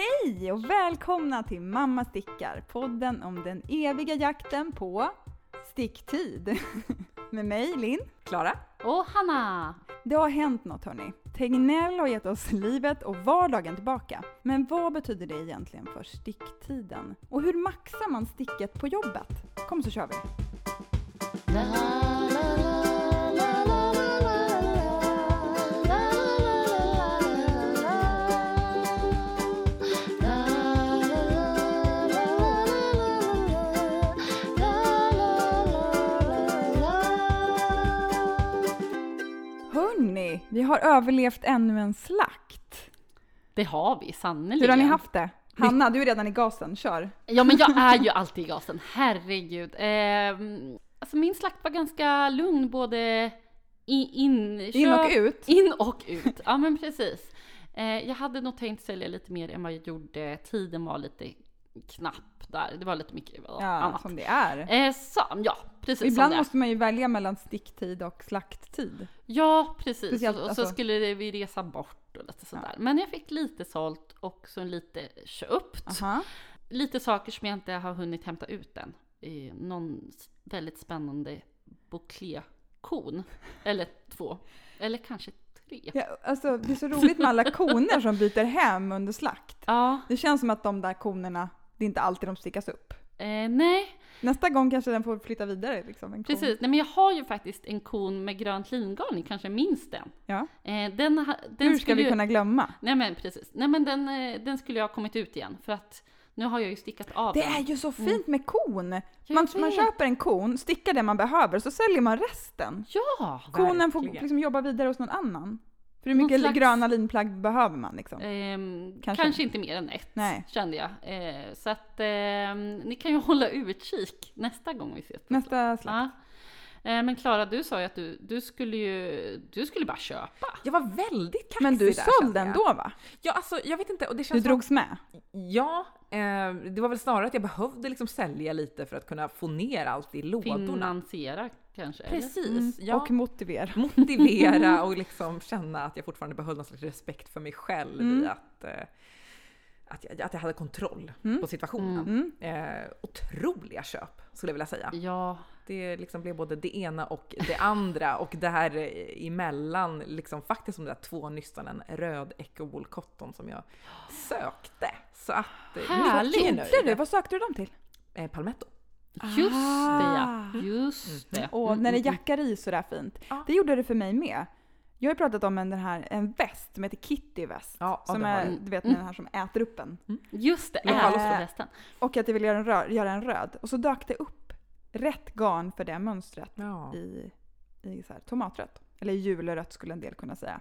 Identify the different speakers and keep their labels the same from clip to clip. Speaker 1: Hej och välkomna till Mamma stickar, podden om den eviga jakten på sticktid. Med mig Linn. Klara.
Speaker 2: Och Hanna!
Speaker 1: Det har hänt något hörni. Tegnell har gett oss livet och vardagen tillbaka. Men vad betyder det egentligen för sticktiden? Och hur maxar man sticket på jobbet? Kom så kör vi! Hörni, vi har överlevt ännu en slakt.
Speaker 2: Det har vi sannerligen.
Speaker 1: Hur har ni haft det? Hanna, du är redan i gasen. Kör!
Speaker 2: Ja men jag är ju alltid i gasen, herregud. Ehm, alltså min slakt var ganska lugn både i, in,
Speaker 1: In och
Speaker 2: köp-
Speaker 1: ut.
Speaker 2: In och ut, ja men precis. Eh, jag hade nog tänkt sälja lite mer än vad jag gjorde, tiden var lite knapp där. Det var lite mycket ja,
Speaker 1: Ja,
Speaker 2: annat.
Speaker 1: som det är.
Speaker 2: Eh, så, ja, precis. som
Speaker 1: Ibland
Speaker 2: det är.
Speaker 1: måste man ju välja mellan sticktid och slakttid.
Speaker 2: Ja, precis.
Speaker 1: Speciellt,
Speaker 2: och, och så
Speaker 1: alltså-
Speaker 2: skulle det- vi resa bort och lite sådär. Men jag fick lite sålt och så lite köpt.
Speaker 1: Aha.
Speaker 2: Lite saker som jag inte har hunnit hämta ut än. Eh, Någon s- väldigt spännande bouclé-kon. Eller två. Eller kanske tre.
Speaker 1: Ja, alltså, det är så roligt med alla koner som byter hem under slakt.
Speaker 2: Ja,
Speaker 1: Det känns som att de där konerna, det är inte alltid de stickas upp.
Speaker 2: eh, nej,
Speaker 1: Nästa gång kanske den får flytta vidare. Liksom, en kon.
Speaker 2: precis. Nej, men jag har ju faktiskt en kon med grönt lingarn, ni kanske minns den.
Speaker 1: Ja.
Speaker 2: Eh, den, ha- den
Speaker 1: Hur ska
Speaker 2: skulle
Speaker 1: vi
Speaker 2: ju-
Speaker 1: kunna glömma?
Speaker 2: Nej men precis. Nej men den, eh, den skulle jag ha kommit ut igen för att nu har jag ju stickat av
Speaker 1: Det
Speaker 2: den.
Speaker 1: är ju så fint med kon!
Speaker 2: Mm. Jag
Speaker 1: Man, man
Speaker 2: vet.
Speaker 1: köper en kon, stickar det man behöver, så säljer man resten.
Speaker 2: Ja,
Speaker 1: Konen får
Speaker 2: verkligen.
Speaker 1: liksom jobba vidare hos någon annan. För hur
Speaker 2: Någon
Speaker 1: mycket
Speaker 2: slags-
Speaker 1: gröna linplagg behöver man liksom?
Speaker 2: Ehm,
Speaker 1: Kanske.
Speaker 2: kanske. inte mer än ett,
Speaker 1: Nej.
Speaker 2: kände jag. Eh, så att ehm, ni kan ju hålla utkik nästa gång vi ses. på
Speaker 1: Nästa slakt.
Speaker 2: Ja. Eh, men Klara, du sa ju att du, du skulle ju du skulle bara köpa.
Speaker 3: Jag var väldigt kaxig
Speaker 1: Men du
Speaker 3: där, kände
Speaker 1: sålde
Speaker 3: jag.
Speaker 1: ändå va?
Speaker 3: Ja, alltså jag vet inte. Och det
Speaker 1: Du
Speaker 3: känns som,
Speaker 1: drogs med?
Speaker 3: Ja, eh, det var väl snarare att jag behövde liksom sälja lite för att kunna få ner allt i lådorna.
Speaker 2: Finansiera kanske? eller?
Speaker 3: Precis, ja.
Speaker 1: Mm, Och motivera.
Speaker 3: motivera och liksom känna att jag fortfarande behöll någon slags respekt för mig själv i att, eh, att, jag, att jag hade kontroll på situationen. Eh, otroliga köp skulle jag vilja säga.
Speaker 2: Ja,
Speaker 3: Det liksom blev både det ena och det andra och där emellan liksom faktiskt som de där två nystan, en röd Echo Wool Cotton som jag sökte. Så att... eh,
Speaker 2: Härligt.
Speaker 3: mycket
Speaker 2: Gjorde
Speaker 3: nöjd.
Speaker 1: Du, vad sökte du dem till?
Speaker 3: Eh, Palmetto.
Speaker 2: just det ja.
Speaker 1: Ah.
Speaker 2: Just det.
Speaker 1: Och när det jackar i sådär fint.
Speaker 3: Ja.
Speaker 1: Det gjorde det för mig med. Jag har ju pratat om en, den här, en väst som heter Kitty väst.
Speaker 3: Ja, ja,
Speaker 1: som
Speaker 3: det har
Speaker 1: är,
Speaker 3: du.
Speaker 1: du vet den här som äter upp en.
Speaker 2: Mm. Just det,
Speaker 1: Lokal-
Speaker 2: Ädelstadshästen.
Speaker 1: Och att jag ville göra en, röd, göra en röd. Och så dök det upp rätt garn för det mönstret
Speaker 3: Ja.
Speaker 1: i, i så här, tomatrött. Eller julrött skulle en del kunna säga.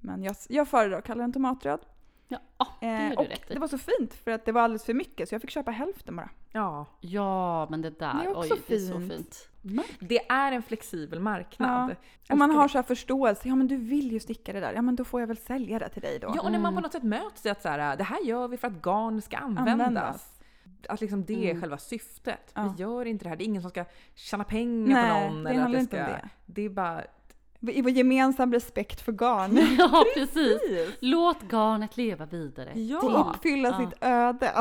Speaker 1: Men jag, jag föredrar att kalla den tomatröd.
Speaker 2: Ja, ah, det
Speaker 1: Eh,
Speaker 2: gör
Speaker 1: och
Speaker 2: du rätt
Speaker 1: det
Speaker 2: i.
Speaker 1: var så fint för att det var alldeles för mycket så jag fick köpa hälften bara.
Speaker 3: ja.
Speaker 2: Ja, men det där.
Speaker 1: Det är också
Speaker 2: Oj, det är så
Speaker 1: fint.
Speaker 2: fint.
Speaker 3: Det är en flexibel marknad.
Speaker 1: Om man
Speaker 3: Älskar
Speaker 1: har
Speaker 3: det.
Speaker 1: så här förståelse, ja men du vill ju sticka det där, ja men då får jag väl sälja det till dig då.
Speaker 3: Ja, och när man på något sätt möts i att så här, det här gör vi för att garn ska användas.
Speaker 1: Användas. Mm.
Speaker 3: Att liksom det är själva syftet.
Speaker 1: Ja.
Speaker 3: Vi gör inte det här, det är ingen som ska tjäna pengar
Speaker 1: Nej,
Speaker 3: på någon.
Speaker 1: det
Speaker 3: eller att
Speaker 1: handlar
Speaker 3: det
Speaker 1: inte om
Speaker 3: ska,
Speaker 1: det.
Speaker 3: Det är bara...
Speaker 1: I vår gemensam respekt för garn.
Speaker 2: Ja, precis. Låt garnet leva vidare.
Speaker 1: Och
Speaker 3: Ja.
Speaker 1: uppfylla
Speaker 2: Ja.
Speaker 1: sitt öde.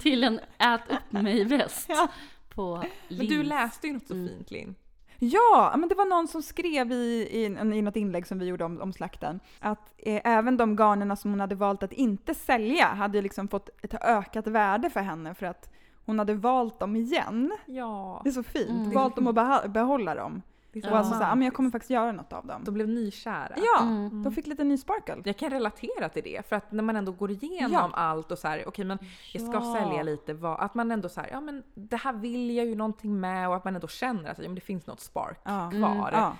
Speaker 2: till en ät upp mig-väst
Speaker 1: Ja.
Speaker 2: på
Speaker 3: Men
Speaker 2: Lins.
Speaker 3: du läste ju något så fint Linn.
Speaker 1: Ja, men det var någon som skrev i, i, i något inlägg som vi gjorde om, om slakten att eh, även de garnerna som hon hade valt att inte sälja hade ju liksom fått ett ökat värde för henne för att hon hade valt dem igen.
Speaker 3: Ja.
Speaker 1: Det är så fint.
Speaker 2: Mm.
Speaker 1: Valt dem att beha- behålla dem.
Speaker 3: Det är
Speaker 1: Och alltså såhär, ja, men jag
Speaker 3: romantiskt.
Speaker 1: kommer faktiskt göra något av dem.
Speaker 3: De blev nykära.
Speaker 1: Ja,
Speaker 2: Mm.
Speaker 1: de fick lite ny sparkle.
Speaker 3: Jag kan relatera till det, för att när man ändå går igenom
Speaker 1: Ja.
Speaker 3: allt och så här, okej men jag ska
Speaker 2: Ja.
Speaker 3: sälja lite, vad, att man ändå så här, ja men det här vill jag ju någonting med och att man ändå känner att ja, men det finns något spark
Speaker 1: Ja. Mm,
Speaker 3: kvar.
Speaker 1: Ja,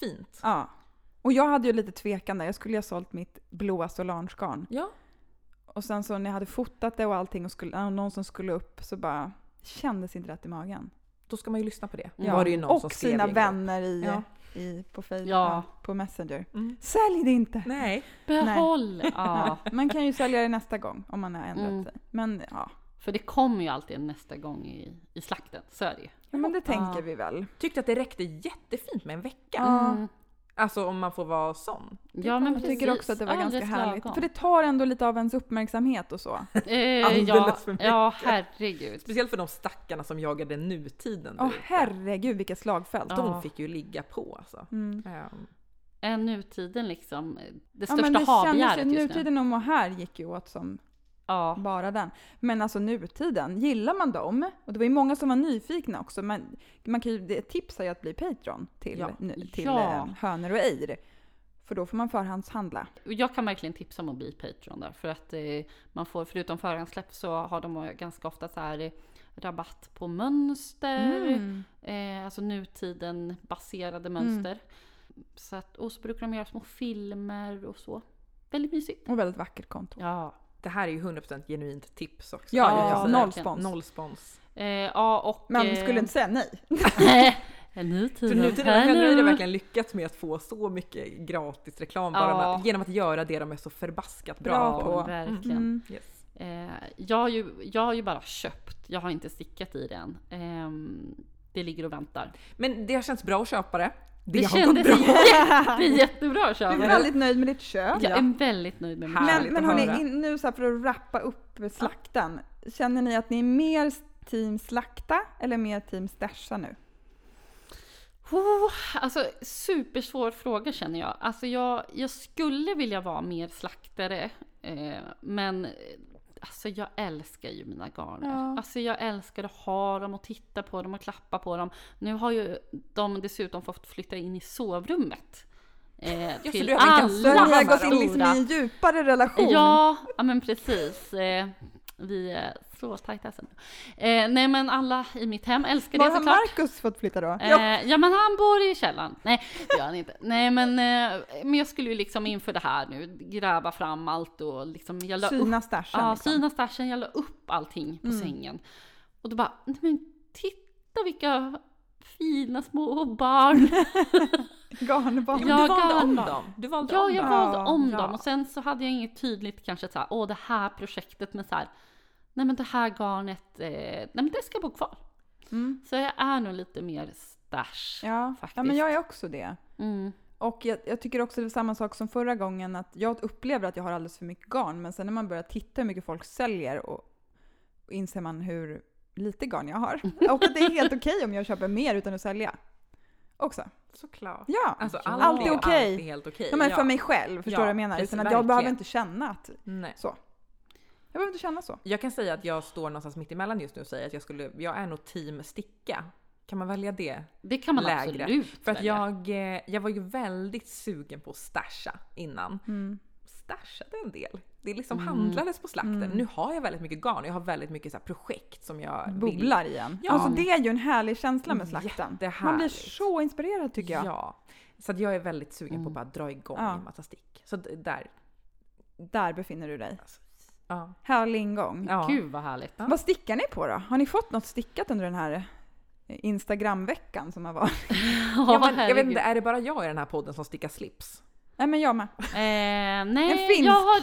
Speaker 3: Fint.
Speaker 1: ja. Och jag hade ju lite tvekan där. Jag skulle ju ha sålt mitt blåa solangarn.
Speaker 3: Ja.
Speaker 1: Och sen så när jag hade fotat det och allting och skulle, ja, någon som skulle upp så bara kändes inte rätt i magen.
Speaker 3: Då ska man ju lyssna på det.
Speaker 2: Ja.
Speaker 3: Var det ju någon som
Speaker 1: och
Speaker 3: skrev
Speaker 1: sina
Speaker 3: i en grupp.
Speaker 1: vänner i,
Speaker 3: Ja.
Speaker 1: i, på Facebook,
Speaker 2: Ja.
Speaker 1: på Messenger.
Speaker 3: Mm.
Speaker 1: Sälj det inte!
Speaker 3: Nej.
Speaker 2: Behåll! Ja,
Speaker 1: Man kan ju sälja det nästa gång om man har ändrat
Speaker 2: Mm.
Speaker 1: sig. Men ja,
Speaker 2: för det kommer ju alltid en nästa gång i, i slakten, så är det ju.
Speaker 1: ja men det tänker
Speaker 2: Ja.
Speaker 1: vi väl.
Speaker 3: Tyckte att det räckte jättefint med en vecka.
Speaker 1: Ja.
Speaker 2: Mm.
Speaker 3: Alltså om man får vara sån.
Speaker 2: Ja, men
Speaker 1: Jag tycker också att det var ganska
Speaker 2: Alldeles
Speaker 1: härligt.
Speaker 2: lagom.
Speaker 1: För det tar ändå lite av ens uppmärksamhet och så.
Speaker 2: Eh, ja,
Speaker 3: Alldeles för mycket.
Speaker 2: ja, herregud.
Speaker 3: Speciellt för de stackarna som jagade nutiden. där
Speaker 1: Åh
Speaker 3: ute.
Speaker 1: herregud vilket slagfält.
Speaker 2: Ja.
Speaker 3: De fick ju ligga på alltså.
Speaker 1: Mm.
Speaker 3: Ehm,
Speaker 2: Är Eh, nutiden liksom det
Speaker 1: Ja,
Speaker 2: största
Speaker 1: men det
Speaker 2: havbegäret
Speaker 1: kändes ju,
Speaker 2: just nu?
Speaker 1: nutiden om och här gick ju åt som
Speaker 2: Ja.
Speaker 1: bara den. Men alltså nutiden, gillar man dem, och det var ju många som var nyfikna också, men man kan ju, det tipsar ju att bli Patreon till,
Speaker 3: Ja.
Speaker 1: nu, till
Speaker 2: Ja.
Speaker 1: eh, hönor och ejr. För då får man förhandshandla.
Speaker 2: Jag kan verkligen tipsa om att bli Patreon där. För att eh, man får, förutom förhandssläpp så har de ganska ofta så här eh, rabatt på mönster.
Speaker 1: Mm.
Speaker 2: Eh, alltså nutiden baserade mönster. Så att, och så brukar de göra små filmer och så. Väldigt mysigt.
Speaker 1: Och väldigt vackert konto.
Speaker 2: Ja.
Speaker 3: det här är ju 100% genuint tips också.
Speaker 1: Ja,
Speaker 2: Ja,
Speaker 1: ja, ja. noll
Speaker 2: verkligen.
Speaker 1: spons.
Speaker 3: Noll spons.
Speaker 2: Eh, ja och...
Speaker 1: Men
Speaker 2: eh,
Speaker 1: vi skulle inte säga nej.
Speaker 3: För
Speaker 2: nutiden.
Speaker 3: nutiden har Henry verkligen lyckats med att få så mycket gratis reklam bara
Speaker 2: Ja.
Speaker 3: med, genom att göra det de är så förbaskat bra,
Speaker 1: Bra
Speaker 3: på.
Speaker 1: på.
Speaker 2: Verkligen.
Speaker 1: Mm.
Speaker 3: Yes.
Speaker 2: Eh, jag, har ju, jag har ju bara köpt, jag har inte stickat i den. Ehm, det ligger och väntar.
Speaker 3: Men det har känts bra att köpa det. Det,
Speaker 2: Det
Speaker 3: har gått
Speaker 2: kändes
Speaker 3: bra.
Speaker 2: jätte, jättebra att
Speaker 1: Du
Speaker 2: köra.
Speaker 1: är
Speaker 2: Jag
Speaker 1: väldigt nöjd med ditt köp.
Speaker 2: är väldigt nöjd med mig.
Speaker 3: Härligt
Speaker 1: Men,
Speaker 3: att
Speaker 1: men hörni,
Speaker 3: höra.
Speaker 1: in, nu så här för att rappa upp slakten. Känner ni att ni är mer team slakta eller mer team stasha nu?
Speaker 2: Oh, alltså supersvår fråga känner jag. Alltså jag, jag skulle vilja vara mer slaktare. Eh, men eh, alltså jag älskar ju mina garner.
Speaker 1: Ja.
Speaker 2: Alltså jag älskar att ha dem och titta på dem och klappa på dem. Nu har ju de dessutom fått flytta in i sovrummet. Eh,
Speaker 3: så
Speaker 2: till
Speaker 3: du har en
Speaker 1: Så ni
Speaker 2: alla
Speaker 1: har
Speaker 3: Lammar
Speaker 1: gått in liksom i
Speaker 2: stora.
Speaker 1: en djupare relation?
Speaker 2: Ja, ja men precis. Eh, vi är så tajta sen. Eh, nej men alla i mitt hem älskar
Speaker 1: Var
Speaker 2: det
Speaker 1: har
Speaker 2: såklart.
Speaker 1: Marcus fått flytta då?
Speaker 2: Eh, ja. men han bor i källaren. Nej, det gör han inte. Nej men, eh, men jag skulle ju liksom inför det här nu gräva fram allt och liksom jag la upp,
Speaker 1: Syna stashen?
Speaker 2: ja,
Speaker 1: liksom.
Speaker 2: syna stashen, jag la upp allting på sängen. Och då bara, nej men titta vilka fina små barn.
Speaker 1: Garnbarn?
Speaker 3: Jo, men du
Speaker 2: Ja,
Speaker 3: valde om
Speaker 2: garn.
Speaker 3: dem. Du valde
Speaker 2: Ja,
Speaker 3: om
Speaker 2: jag
Speaker 3: dem.
Speaker 2: valde om
Speaker 1: Ja.
Speaker 2: dem och sen så hade jag inget tydligt kanske så här, åh det här projektet men så här, nej men det här garnet, eh, nej men det ska bo kvar.
Speaker 1: Mm.
Speaker 2: Så jag är nog lite mer stash.
Speaker 1: Ja. ja, men
Speaker 2: faktiskt.
Speaker 1: jag är också det.
Speaker 2: Mm.
Speaker 1: Och jag, jag tycker också det är samma sak som förra gången att jag upplever att jag har alldeles för mycket garn men sen när man börjar titta hur mycket folk säljer och, och inser man hur lite garn jag har. Och att det är helt okej om jag köper mer utan att sälja. Också.
Speaker 3: Såklart.
Speaker 1: Ja.
Speaker 3: Alltså,
Speaker 2: Ja.
Speaker 3: allt,
Speaker 1: Allt är
Speaker 3: är,
Speaker 1: okej.
Speaker 3: allt är helt okej.
Speaker 1: ja men för
Speaker 3: Ja.
Speaker 1: mig själv, förstår du
Speaker 3: Ja,
Speaker 1: vad jag menar?
Speaker 3: precis,
Speaker 1: Utan att jag
Speaker 3: verkligen.
Speaker 1: behöver inte känna att
Speaker 3: Nej.
Speaker 1: så. Jag behöver inte känna så.
Speaker 3: Jag kan säga att jag står någonstans mitt emellan just nu och säger att jag, skulle, jag är nog team sticka. Kan man välja det?
Speaker 2: Det kan man
Speaker 3: Lägre.
Speaker 2: absolut
Speaker 3: För att
Speaker 2: välja.
Speaker 3: jag, eh, jag var ju väldigt sugen på att stasha innan. Stashade en del. Det liksom
Speaker 1: Mm.
Speaker 3: handlades på slakten. Nu har jag väldigt mycket garn. Jag har väldigt mycket så här projekt som jag vill.
Speaker 1: Bubblar igen.
Speaker 3: Ja.
Speaker 1: Alltså det är ju en härlig känsla med slakten. Man blir
Speaker 3: Jättehärligt.
Speaker 1: så inspirerad tycker jag. Mm.
Speaker 3: Ja. Så att jag är väldigt sugen på att bara dra igång
Speaker 1: Ja.
Speaker 3: en massa stick. Så d- där.
Speaker 1: Där befinner du dig.
Speaker 3: Ja.
Speaker 1: Härlig ingång.
Speaker 3: ja.
Speaker 2: Gud vad härligt.
Speaker 3: Ja.
Speaker 1: Vad stickar ni på då? Har ni fått något stickat under den här eh, Instagramveckan som har varit?
Speaker 3: Ja, men, jag vet inte, är det bara jag i den här podden som stickar slips?
Speaker 1: Nej men jag med.
Speaker 2: Eh, nej,
Speaker 1: En finsk-
Speaker 2: jag har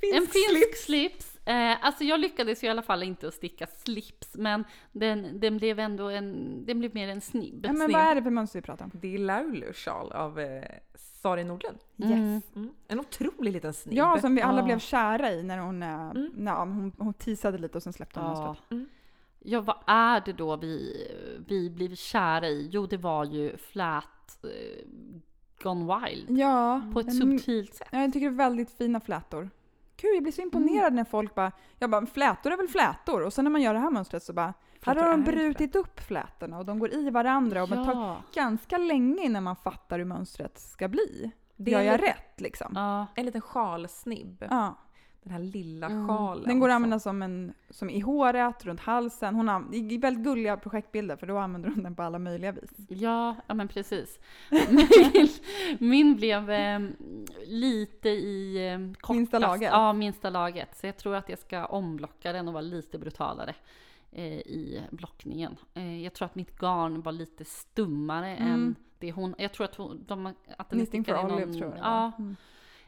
Speaker 1: Finsk
Speaker 2: en finsk slips. Eh, alltså jag lyckades ju i alla fall inte att sticka slips, men den, den blev ändå en, den blev mer en snibb.
Speaker 1: Ja, men vad är det för mönster vi pratar om?
Speaker 3: Det är Laulu sjal av eh, Sari Nordlund.
Speaker 1: Yes.
Speaker 3: Mm. En otrolig liten snibb.
Speaker 1: Ja, som vi alla
Speaker 2: Ja.
Speaker 1: blev kära i när hon, eh, när hon, hon teasade lite och sen släppte hon
Speaker 2: Ja.
Speaker 1: mönstret.
Speaker 3: Mm.
Speaker 2: ja, vad är det då vi, vi blev kära i? Jo, det var ju Flat eh, Gone Wild.
Speaker 1: Ja,
Speaker 2: På ett
Speaker 1: men-
Speaker 2: subtilt sätt.
Speaker 1: ja, jag tycker det är väldigt fina flätor. Gud, jag blir så
Speaker 3: Mm.
Speaker 1: imponerad när folk bara, jag bara, flätor är väl flätor? Och sen när man gör det här mönstret så bara, här
Speaker 3: Flätor
Speaker 1: har de
Speaker 3: är inte
Speaker 1: brutit upp flätorna och de går i varandra och man tar
Speaker 2: Ja.
Speaker 1: ganska länge innan man fattar hur mönstret ska bli.
Speaker 3: Det
Speaker 1: Gör
Speaker 3: är
Speaker 1: jag
Speaker 3: lite-
Speaker 1: rätt liksom?
Speaker 2: Ja.
Speaker 3: En liten snibb.
Speaker 1: Ja.
Speaker 3: Den här lilla
Speaker 2: Mm.
Speaker 3: sjalen.
Speaker 1: Den går att
Speaker 3: som-
Speaker 1: använda som, en, som i håret, runt halsen. Hon har det är väldigt gulliga projektbilder för då använder hon den på alla möjliga vis.
Speaker 3: Mm.
Speaker 2: Ja, ja men precis. Min, min blev eh, lite i eh, kortast,
Speaker 1: Minsta laget.
Speaker 2: Ja, minsta laget. Så jag tror att jag ska omblocka den och vara lite brutalare eh, i blockningen. Eh, jag tror att mitt garn var lite stummare
Speaker 1: Mm.
Speaker 2: än det hon... Jag tror att, hon, de, att den
Speaker 1: Knitting for
Speaker 2: stickade i någon...
Speaker 1: Olive tror jag det var.
Speaker 2: Ja,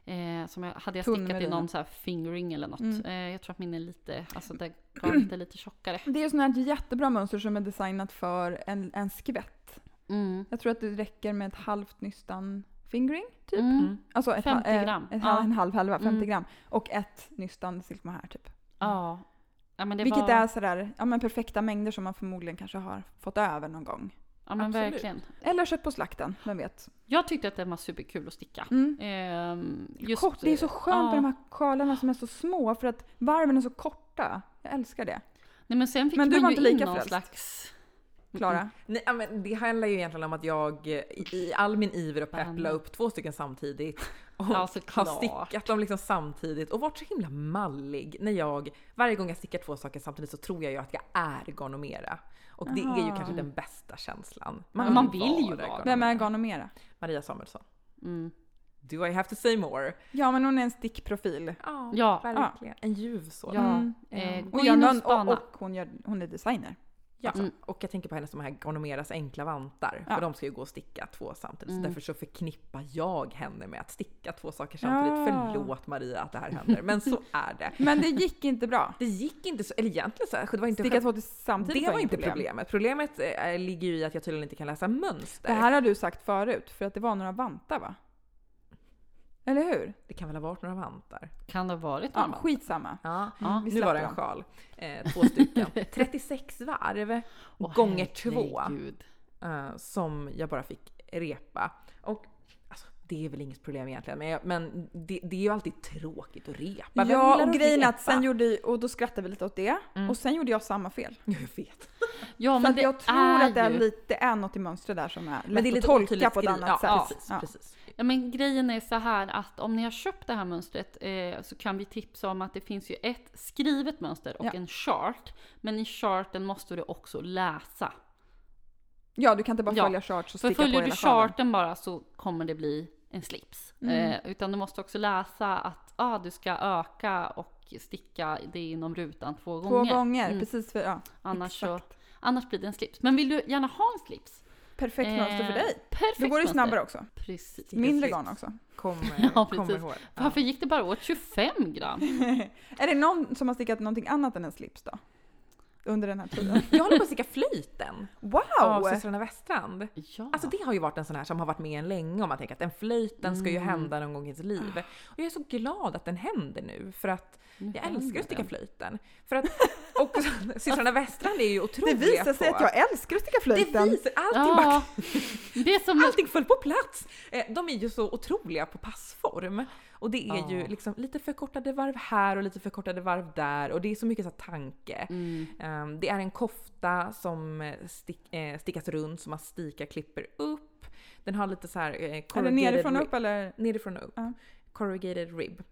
Speaker 1: Mm.
Speaker 2: eh, som jag, hade jag
Speaker 1: Tunn
Speaker 2: stickat i
Speaker 1: merino.
Speaker 2: någon så här fingering eller något.
Speaker 1: Mm.
Speaker 2: Eh, jag tror att min är lite... Alltså det garnet är lite tjockare.
Speaker 1: Det är ju sådana här jättebra mönster som är designat för en, en skvätt.
Speaker 2: Mm.
Speaker 1: Jag tror att det räcker med ett halvt nystan fingering typ.
Speaker 2: Mm.
Speaker 1: Alltså ett, ha-
Speaker 2: 50
Speaker 1: eh,
Speaker 2: gram.
Speaker 1: Ett, hal-
Speaker 2: Ja.
Speaker 1: En halv halva, 50
Speaker 2: Mm.
Speaker 1: gram. Och ett nystan silkmohair typ.
Speaker 2: Ja. ja men det
Speaker 1: Vilket
Speaker 2: var,
Speaker 1: är sådär, ja men perfekta mängder som man förmodligen kanske har fått över någon gång.
Speaker 2: Ja men
Speaker 3: Absolut.
Speaker 2: verkligen.
Speaker 1: Eller köpt på slakten, vem vet.
Speaker 2: Jag tyckte att den var superkul att sticka.
Speaker 1: Mm.
Speaker 2: Ehm,
Speaker 1: Kort, det är så skönt med
Speaker 2: ja.
Speaker 1: de här sjalarna som är så små för att varven är så korta. Jag älskar det.
Speaker 2: Nej, men sen fick
Speaker 1: Men du
Speaker 2: man
Speaker 1: var
Speaker 2: ju
Speaker 1: inte
Speaker 2: in
Speaker 1: lika
Speaker 2: någon
Speaker 1: frälst.
Speaker 2: slags... Mm,
Speaker 1: Klara?
Speaker 3: Nej, ja, men det handlar ju egentligen om att jag eh, i, i all min iver att peppla
Speaker 2: Spännande.
Speaker 3: upp två stycken samtidigt och
Speaker 2: Mm. Ja,
Speaker 3: har
Speaker 2: såklart.
Speaker 3: stickat dem liksom samtidigt och varit så himla mallig när jag varje gång jag stickar två saker samtidigt så tror jag ju att jag är gonomera. Och det är ju
Speaker 1: Aha.
Speaker 3: kanske den bästa känslan.
Speaker 2: Ja, man vill ju vara.
Speaker 3: gonomera.
Speaker 1: Vem är Ganomera?
Speaker 3: Maria Samuelsson.
Speaker 2: Mm.
Speaker 3: Do I have to say more?
Speaker 1: Ja men hon är en stickprofil.
Speaker 2: Ja.
Speaker 3: verkligen. En ljuv sådan.
Speaker 2: Ja.
Speaker 1: Mm.
Speaker 2: Eh,
Speaker 3: Och
Speaker 2: gå
Speaker 1: Och,
Speaker 2: in
Speaker 1: gör
Speaker 2: och
Speaker 1: någon, och,
Speaker 2: spana.
Speaker 1: och hon, gör, hon är designer.
Speaker 3: Ja,
Speaker 2: Mm.
Speaker 3: och jag tänker på henne som här Gonomeras enkla vantar.
Speaker 1: Ja.
Speaker 3: För de ska ju gå och sticka två samtidigt.
Speaker 2: Mm.
Speaker 3: Så därför så förknippar jag henne med att sticka två saker samtidigt.
Speaker 1: Ja.
Speaker 3: Förlåt Maria att det här händer, men så är det.
Speaker 1: Men det gick inte bra.
Speaker 3: Det gick inte så, eller egentligen så, här, det var inte
Speaker 1: Sticka två till- samtidigt
Speaker 3: det var
Speaker 1: inget
Speaker 3: inte problemet. Problemet eh, ligger ju i att jag tydligen inte kan läsa mönster.
Speaker 1: Det här har du sagt förut, för att det var några vantar va? Eller hur?
Speaker 3: Det kan väl ha varit några vantar?
Speaker 2: Kan det ha varit någon?
Speaker 1: Ja, Mm. skitsamma.
Speaker 3: Ja.
Speaker 2: Ja.
Speaker 1: Vi
Speaker 3: nu var det
Speaker 1: släpper
Speaker 3: en sjal. Eh, två stycken. 36 varv
Speaker 2: Åh,
Speaker 3: gånger två.
Speaker 2: herregud.
Speaker 3: eh, som jag bara fick repa. Och alltså, det är väl inget problem egentligen, men, jag, men det, det är ju alltid tråkigt att repa.
Speaker 1: Ja,
Speaker 3: Vem gillar
Speaker 1: och
Speaker 3: att
Speaker 1: grejen är att
Speaker 3: repa?
Speaker 1: sen gjorde, och då skrattade vi lite åt det.
Speaker 3: Mm.
Speaker 1: Och sen gjorde jag samma fel.
Speaker 3: Jag vet.
Speaker 2: Ja,
Speaker 1: För
Speaker 2: men
Speaker 1: att
Speaker 2: det
Speaker 1: jag tror
Speaker 2: är
Speaker 1: att det är,
Speaker 2: ju-
Speaker 1: lite, det är något i mönstret där som är lätt
Speaker 3: det är lite
Speaker 1: att tolka
Speaker 3: otydligt
Speaker 1: på ett
Speaker 3: skri-
Speaker 1: annat
Speaker 3: ja,
Speaker 1: sätt.
Speaker 3: Precis,
Speaker 1: Ja.
Speaker 3: precis.
Speaker 2: Ja, men grejen är så här att om ni har köpt det här mönstret eh, så kan vi tipsa om att det finns ju ett skrivet mönster och
Speaker 1: Ja.
Speaker 2: en chart. Men i charten måste du också läsa.
Speaker 1: ja, du kan inte bara
Speaker 2: Ja.
Speaker 1: följa charts och
Speaker 2: För
Speaker 1: sticka på
Speaker 2: följer
Speaker 1: hela
Speaker 2: du
Speaker 1: sjalen.
Speaker 2: charten bara så kommer det bli en slips.
Speaker 1: Mm.
Speaker 2: Eh, utan du måste också läsa att ah, du ska öka och sticka det inom rutan två
Speaker 1: Två
Speaker 2: gånger.
Speaker 1: gånger,
Speaker 2: Mm.
Speaker 1: precis. För, ja.
Speaker 2: Annars, så,
Speaker 1: Exakt.
Speaker 2: annars blir det en slips. Men vill du gärna ha en slips?
Speaker 1: Perfekt mönster för
Speaker 2: Eh,
Speaker 1: dig.
Speaker 2: Perfekt
Speaker 1: Då går det
Speaker 2: mönster.
Speaker 1: snabbare också.
Speaker 2: Precis.
Speaker 1: Mindre
Speaker 3: Precis.
Speaker 1: garn också.
Speaker 3: Kommer,
Speaker 2: Ja,
Speaker 3: kommer
Speaker 2: precis.
Speaker 3: ihåg. Ja.
Speaker 2: Varför gick det bara åt 25 gram?
Speaker 1: Är det någon som har stickat någonting annat än en slips då? Under den här tiden?
Speaker 3: Jag håller på att sticka flöjten
Speaker 1: Wow!
Speaker 3: av systrarna Westrand.
Speaker 2: Ja.
Speaker 3: Alltså det har ju varit en sån här som har varit med en länge om man tänker att den flöjten ska ju
Speaker 2: Mm.
Speaker 3: hända någon gång i sitt
Speaker 1: Ah.
Speaker 3: liv. Och jag är så glad att den händer nu för att
Speaker 2: Nu
Speaker 3: jag
Speaker 2: händer
Speaker 3: älskar att sticka
Speaker 2: den.
Speaker 3: flöjten. För att, och systrarna Westrand är ju
Speaker 1: det
Speaker 3: otroliga
Speaker 1: visar sig
Speaker 3: på-
Speaker 1: att jag älskar att sticka
Speaker 3: Det
Speaker 1: flöjten.
Speaker 3: visar, allting, bara,
Speaker 2: Ja, det är som...
Speaker 3: allting föll på plats. Eh, De är ju så otroliga på passform. Och det är
Speaker 2: Ja.
Speaker 3: ju liksom lite förkortade varv här och lite förkortade varv där och det är så mycket så här tanke.
Speaker 2: Mm.
Speaker 3: Ehm, Det är en kofta som eh, stick, eh, stickas runt som man stikar klipper upp. Den har lite så här eh,
Speaker 1: Är det
Speaker 3: corrugated
Speaker 1: nerifrån och
Speaker 3: rib-
Speaker 1: upp eller?
Speaker 3: Nerifrån och upp.
Speaker 1: Ja.
Speaker 3: Corrugated rib.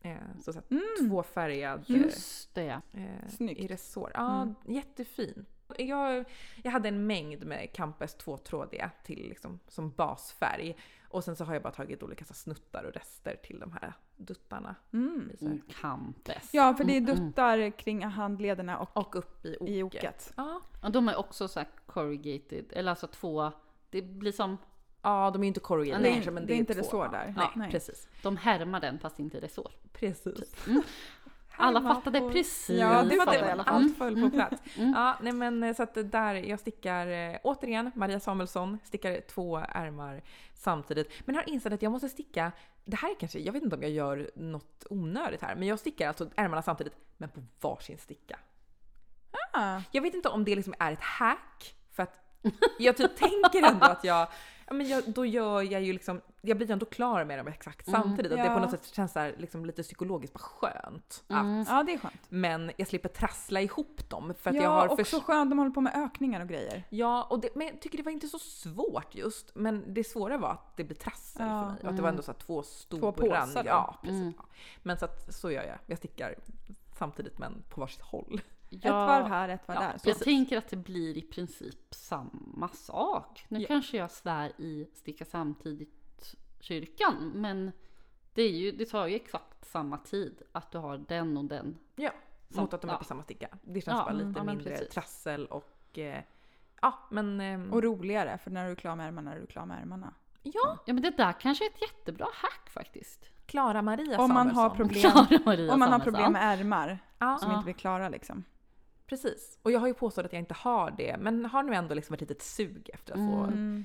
Speaker 3: Eh, Så, så här,
Speaker 1: Mm.
Speaker 3: tvåfärgad. eh,
Speaker 2: Just det.
Speaker 3: Eh,
Speaker 1: Snyggt.
Speaker 3: I resår. Ja,
Speaker 1: Mm.
Speaker 3: jättefint. Jag, jag hade en mängd med Campes tvåtrådiga till liksom, som basfärg. Och sen så har jag bara tagit olika så här snuttar och rester till de här duttarna.
Speaker 1: Mm.
Speaker 3: Så här.
Speaker 2: Mm, Campes.
Speaker 1: Ja, för det är
Speaker 2: Mm, mm.
Speaker 1: duttar kring handlederna och
Speaker 3: Och upp i oket.
Speaker 1: i oket.
Speaker 3: Ja.
Speaker 2: Och de är också så här corrugated, eller alltså två... Det blir som...
Speaker 3: ja, de är ju inte
Speaker 2: Ja,
Speaker 3: corrugated
Speaker 2: nej.
Speaker 3: kanske men det,
Speaker 1: Det är inte
Speaker 3: två.
Speaker 1: resår där.
Speaker 3: Nej,
Speaker 1: Nej.
Speaker 3: precis.
Speaker 2: De härmar den fast inte resår.
Speaker 3: Precis.
Speaker 2: Alla
Speaker 3: Härmar
Speaker 2: fattade
Speaker 3: på-
Speaker 2: precis.
Speaker 1: Ja,
Speaker 3: Ja,
Speaker 1: det
Speaker 3: det
Speaker 1: var
Speaker 2: vad
Speaker 1: det
Speaker 3: fattar
Speaker 1: i
Speaker 3: jag.
Speaker 1: alla fall.
Speaker 3: Allt föll på plats.
Speaker 2: Mm.
Speaker 3: Ja, nej men eh, så att där, jag stickar eh, återigen Maria Samuelsson, stickar två ärmar samtidigt. Men har insett att jag måste sticka, det här är kanske, jag vet inte om jag gör något onödigt här, men jag stickar alltså ärmarna samtidigt, men på varsin sticka.
Speaker 1: Ah.
Speaker 3: Jag vet inte om det liksom är ett hack, för att jag typ tänker ändå att jag, ja men jag, då gör jag ju liksom, jag blir ju ändå klar med dem exakt
Speaker 2: Mm.
Speaker 3: samtidigt. Att det
Speaker 1: Ja.
Speaker 3: på något sätt känns så här, liksom lite psykologiskt bara skönt. Att
Speaker 2: Mm.
Speaker 1: Ja, det är skönt.
Speaker 3: men jag slipper trassla ihop dem för att
Speaker 1: ja,
Speaker 3: jag har
Speaker 1: också
Speaker 3: förs-
Speaker 1: skönt. De håller på med ökningar och grejer.
Speaker 3: Ja, och det, men jag tycker det var inte så svårt just. Men det svåra var att det blev trassel
Speaker 1: Ja. Mm.
Speaker 3: för mig. Och att det var ändå så här två stora...
Speaker 1: påsar då.
Speaker 3: Ja, precis.
Speaker 2: Mm.
Speaker 3: Ja. Men så att så gör jag. Jag stickar samtidigt men på varsitt håll.
Speaker 1: Ett varv här, ett varv
Speaker 2: Ja,
Speaker 1: där. Så.
Speaker 2: jag tänker att det blir i princip samma sak. Nu
Speaker 3: Ja.
Speaker 2: kanske jag svär i sticka samtidigt-kyrkan, men det, är ju, det tar ju exakt samma tid att du har den och den.
Speaker 3: Ja,
Speaker 2: Sam-
Speaker 3: mot att de är
Speaker 2: ja.
Speaker 3: på samma sticka. Det känns
Speaker 2: Ja,
Speaker 3: bara
Speaker 1: mm,
Speaker 3: lite
Speaker 2: ja, men
Speaker 3: mindre
Speaker 2: precis.
Speaker 3: trassel och... eh, Ja, men... ehm,
Speaker 1: Och roligare, för när du är klar med ärmarna, är du klar med ärmarna.
Speaker 3: ja,
Speaker 2: Ja men det där kanske är ett jättebra hack faktiskt.
Speaker 3: Klara Maria
Speaker 1: Om man har
Speaker 3: Samuelsson.
Speaker 1: problem,
Speaker 2: Klara Maria
Speaker 1: om man har
Speaker 2: Samuelsson.
Speaker 1: problem med ärmar
Speaker 3: Ja.
Speaker 1: som inte blir klara liksom.
Speaker 3: Precis. Och jag har ju påstått att jag inte har det, men har nu ändå liksom ett litet sug efter att få
Speaker 2: Mm.
Speaker 1: Mm.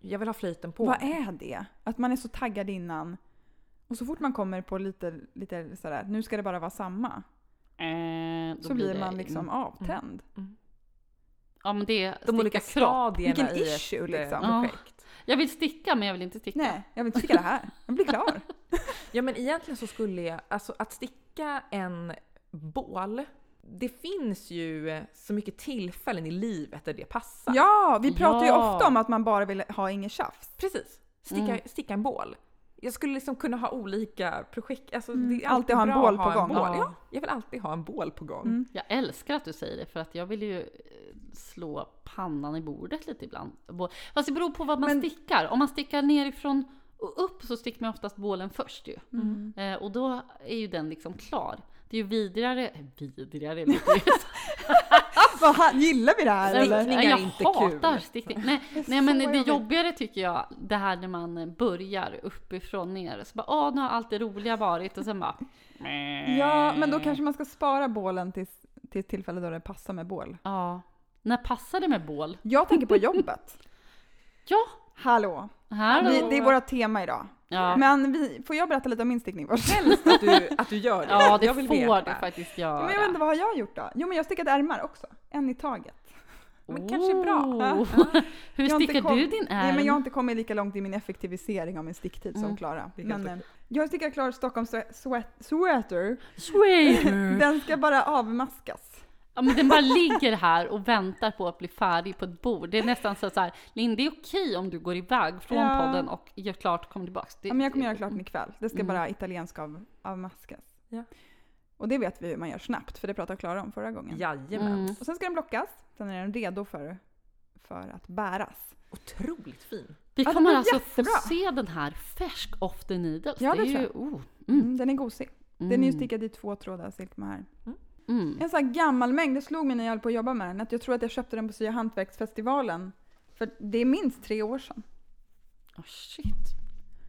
Speaker 3: Jag vill ha flöjten på.
Speaker 1: Vad är det? Att man är så taggad innan och så fort man kommer på lite, lite sådär, nu ska det bara vara samma.
Speaker 2: Eh, då
Speaker 1: Så blir
Speaker 2: det-
Speaker 1: man liksom avtänd.
Speaker 2: Ja men det är
Speaker 3: De
Speaker 2: sticka
Speaker 3: olika
Speaker 2: kropp.
Speaker 3: stadierna
Speaker 1: Vilken
Speaker 3: i ett
Speaker 1: issue,
Speaker 3: eh,
Speaker 1: liksom.
Speaker 2: Ja.
Speaker 3: projekt.
Speaker 2: Jag vill sticka men jag vill inte sticka.
Speaker 1: Nej, jag vill inte sticka det här. Jag blir klar.
Speaker 3: Ja men egentligen så skulle jag, alltså att sticka en bål, det finns ju så mycket tillfällen i livet där det passar.
Speaker 1: Ja, vi pratar ju
Speaker 2: Ja.
Speaker 1: ofta om att man bara vill ha inget tjafs.
Speaker 3: Precis, sticka,
Speaker 1: Mm.
Speaker 3: sticka en bål. Jag skulle liksom kunna ha olika projekt, alltså
Speaker 1: Mm,
Speaker 3: det är
Speaker 1: alltid
Speaker 3: alltid
Speaker 1: ha en
Speaker 3: bra
Speaker 1: bål
Speaker 3: att
Speaker 1: på
Speaker 3: ha
Speaker 1: gång.
Speaker 3: en bål.
Speaker 2: Ja.
Speaker 3: Ja, jag vill alltid ha en bål på gång.
Speaker 1: Mm.
Speaker 2: Jag älskar att du säger det för att jag vill ju eh, slå pannan i bordet lite ibland. Bå- Fast det beror på vad man
Speaker 1: Men-
Speaker 2: stickar. Om man stickar nerifrån och upp så sticker man oftast bålen först ju.
Speaker 1: Mm.
Speaker 2: Eh, och då är ju den liksom klar. Det är ju vidrigare, eh, vidrigare låter det som.
Speaker 1: Vad ha- gillar vi det här
Speaker 2: Nej,
Speaker 1: eller?
Speaker 2: nej,
Speaker 3: är
Speaker 2: jag
Speaker 3: inte
Speaker 2: hatar
Speaker 3: kul.
Speaker 2: stickning. Nej, nej
Speaker 1: så
Speaker 2: men det
Speaker 1: jobbigt.
Speaker 2: jobbigare tycker jag det här när man eh, börjar uppifrån ner. Så bara, åh nu har allt det roliga varit och sen bara...
Speaker 1: Ja, men då kanske man ska spara bålen till, till ett tillfälle då det passar med bål.
Speaker 2: Ja. När passar det med bål?
Speaker 1: Jag tänker på jobbet.
Speaker 2: Ja,
Speaker 1: Hallå!
Speaker 2: här
Speaker 1: Vi, det är vårt tema idag.
Speaker 2: Ja.
Speaker 1: Men vi, får jag berätta lite om min stickning först?
Speaker 3: Helst att du, att du gör det.
Speaker 2: Ja, det
Speaker 3: jag vill
Speaker 2: får
Speaker 3: veta.
Speaker 2: du faktiskt göra.
Speaker 1: Men jag vet inte, vad har jag gjort då? Jo men jag stickade ärmar också. En i taget.
Speaker 3: Men kanske bra.
Speaker 2: Oh. Hur
Speaker 1: Jag har inte
Speaker 2: stickar
Speaker 1: kom-
Speaker 2: du din ärm?
Speaker 1: Nej men jag har inte kommit lika långt i min effektivisering av min sticktid som
Speaker 2: Mm.
Speaker 1: Klara.
Speaker 3: Det är helt
Speaker 1: Men, eh, jag stickar klar Stockholms swe- sweat, sweater.
Speaker 2: Swear.
Speaker 1: Den ska bara avmaskas.
Speaker 2: ja, men den bara ligger här och väntar på att bli färdig på ett bord. Det är nästan så så här, Linn det är okej om du går iväg från
Speaker 1: Ja.
Speaker 2: podden och gör klart och kommer tillbaks. Det,
Speaker 1: Ja, men jag kommer göra klart den ikväll. Det ska
Speaker 2: Mm.
Speaker 1: bara italiensk av, avmaskas.
Speaker 3: Ja.
Speaker 1: Och det vet vi hur man gör snabbt för det pratade Klara om förra gången.
Speaker 3: Jajamän.
Speaker 2: Mm.
Speaker 1: Och sen ska den blockas. Sen är den redo för, för att bäras.
Speaker 3: Otroligt fin.
Speaker 2: Vi
Speaker 1: Ja, det
Speaker 2: kommer
Speaker 1: blir
Speaker 2: alltså
Speaker 1: jättebra.
Speaker 2: få se den här färsk off the needles.
Speaker 1: Ja, det
Speaker 2: är
Speaker 1: tror
Speaker 2: ju, oh,
Speaker 1: Mm.
Speaker 2: mm,
Speaker 1: den är gosig. Den är ju stickad i två trådar silkma här.
Speaker 2: mm.
Speaker 1: En sån här gammal mängd, det slog mig när jag höll på att jobba med den, att jag tror att jag köpte den på Sya Hantverksfestivalen. För det är minst tre år sedan.
Speaker 2: Oh, shit.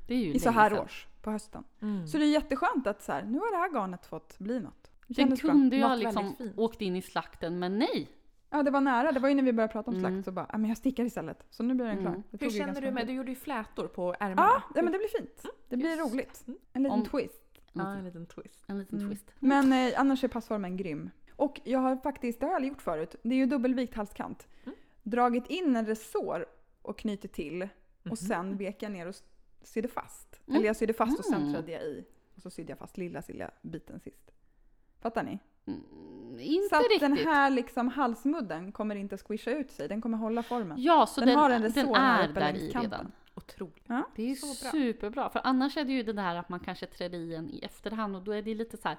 Speaker 2: Det är ju
Speaker 1: I så
Speaker 2: länge
Speaker 1: här
Speaker 2: sedan.
Speaker 1: års, på hösten.
Speaker 3: Mm.
Speaker 1: Så det är jätteskönt att så här, nu har det här garnet fått bli något. Det
Speaker 2: Den
Speaker 1: kändes bra.
Speaker 2: kunde ju
Speaker 3: Något
Speaker 2: ha
Speaker 3: väldigt
Speaker 2: liksom
Speaker 3: fint.
Speaker 2: åkt in i slakten, men nej.
Speaker 1: Ja, det var nära. Det var ju när vi började prata om slakt
Speaker 2: Mm.
Speaker 1: så bara, "Ah, men jag stickar istället. Så nu blir den klar.
Speaker 2: Mm.
Speaker 1: Det
Speaker 3: Hur
Speaker 1: tog ju ganska
Speaker 3: känner du
Speaker 1: lång
Speaker 3: med,
Speaker 1: tid.
Speaker 3: du gjorde ju flätor på
Speaker 1: Ja,
Speaker 3: ärmarna.
Speaker 1: ja, men det blir fint. Det blir
Speaker 2: just.
Speaker 1: roligt. En liten
Speaker 2: Om-
Speaker 1: twist.
Speaker 2: En
Speaker 3: Ja, en
Speaker 2: liten,
Speaker 3: liten twist.
Speaker 2: en liten
Speaker 1: Mm.
Speaker 2: twist.
Speaker 1: Men eh, annars är passformen grym. Och jag har faktiskt, det har jag aldrig gjort förut, det är ju dubbelvikt halskant.
Speaker 3: Mm.
Speaker 1: Dragit in en resår och knutit till
Speaker 3: Mhm.
Speaker 1: och sen vek jag ner och s- sydde fast.
Speaker 2: Mm.
Speaker 1: Eller jag sydde fast och sen
Speaker 2: Mm.
Speaker 1: trädde jag i. Och så sydde jag fast lilla, lilla biten sist. Fattar ni?
Speaker 2: Mm, inte
Speaker 1: så att
Speaker 2: riktigt.
Speaker 1: den här liksom halsmudden kommer inte squisha ut sig, den kommer hålla formen.
Speaker 2: ja, så
Speaker 1: den
Speaker 2: den,
Speaker 1: har en
Speaker 2: den
Speaker 1: resår här
Speaker 2: är
Speaker 1: uppe
Speaker 2: där
Speaker 1: längs
Speaker 2: i
Speaker 1: kanten.
Speaker 2: redan.
Speaker 3: Otroligt.
Speaker 2: Det är ju
Speaker 3: Så bra.
Speaker 2: superbra. För annars är det ju det där att man kanske trär i en i efterhand och då är det lite så här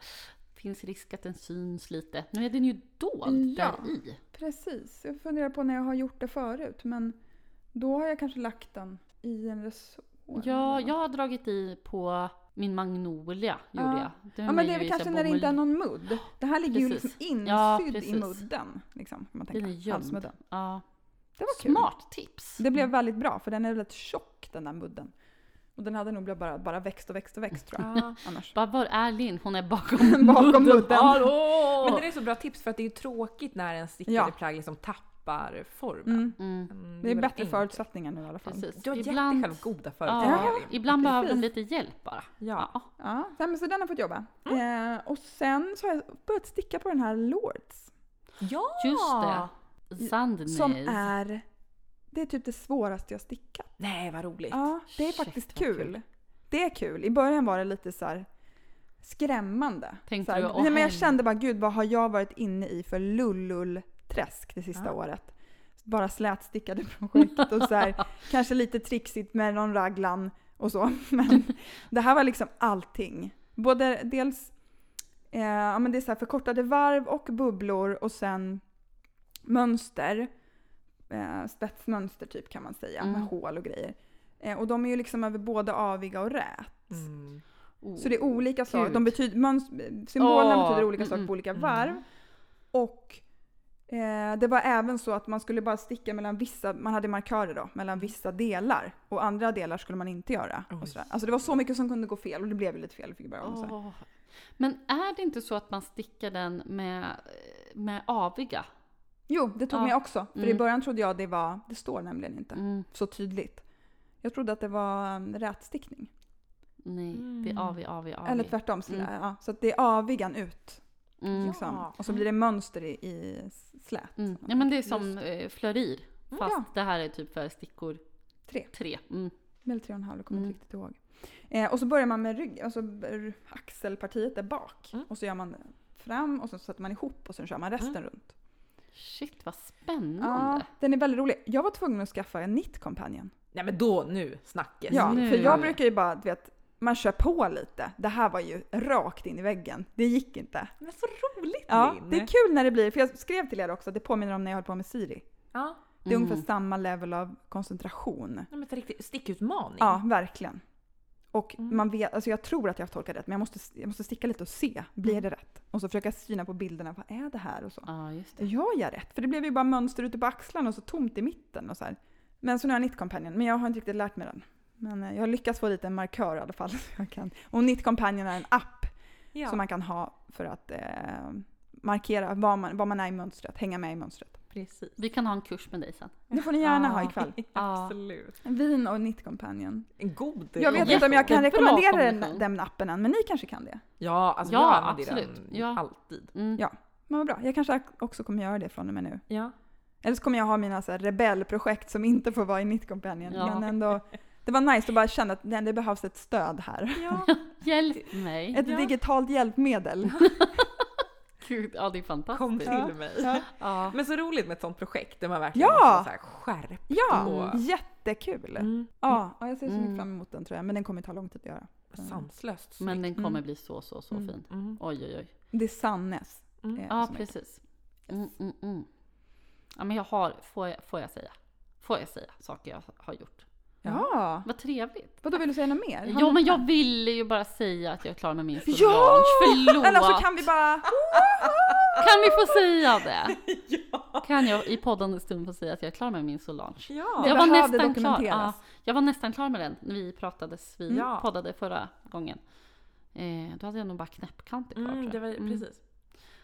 Speaker 2: finns risk att den syns lite. Nu är den ju dold
Speaker 1: Ja.
Speaker 2: där i.
Speaker 1: Precis, jag funderar på när jag har gjort det förut men då har jag kanske lagt den i en resår.
Speaker 2: Ja, jag har dragit i på min magnolia, gjorde
Speaker 1: Ja.
Speaker 2: jag. Den
Speaker 1: Ja men det
Speaker 2: ju
Speaker 1: är väl
Speaker 2: i
Speaker 1: kanske
Speaker 2: så här
Speaker 1: när det inte är
Speaker 2: bomull.
Speaker 1: någon mudd. Det här ligger ju
Speaker 2: Precis.
Speaker 1: liksom insydd
Speaker 2: Ja,
Speaker 1: i
Speaker 2: precis.
Speaker 1: mudden. Liksom, kan man
Speaker 2: Den är
Speaker 1: tänka.
Speaker 2: gömd.
Speaker 1: Halsmudden.
Speaker 2: Ja.
Speaker 1: Det var kul.
Speaker 2: Smart tips!
Speaker 1: Det blev väldigt bra för den är väldigt tjock den där mudden. Och den hade nog bara, bara växt och växt och växt tror jag.
Speaker 3: Ja.
Speaker 1: Annars.
Speaker 2: Bara, var är Linn? Hon är bakom,
Speaker 1: Bakom mudden.
Speaker 2: Hallå!
Speaker 3: Men det är så bra tips för att det är ju tråkigt när en stickade
Speaker 1: Ja.
Speaker 3: plagg liksom tappar formen.
Speaker 1: Mm.
Speaker 2: Mm,
Speaker 3: Mm,
Speaker 1: Det är
Speaker 3: väldigt
Speaker 1: bättre
Speaker 3: enkelt.
Speaker 1: förutsättningar nu i alla fall.
Speaker 2: precis.
Speaker 3: Du har
Speaker 2: Ibland-
Speaker 3: jättesjälv goda
Speaker 2: Ja,
Speaker 3: förutsättningar. Linn.
Speaker 2: ibland behöver du
Speaker 1: Precis.
Speaker 2: lite hjälp bara.
Speaker 3: Ja.
Speaker 2: Ja.
Speaker 1: Ja, nej, men så den har fått jobba.
Speaker 2: Mm.
Speaker 1: Eh, och sen så har jag börjat sticka på den här Lords.
Speaker 3: Ja!
Speaker 2: Just det. Sandnails.
Speaker 1: Som är... Det är typ det svåraste jag stickat.
Speaker 3: Nej, vad roligt.
Speaker 1: Ja, det är
Speaker 2: Shit,
Speaker 1: faktiskt
Speaker 2: vad
Speaker 1: kul.
Speaker 2: kul.
Speaker 1: Det är kul. I början var det lite så här skrämmande.
Speaker 2: Tänkte
Speaker 1: så här,
Speaker 2: du, åh,
Speaker 1: nej, men jag
Speaker 2: hem-
Speaker 1: kände bara, gud vad har jag varit inne i för lullullträsk det sista
Speaker 3: Ja.
Speaker 1: året? Bara slätstickade projekt och så här, kanske lite trixigt med någon raglan och så. Men det här var liksom allting. Både dels eh, ja, men det är så här förkortade varv och bubblor och sen mönster. Eh, spetsmönster typ kan man säga, med
Speaker 2: Mm.
Speaker 1: hål och grejer. Eh, och de är ju liksom över både aviga och rät.
Speaker 3: Mm.
Speaker 2: Oh.
Speaker 1: Så det är olika saker.
Speaker 2: Gud.
Speaker 1: De betyder, möns- symbolerna
Speaker 2: Åh,
Speaker 1: betyder olika
Speaker 2: mm,
Speaker 1: saker på
Speaker 2: mm,
Speaker 1: olika
Speaker 3: mm.
Speaker 1: varv. Och eh, det var även så att man skulle bara sticka mellan vissa, man hade markörer då, mellan vissa delar. Och andra delar skulle man inte göra.
Speaker 3: Oj.
Speaker 1: Och sådär. Alltså det var så mycket som kunde gå fel och det blev ju lite fel. Vi fick börja om så här.
Speaker 2: Åh. Men är det inte så att man stickar den med, med aviga?
Speaker 1: Jo, det tog
Speaker 2: Ja.
Speaker 1: mig också. För i
Speaker 2: Mm.
Speaker 1: början trodde jag det var, det står nämligen inte
Speaker 2: Mm.
Speaker 1: så tydligt. Jag trodde att det var um, rätstickning.
Speaker 2: Nej, vi
Speaker 3: Mm.
Speaker 2: av, vi av, vi av.
Speaker 1: Eller tvärtom. Så,
Speaker 2: Mm.
Speaker 1: där, ja, så att det är avigan ut.
Speaker 2: Mm. Ja.
Speaker 1: Liksom.
Speaker 3: Ja.
Speaker 1: Och så blir det mönster i, i slät.
Speaker 2: Mm. ja men det är som eh, flörir.
Speaker 3: Mm.
Speaker 2: Fast
Speaker 1: Ja.
Speaker 2: det här är typ för stickor
Speaker 1: Tre.
Speaker 2: tre. Mm.
Speaker 1: Eller tre och en halv, jag kommer
Speaker 2: Mm.
Speaker 1: inte riktigt ihåg. Eh, och så börjar man med rygg, alltså r- axelpartiet där bak.
Speaker 3: Mm.
Speaker 1: Och så gör man fram och så sätter man ihop och sen kör man resten runt.
Speaker 2: Shit vad
Speaker 1: Ja,
Speaker 2: Mm. spännande.
Speaker 1: den är väldigt rolig. Jag var tvungen att skaffa en nittkompanjon.
Speaker 3: Nej men då, nu snackes.
Speaker 1: Ja,
Speaker 2: Nu.
Speaker 1: för jag brukar ju bara, du vet, man kör på lite. Det här var ju rakt in i väggen. Det gick inte.
Speaker 3: Men så roligt
Speaker 1: Ja,
Speaker 3: Linn!
Speaker 1: det är kul när det blir, för jag skrev till er också, det påminner om när jag höll på med Siri.
Speaker 3: Ja,
Speaker 1: Det är
Speaker 2: Mm.
Speaker 1: ungefär samma level av koncentration.
Speaker 3: nej, men för riktigt stickutmaning.
Speaker 1: Ja, verkligen. Och
Speaker 3: Mm.
Speaker 1: man vet, alltså jag tror att jag har tolkat rätt, men jag måste, jag måste sticka lite och se, blir
Speaker 3: Mm.
Speaker 1: det rätt? Och så försöka syna på bilderna, vad är det här och så.
Speaker 2: Ja, just det.
Speaker 1: Gör jag rätt? För det blev ju bara mönster ute på axlarna och så tomt i mitten och så här. Men så nu har jag nittkompanjen, men jag har inte riktigt lärt mig den. Men eh, jag har lyckats få dit en markör i alla fall. Så jag kan. Och nittkompanjen är en app
Speaker 3: Ja.
Speaker 1: som man kan ha för att eh, markera var man, var man är i mönstret, hänga med i mönstret.
Speaker 3: Precis.
Speaker 2: Vi kan ha en kurs med dig sen.
Speaker 1: Det får ni gärna ha
Speaker 2: Ah.
Speaker 1: ikväll.
Speaker 3: Absolut.
Speaker 1: Vin och nittkompanjen.
Speaker 3: En god
Speaker 1: Jag vet inte om jag kan
Speaker 2: Jättebra
Speaker 1: rekommendera den,
Speaker 2: kombination.
Speaker 1: den appen än, men ni kanske kan det?
Speaker 3: Ja, alltså
Speaker 2: Ja,
Speaker 3: jag använder
Speaker 2: absolut.
Speaker 3: den
Speaker 2: Ja.
Speaker 3: alltid.
Speaker 2: Mm.
Speaker 1: Ja. Men vad bra, jag kanske också kommer göra det från och med nu.
Speaker 3: Ja.
Speaker 1: Eller så kommer jag ha mina så här rebellprojekt som inte får vara i nittkompanjen.
Speaker 2: Ja.
Speaker 1: Men ändå, det var nice att bara känna att nej, det behövs ett stöd här.
Speaker 3: ja.
Speaker 2: Hjälp mig.
Speaker 1: Ett
Speaker 3: Ja.
Speaker 1: digitalt hjälpmedel.
Speaker 2: Gud, ja det är
Speaker 3: Kom
Speaker 2: fantastiskt.
Speaker 3: till
Speaker 1: Ja.
Speaker 3: mig.
Speaker 2: Ja.
Speaker 3: Men så roligt med ett sånt projekt där man verkligen
Speaker 1: Ja.
Speaker 3: måste så här skärpa.
Speaker 1: Ja,
Speaker 3: Mm.
Speaker 1: jättekul!
Speaker 3: Mm.
Speaker 1: Ja, och jag ser så mycket
Speaker 2: Mm.
Speaker 1: fram emot den tror jag, men den kommer ta lång tid att göra.
Speaker 3: Sanslöst
Speaker 2: Men
Speaker 3: snyggt.
Speaker 2: den kommer
Speaker 1: Mm.
Speaker 2: bli så, så, så
Speaker 1: Mm.
Speaker 2: fin.
Speaker 3: Mm.
Speaker 2: Oj, oj, oj.
Speaker 1: Det är Sannes.
Speaker 3: Mm.
Speaker 1: eh,
Speaker 2: Ja,
Speaker 1: som heter.
Speaker 2: precis. Mm, mm, mm. Ja, men jag har, får jag, får jag säga? Får jag säga saker jag har gjort?
Speaker 1: Ja!
Speaker 2: Vad trevligt.
Speaker 1: Vadå, vill du säga något mer?
Speaker 2: Jo, men jag ville ju bara säga att jag är klar med min Solange.
Speaker 1: Ja!
Speaker 2: Förlåt!
Speaker 1: Eller så kan vi bara...
Speaker 2: Kan vi få säga det?
Speaker 3: Ja.
Speaker 2: Kan jag i poddande stund få säga att jag är klar med min Solange?
Speaker 1: Det
Speaker 3: Ja.
Speaker 2: jag var
Speaker 1: behövde
Speaker 2: nästan klar. Ja,
Speaker 1: dokumenteras.
Speaker 2: jag var nästan klar med den när vi pratades, vi
Speaker 3: Ja.
Speaker 2: poddade förra gången. Eh, då hade jag nog bara knäppkanter kvar
Speaker 3: Mm,
Speaker 2: tror
Speaker 3: det
Speaker 2: jag.
Speaker 3: var precis.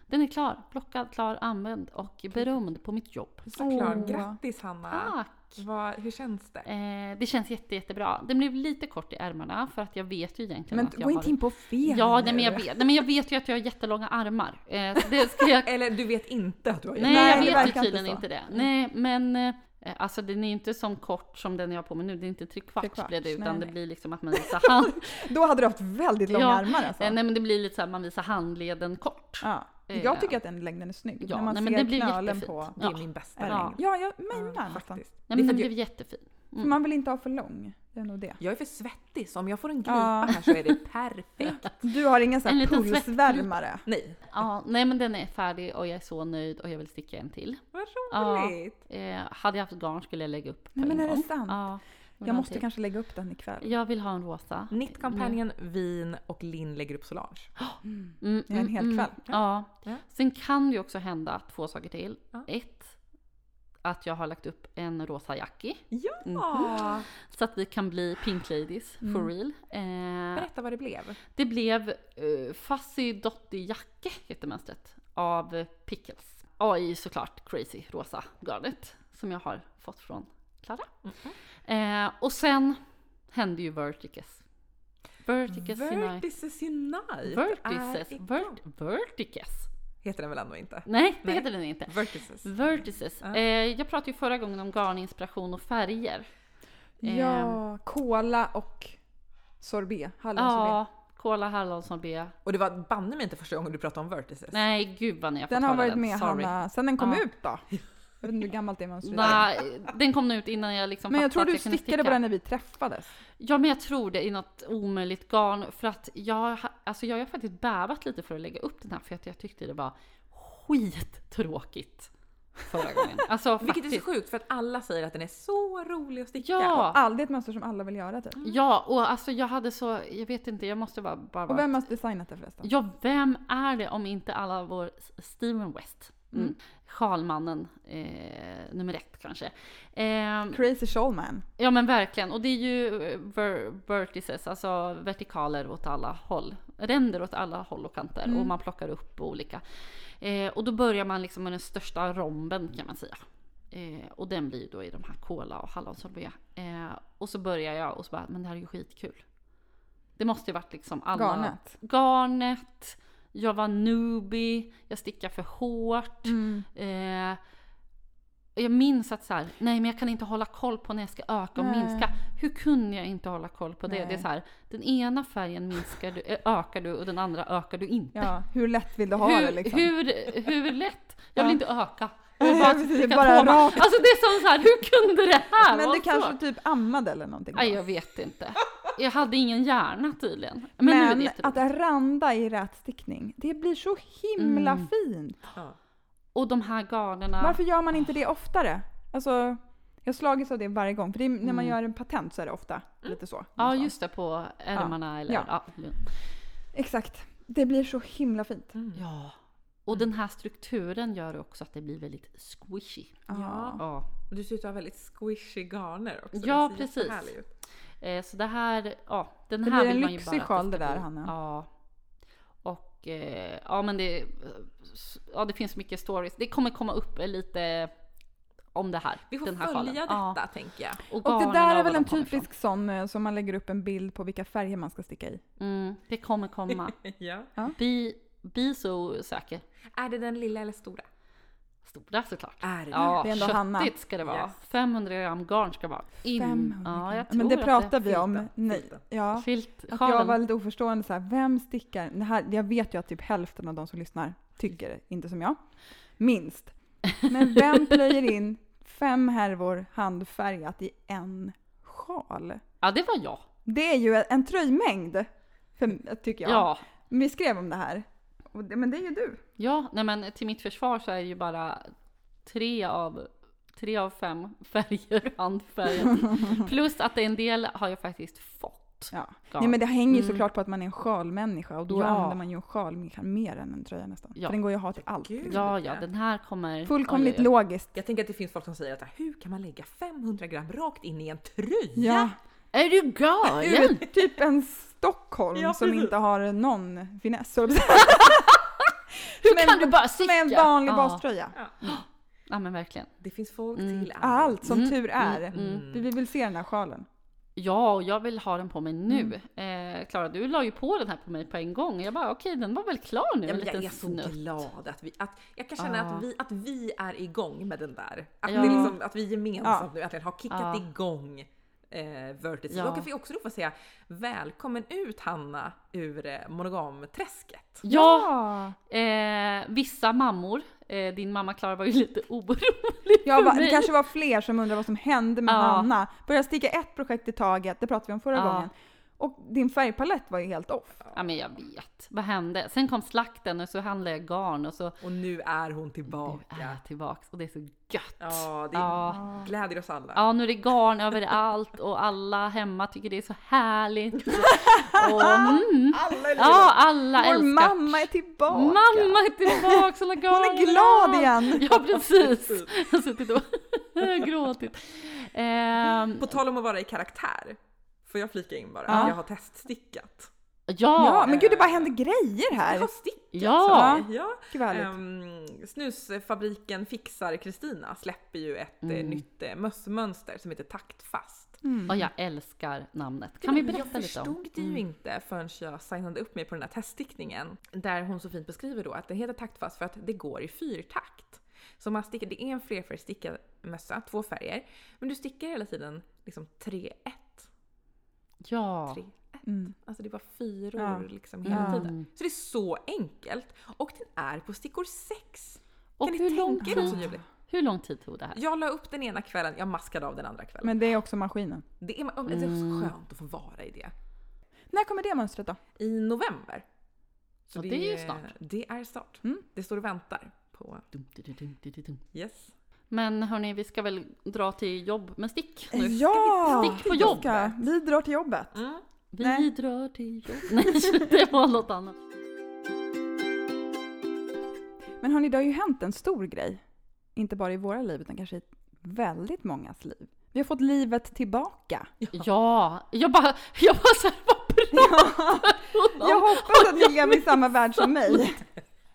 Speaker 2: Den är klar, plockad, klar, använd och berömd på mitt jobb. Ah,
Speaker 3: Såklart.
Speaker 1: Åh.
Speaker 3: Grattis Hanna.
Speaker 2: Tack!
Speaker 3: Vad, hur känns det?
Speaker 2: Eh, det känns jätte, jättebra. Den blev lite kort i ärmarna för att jag vet ju egentligen
Speaker 1: Men
Speaker 2: att jag
Speaker 1: gå inte
Speaker 2: har...
Speaker 1: in på fel
Speaker 2: Ja,
Speaker 1: nu.
Speaker 2: nej, men jag vet, nej, men jag vet ju att jag har jättelånga armar. Eh, så det ska jag...
Speaker 3: Eller du vet inte att du har
Speaker 2: Nej,
Speaker 1: Nej, det
Speaker 2: jag vet
Speaker 1: verkar
Speaker 2: ju tydligen
Speaker 1: inte så. Mm.
Speaker 2: inte det. Nej, men eh, alltså den är ju inte som kort som den jag har på mig nu. Det är inte trekvarts
Speaker 1: Trekvarts,
Speaker 2: blir det, utan
Speaker 1: nej,
Speaker 2: det
Speaker 1: nej.
Speaker 2: blir liksom att man visar hand...
Speaker 1: Då hade du haft väldigt långa
Speaker 2: Ja,
Speaker 1: armar alltså.
Speaker 2: Eh, nej, men det blir lite så här, man visar handleden kort.
Speaker 1: Ja.
Speaker 2: Eh,
Speaker 1: Jag tycker att den längden är snygg.
Speaker 2: ja,
Speaker 1: när man
Speaker 2: nej, men
Speaker 1: ser
Speaker 2: det blir
Speaker 1: knölen
Speaker 2: jättefint.
Speaker 1: på.
Speaker 3: Det är
Speaker 2: Ja.
Speaker 3: min
Speaker 1: Ja,
Speaker 3: bästa längd.
Speaker 2: Ja. Mm.
Speaker 1: ja jag
Speaker 3: Mm,
Speaker 1: menar nästan.
Speaker 3: faktiskt.
Speaker 2: Nej, men
Speaker 3: Det är
Speaker 2: den
Speaker 3: för-
Speaker 2: blev jättefin.
Speaker 1: För man vill inte ha för lång. Det är nog det.
Speaker 3: Jag är för svettig så om jag får en glipa
Speaker 1: Ja.
Speaker 3: här så är det perfekt.
Speaker 1: Du har ingen sån
Speaker 2: Mm. En
Speaker 1: här
Speaker 2: liten Mm.
Speaker 1: pulsvärmare.
Speaker 3: Nej.
Speaker 2: Ja, nej, men den är färdig och jag är så nöjd och jag vill sticka en till.
Speaker 3: Vad
Speaker 2: Ja.
Speaker 3: roligt!
Speaker 2: Eh, hade jag haft garn skulle jag lägga upp på
Speaker 1: Nej, men
Speaker 2: en
Speaker 1: är det
Speaker 2: gång.
Speaker 1: sant?
Speaker 2: Ja,
Speaker 1: Jag måste
Speaker 2: någonting.
Speaker 1: kanske lägga upp den ikväll.
Speaker 2: Jag vill ha en rosa.
Speaker 3: Nittkampanjen, vin och Linn lägger upp Solange.
Speaker 2: Mm,
Speaker 1: Det är en hel kväll.
Speaker 2: Ja.
Speaker 3: Ja.
Speaker 2: Sen kan det ju också hända två saker till.
Speaker 3: Ja.
Speaker 2: Ett, att jag har lagt upp en rosa jacki.
Speaker 3: Ja!
Speaker 2: Mm. Så att vi kan bli pink ladies
Speaker 1: Mm.
Speaker 2: for real. Eh,
Speaker 3: Berätta vad det blev.
Speaker 2: det blev eh, Fuzzy Dotty Jacke heter mönstret. Av Pickles. AI såklart crazy rosa garnet. Som jag har fått från Klara. Eh, och sen hände ju Vertices. Vertices, Sinai-
Speaker 3: Vertices Unite!
Speaker 1: Typ. Ah,
Speaker 2: Vertices. Mm.
Speaker 3: är igång.
Speaker 2: Vert, vertices.
Speaker 3: Heter den väl ändå inte?
Speaker 2: Nej, det
Speaker 3: Nej.
Speaker 2: heter den inte.
Speaker 1: Ah.
Speaker 3: Vertices.
Speaker 2: Vertices.
Speaker 3: Ja.
Speaker 2: Eh, jag pratade ju förra gången om garninspiration och färger. Ehm,
Speaker 1: Ja, kola och sorbet. Hallonsorbet.
Speaker 2: ja, kola, hallonsorbet.
Speaker 3: Och det var banne mig inte första gången du pratade om Vertices.
Speaker 2: Nej, gud vad ni har fått
Speaker 1: Den har
Speaker 2: höra
Speaker 1: varit med
Speaker 2: Sorry.
Speaker 1: Hanna sen den kom
Speaker 2: Ja.
Speaker 1: ut då. Jag vet inte hur gammalt det mönstret är.
Speaker 2: Nej, den kom ut innan jag liksom
Speaker 1: Men jag tror
Speaker 2: fattade
Speaker 1: du
Speaker 2: att kunde
Speaker 1: stickade på
Speaker 2: sticka.
Speaker 1: den när vi träffades.
Speaker 2: Ja, men jag tror det i något omöjligt garn. För att jag, ha- alltså jag har faktiskt bävat lite för att lägga upp den här för att jag tyckte det var skittråkigt förra gången. Alltså
Speaker 3: Vilket är
Speaker 2: faktiskt.
Speaker 3: så sjukt för att alla säger att den är så rolig att sticka.
Speaker 2: Ja,
Speaker 1: Aldrig ett mönster som alla vill göra typ.
Speaker 2: ja, och alltså jag hade så, jag vet inte, jag måste bara... bara
Speaker 1: Och
Speaker 2: vara-
Speaker 1: vem har designat det förresten?
Speaker 2: Ja, vem är det om inte alla vår Steven West? Mm.
Speaker 1: Mm.
Speaker 2: Sjalmannen eh, nummer ett kanske. Eh,
Speaker 1: Crazy Shawman.
Speaker 2: ja men verkligen, och det är ju eh, ver- vertices, alltså vertikaler åt alla håll. Ränder åt alla håll och kanter
Speaker 1: Mm.
Speaker 2: och man plockar upp olika. Eh, och då börjar man liksom med den största romben kan man säga. Eh, och den blir ju då i de här kola och hallonsorbet. Eh, och så börjar jag och så bara, men det här är ju skitkul. Det måste ju varit liksom alla...
Speaker 1: Garnet.
Speaker 2: Garnet. Jag var newbie, jag stickade för hårt.
Speaker 1: Mm.
Speaker 2: Eh, och jag minns att så här, nej men jag kan inte hålla koll på när jag ska öka och
Speaker 1: Nej.
Speaker 2: minska. Hur kunde jag inte hålla koll på det?
Speaker 1: Nej.
Speaker 2: Det är så här, den ena färgen minskar du, ö- ökar du och den andra ökar du inte.
Speaker 1: Ja, hur lätt vill du ha
Speaker 2: hur,
Speaker 1: det liksom?
Speaker 2: hur, hur lätt?
Speaker 1: Ja.
Speaker 2: Jag vill inte öka. Jag vill
Speaker 1: Ja,
Speaker 2: bara,
Speaker 1: precis,
Speaker 2: sticka
Speaker 1: bara
Speaker 2: tårna.
Speaker 1: rakt.
Speaker 2: Alltså det är som så här, hur kunde det här
Speaker 1: Men du
Speaker 2: vara
Speaker 1: kanske
Speaker 2: så?
Speaker 1: typ ammade eller någonting? då?
Speaker 2: Nej, jag vet inte. Jag hade ingen hjärna tydligen. Men, nu är det
Speaker 1: Men
Speaker 2: jätteroligt.
Speaker 1: att randa i rät stickning, det blir så himla
Speaker 2: Mm.
Speaker 1: fint.
Speaker 3: Ja.
Speaker 2: Och de här garnerna.
Speaker 1: Varför gör man inte det oftare? Alltså, jag slagits av det varje gång. För det är, när man
Speaker 2: Mm.
Speaker 1: gör en patent så är det ofta lite så.
Speaker 2: Ja,
Speaker 1: någonstans.
Speaker 2: just det, på ärmarna eller...
Speaker 1: Ja.
Speaker 2: Ja.
Speaker 1: Exakt. Det blir så himla fint.
Speaker 2: ja. Och den här strukturen gör också att det blir väldigt squishy.
Speaker 1: Ja.
Speaker 2: Ja.
Speaker 3: Och Du ser ut att ha väldigt squishy garner också.
Speaker 2: Ja,
Speaker 3: Det ser
Speaker 2: precis.
Speaker 3: jättehärlig ut.
Speaker 2: Eh, så det här, ja, den
Speaker 1: Det
Speaker 2: här
Speaker 1: blir en
Speaker 2: vill man ju
Speaker 1: lyxig
Speaker 2: bara att
Speaker 1: sjal det
Speaker 2: ska
Speaker 1: där,
Speaker 2: bli.
Speaker 1: Hanna.
Speaker 2: Ja. Och eh, ja men det, ja, det finns mycket stories. Det kommer komma upp lite om det här.
Speaker 3: Vi får
Speaker 2: den här
Speaker 3: följa
Speaker 2: sjalen.
Speaker 3: detta
Speaker 2: Ja.
Speaker 3: tänker jag.
Speaker 1: Och det
Speaker 2: garnerna
Speaker 1: där är
Speaker 2: och
Speaker 1: väl
Speaker 2: var
Speaker 1: en
Speaker 2: de kommer ifrån.
Speaker 1: typisk sån eh, som man lägger upp en bild på vilka färger man ska sticka i.
Speaker 2: Mm, det kommer komma.
Speaker 3: Ja.
Speaker 2: Be, be så säker.
Speaker 3: Är det den lilla eller stora?
Speaker 2: Stora såklart.
Speaker 3: Är det
Speaker 2: Ja,
Speaker 1: Det är ändå
Speaker 2: köttigt
Speaker 1: Hanna.
Speaker 2: ska det vara.
Speaker 3: Yes.
Speaker 2: 500 gram garn ska vara. In.
Speaker 1: 500
Speaker 2: Ja, jag tror
Speaker 1: Men det
Speaker 2: att
Speaker 1: pratar vi
Speaker 3: filten,
Speaker 1: om. Nej.
Speaker 3: filten.
Speaker 1: Ja.
Speaker 2: Filt,
Speaker 1: Att jag
Speaker 2: sjalen.
Speaker 1: var lite oförstående så här, vem stickar? Det här, jag vet ju att typ hälften av de som lyssnar tycker inte som jag. Minst. Men vem plöjer in fem härvor handfärgat i en sjal?
Speaker 2: Ja, det var jag.
Speaker 1: Det är ju en tröjmängd, för, tycker jag.
Speaker 2: ja.
Speaker 1: Men Vi skrev om det här. Och det, men det är ju du.
Speaker 2: Ja, nej men till mitt försvar så är det ju bara tre av, tre av fem färger handfärger. Plus att en del har jag faktiskt fått.
Speaker 1: Ja.
Speaker 2: garn.
Speaker 1: Nej, men det hänger ju
Speaker 2: Mm.
Speaker 1: såklart på att man är en sjalmänniska och då
Speaker 2: Ja.
Speaker 1: använder man ju en sjal mer- mer än en tröja nästan.
Speaker 2: Ja.
Speaker 1: För den går ju att ha till allt. liksom.
Speaker 3: Gud.
Speaker 2: Ja, ja, den här kommer...
Speaker 1: Fullkomligt
Speaker 2: Oj, oj, oj.
Speaker 1: logiskt.
Speaker 3: Jag tänker att det finns folk som säger att hur kan man lägga 500 gram rakt in i en tröja?
Speaker 1: Ja.
Speaker 2: Är du galen?
Speaker 1: Typ en Stockholm
Speaker 3: Ja,
Speaker 1: som
Speaker 3: precis.
Speaker 1: inte har någon finess. Hur
Speaker 2: Hur kan du bara sticka?
Speaker 1: Som är en vanlig
Speaker 2: Ja.
Speaker 1: baströja.
Speaker 2: Ja, men verkligen.
Speaker 3: Det finns folk
Speaker 2: Mm.
Speaker 3: till
Speaker 1: Allt som
Speaker 2: Mm,
Speaker 1: tur är.
Speaker 2: mm,
Speaker 3: mm.
Speaker 1: Vi vill se den här sjalen.
Speaker 2: Ja, och jag vill ha den på mig nu. Eh, Klara, du la ju på den här på mig på en gång. Jag bara, okej, den var väl klar nu?
Speaker 3: Ja,
Speaker 2: en
Speaker 3: men jag
Speaker 2: liten
Speaker 3: är så
Speaker 2: snutt.
Speaker 3: glad att vi, att jag kan känna
Speaker 2: Ja.
Speaker 3: att, vi, att vi är igång med den där. Att,
Speaker 2: Ja.
Speaker 3: det liksom, att vi gemensamt
Speaker 1: Ja.
Speaker 3: nu äntligen har kickat
Speaker 2: Ja.
Speaker 3: igång eh, Vertices.
Speaker 2: Ja.
Speaker 3: Och att vi också då får säga välkommen ut Hanna ur eh, monogamträsket.
Speaker 2: Ja, Eh, vissa mammor, eh, din mamma Klara var ju lite orolig
Speaker 1: Jag bara,
Speaker 2: för
Speaker 1: det
Speaker 2: mig.
Speaker 1: kanske var fler som undrade vad som hände med
Speaker 2: Ja.
Speaker 1: Hanna. Började sticka ett projekt i taget, det pratade vi om förra
Speaker 2: Ja.
Speaker 1: gången. Och din färgpalett var ju helt off.
Speaker 2: Ja men jag vet, vad hände? Sen kom slakten och så handlade jag garn och så
Speaker 3: Och nu är hon
Speaker 2: nu
Speaker 3: tillbaka.
Speaker 2: är jag tillbaks och det är så gött!
Speaker 3: Ja, det
Speaker 2: Ja.
Speaker 3: gläder oss alla.
Speaker 2: Ja, nu är det garn överallt och alla hemma tycker det är så härligt. Och, mm,
Speaker 3: Alla är
Speaker 2: ja, alla
Speaker 1: Vår
Speaker 2: älskar.
Speaker 1: mamma är tillbaka!
Speaker 2: Mamma är tillbaks! Hon
Speaker 1: Hon är glad igen!
Speaker 2: Ja, precis! Jag har suttit och gråtit. Ehm,
Speaker 3: På tal om att vara i karaktär. Får jag flika in bara?
Speaker 1: Ja.
Speaker 3: Jag har teststickat.
Speaker 1: Ja,
Speaker 2: ja,
Speaker 1: men gud det bara händer grejer
Speaker 3: Jag har
Speaker 1: här!
Speaker 3: stickat!
Speaker 2: ja,
Speaker 3: sa vi. ja.
Speaker 1: Gud vad härligt.
Speaker 3: Ehm, snusfabriken Fixar Kristina släpper ju ett eh,
Speaker 2: Mm.
Speaker 3: nytt eh, mössmönster som heter Taktfast.
Speaker 1: Mm.
Speaker 2: och jag älskar namnet. Kan vi
Speaker 3: Men
Speaker 2: berätta
Speaker 3: jag
Speaker 2: lite om? Mm.
Speaker 3: förstod det ju inte förrän jag signade upp mig på den här teststickningen. Där hon så fint beskriver då att den heter Taktfast för att det går i fyrtakt. Så man stickar, det är en flerfärgstickad mössa, två färger. Men du stickar hela tiden liksom 3-1.
Speaker 2: Ja. Mm.
Speaker 3: 3
Speaker 1: Mm.
Speaker 3: Alltså det var fyror
Speaker 1: Ja.
Speaker 3: liksom hela
Speaker 1: Ja.
Speaker 3: tiden. Så det är så enkelt. Och den är på stickor 6.
Speaker 2: Och
Speaker 3: kan ni
Speaker 2: hur lång,
Speaker 3: tänka er något så
Speaker 2: tid,
Speaker 3: ljuvligt?
Speaker 2: hur lång tid tog det här?
Speaker 3: Jag la upp den ena kvällen, jag maskade av den andra kvällen.
Speaker 1: Men Mm. det är också maskinen.
Speaker 3: det, är, det är så skönt att få vara i det.
Speaker 1: När kommer det mönstret då?
Speaker 3: I november.
Speaker 2: Ja, det är ju snart.
Speaker 3: Det är snart.
Speaker 1: Mm.
Speaker 3: Det står och väntar på...
Speaker 2: Dum, dum, dum, dum, dum, dum.
Speaker 3: Yes.
Speaker 2: Men hörni, vi ska väl dra till jobb med stick nu.
Speaker 1: Ja!
Speaker 2: Stick på
Speaker 1: vi
Speaker 2: jobbet.
Speaker 1: ska- Vi drar till jobbet.
Speaker 3: Mm.
Speaker 2: Vi
Speaker 1: Nej.
Speaker 2: drar till jobb. Nej, det var något annat.
Speaker 1: Men hörni, det har ju hänt en stor grej. Inte bara i våra liv, utan kanske i väldigt mångas liv. Vi har fått livet tillbaka.
Speaker 2: Ja, jag bara, jag bara såhär, vad pratar hon om?
Speaker 1: Jag hoppas att Lilja är i samma värld som mig.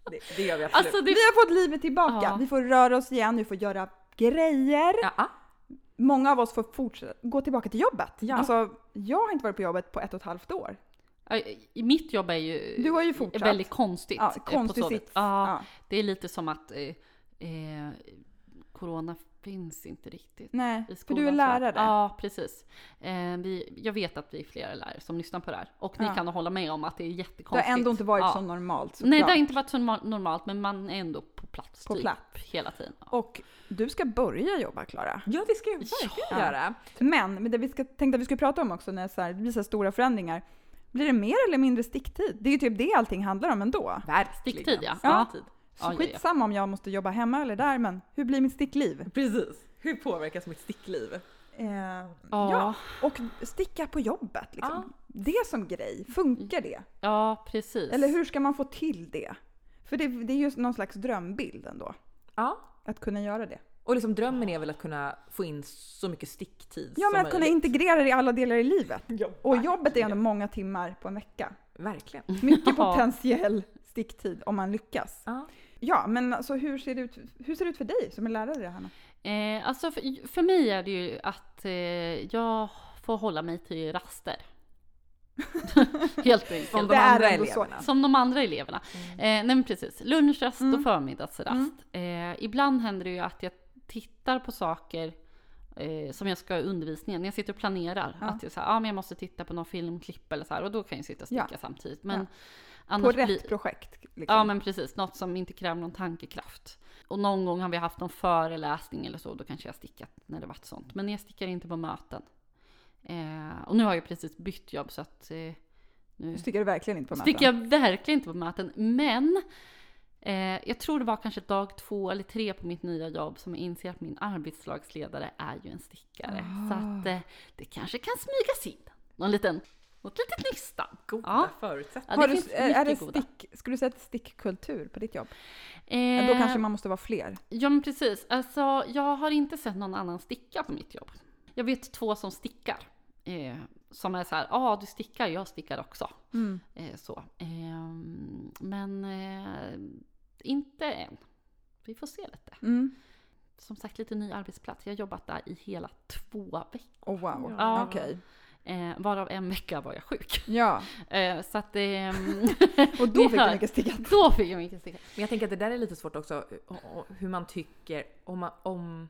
Speaker 3: det, det gör vi absolut.
Speaker 2: Alltså
Speaker 1: Vi
Speaker 2: det,
Speaker 1: har fått livet tillbaka.
Speaker 2: Ja.
Speaker 1: Vi får röra oss igen, vi får göra grejer.
Speaker 3: ja, ah.
Speaker 1: Många av oss får fortsätta, gå tillbaka till jobbet.
Speaker 3: Ja.
Speaker 1: Alltså, jag har inte varit på jobbet på ett och ett halvt år.
Speaker 2: i- mitt jobb är ju,
Speaker 1: Du har ju fortsatt.
Speaker 2: Är väldigt konstigt.
Speaker 1: Ja,
Speaker 2: eh, på
Speaker 1: konstig
Speaker 2: så sätt.
Speaker 1: sits.
Speaker 2: Ja,
Speaker 1: Ja.
Speaker 2: Det är lite som att eh, eh, corona finns inte riktigt.
Speaker 1: Nej,
Speaker 2: i
Speaker 1: för
Speaker 2: skolan.
Speaker 1: du är
Speaker 2: så-
Speaker 1: lärare.
Speaker 2: Ja, precis. Eh, vi, jag vet att vi är flera lärare som lyssnar på det här. Och ni
Speaker 1: Ja.
Speaker 2: kan hålla med om att det är
Speaker 1: Det har
Speaker 2: jättekonstigt.
Speaker 1: ändå inte varit
Speaker 2: Ja.
Speaker 1: så normalt
Speaker 2: Nej,
Speaker 1: såklart.
Speaker 2: det har inte varit så norma- normalt, men man är ändå på plats
Speaker 1: På
Speaker 2: typ
Speaker 1: plats.
Speaker 2: hela tiden. Ja.
Speaker 1: Och du ska börja jobba Klara.
Speaker 3: ja, det ska jag verkligen
Speaker 1: Ja.
Speaker 3: göra.
Speaker 1: Men, men det vi ska, tänkte att vi skulle prata om också när så här, det blir så här stora förändringar. Blir det mer eller mindre sticktid? Det är ju typ det allting handlar om ändå.
Speaker 3: Verkligen.
Speaker 2: Sticktid ja.
Speaker 1: Ja.
Speaker 2: Sticktid.
Speaker 1: Så
Speaker 2: Ja, ja, ja.
Speaker 1: skitsamma om jag måste jobba hemma eller där, men hur blir mitt stickliv?
Speaker 3: Precis. Hur påverkas mitt stickliv?
Speaker 1: Eh,
Speaker 2: Ja,
Speaker 1: Och sticka på jobbet liksom. Det som grej, funkar det?
Speaker 2: ja, precis.
Speaker 1: Eller hur ska man få till det? För det, det är ju någon slags drömbild ändå,
Speaker 3: Ja.
Speaker 1: att kunna göra det.
Speaker 3: Och liksom drömmen är väl att kunna få in så mycket sticktid
Speaker 1: Ja,
Speaker 3: som
Speaker 1: men att kunna
Speaker 3: möjligt.
Speaker 1: integrera det i alla delar i livet.
Speaker 3: Ja,
Speaker 1: Och jobbet är ändå
Speaker 3: verkligen.
Speaker 1: många timmar på en vecka.
Speaker 3: Verkligen.
Speaker 1: Mycket
Speaker 2: Ja.
Speaker 1: potentiell sticktid om man lyckas.
Speaker 3: Ja.
Speaker 1: Ja, men alltså, hur, ser det ut, hur ser det ut för dig som är lärare, Hanna?
Speaker 2: Eh, alltså för, för mig är det ju att eh, jag får hålla mig till raster. Helt enkelt.
Speaker 3: Som de
Speaker 1: Det är
Speaker 3: andra
Speaker 1: ändå så.
Speaker 3: eleverna.
Speaker 2: Som de andra eleverna. Eh, nej men precis, lunchrast och
Speaker 1: Mm.
Speaker 2: förmiddagsrast. Eh, ibland händer det ju att jag tittar på saker eh, som jag ska ha i undervisningen, när jag sitter och planerar.
Speaker 1: Ja.
Speaker 2: Att jag, så här, ah, men jag måste titta på någon filmklipp eller så här, och då kan jag sitta och sticka samtidigt. Men
Speaker 1: Ja. På
Speaker 2: annars
Speaker 1: rätt
Speaker 2: blir-
Speaker 1: projekt. Liksom.
Speaker 2: Ja men precis, något som inte kräver någon tankekraft. Och någon gång har vi haft någon föreläsning eller så, då kanske jag stickat när det varit sånt. Men jag stickar inte på möten. Eh, och nu har jag precis bytt jobb så att eh, nu
Speaker 1: Du stickar du verkligen inte på möten.
Speaker 2: sticker jag verkligen inte på möten. Men eh, jag tror det var kanske dag två eller tre på mitt nya jobb som jag inser att min arbetslagsledare är ju en stickare.
Speaker 1: Ah.
Speaker 2: Så att eh, det kanske kan smygas in någon liten, något litet nystan.
Speaker 3: Goda
Speaker 2: Ja.
Speaker 3: förutsättningar.
Speaker 2: Ja,
Speaker 1: Har du, är är det
Speaker 2: mycket goda.
Speaker 1: stick, skulle du säga att det är stickkultur på ditt jobb?
Speaker 2: Eh,
Speaker 1: Då kanske man måste vara fler.
Speaker 2: Ja men precis. Alltså jag har inte sett någon annan sticka på mitt jobb. Jag vet två som stickar. Eh, som är så här, ja ah, du stickar, jag stickar också.
Speaker 1: Mm.
Speaker 2: Eh, så. Ehm, men eh, inte än. Vi får se lite.
Speaker 1: Mm.
Speaker 2: Som sagt lite ny arbetsplats. Jag har jobbat där i hela två veckor.
Speaker 1: Oh, wow.
Speaker 2: Ja.
Speaker 1: Okej.
Speaker 2: Eh, varav en vecka var jag sjuk.
Speaker 1: Ja,
Speaker 2: Eh, så att eh,
Speaker 1: och då
Speaker 2: Ni
Speaker 1: fick du
Speaker 2: hör.
Speaker 1: mycket stickat.
Speaker 2: då fick jag mycket sticka.
Speaker 3: Men jag tänker att det där är lite svårt också o- o- hur man tycker om, man, om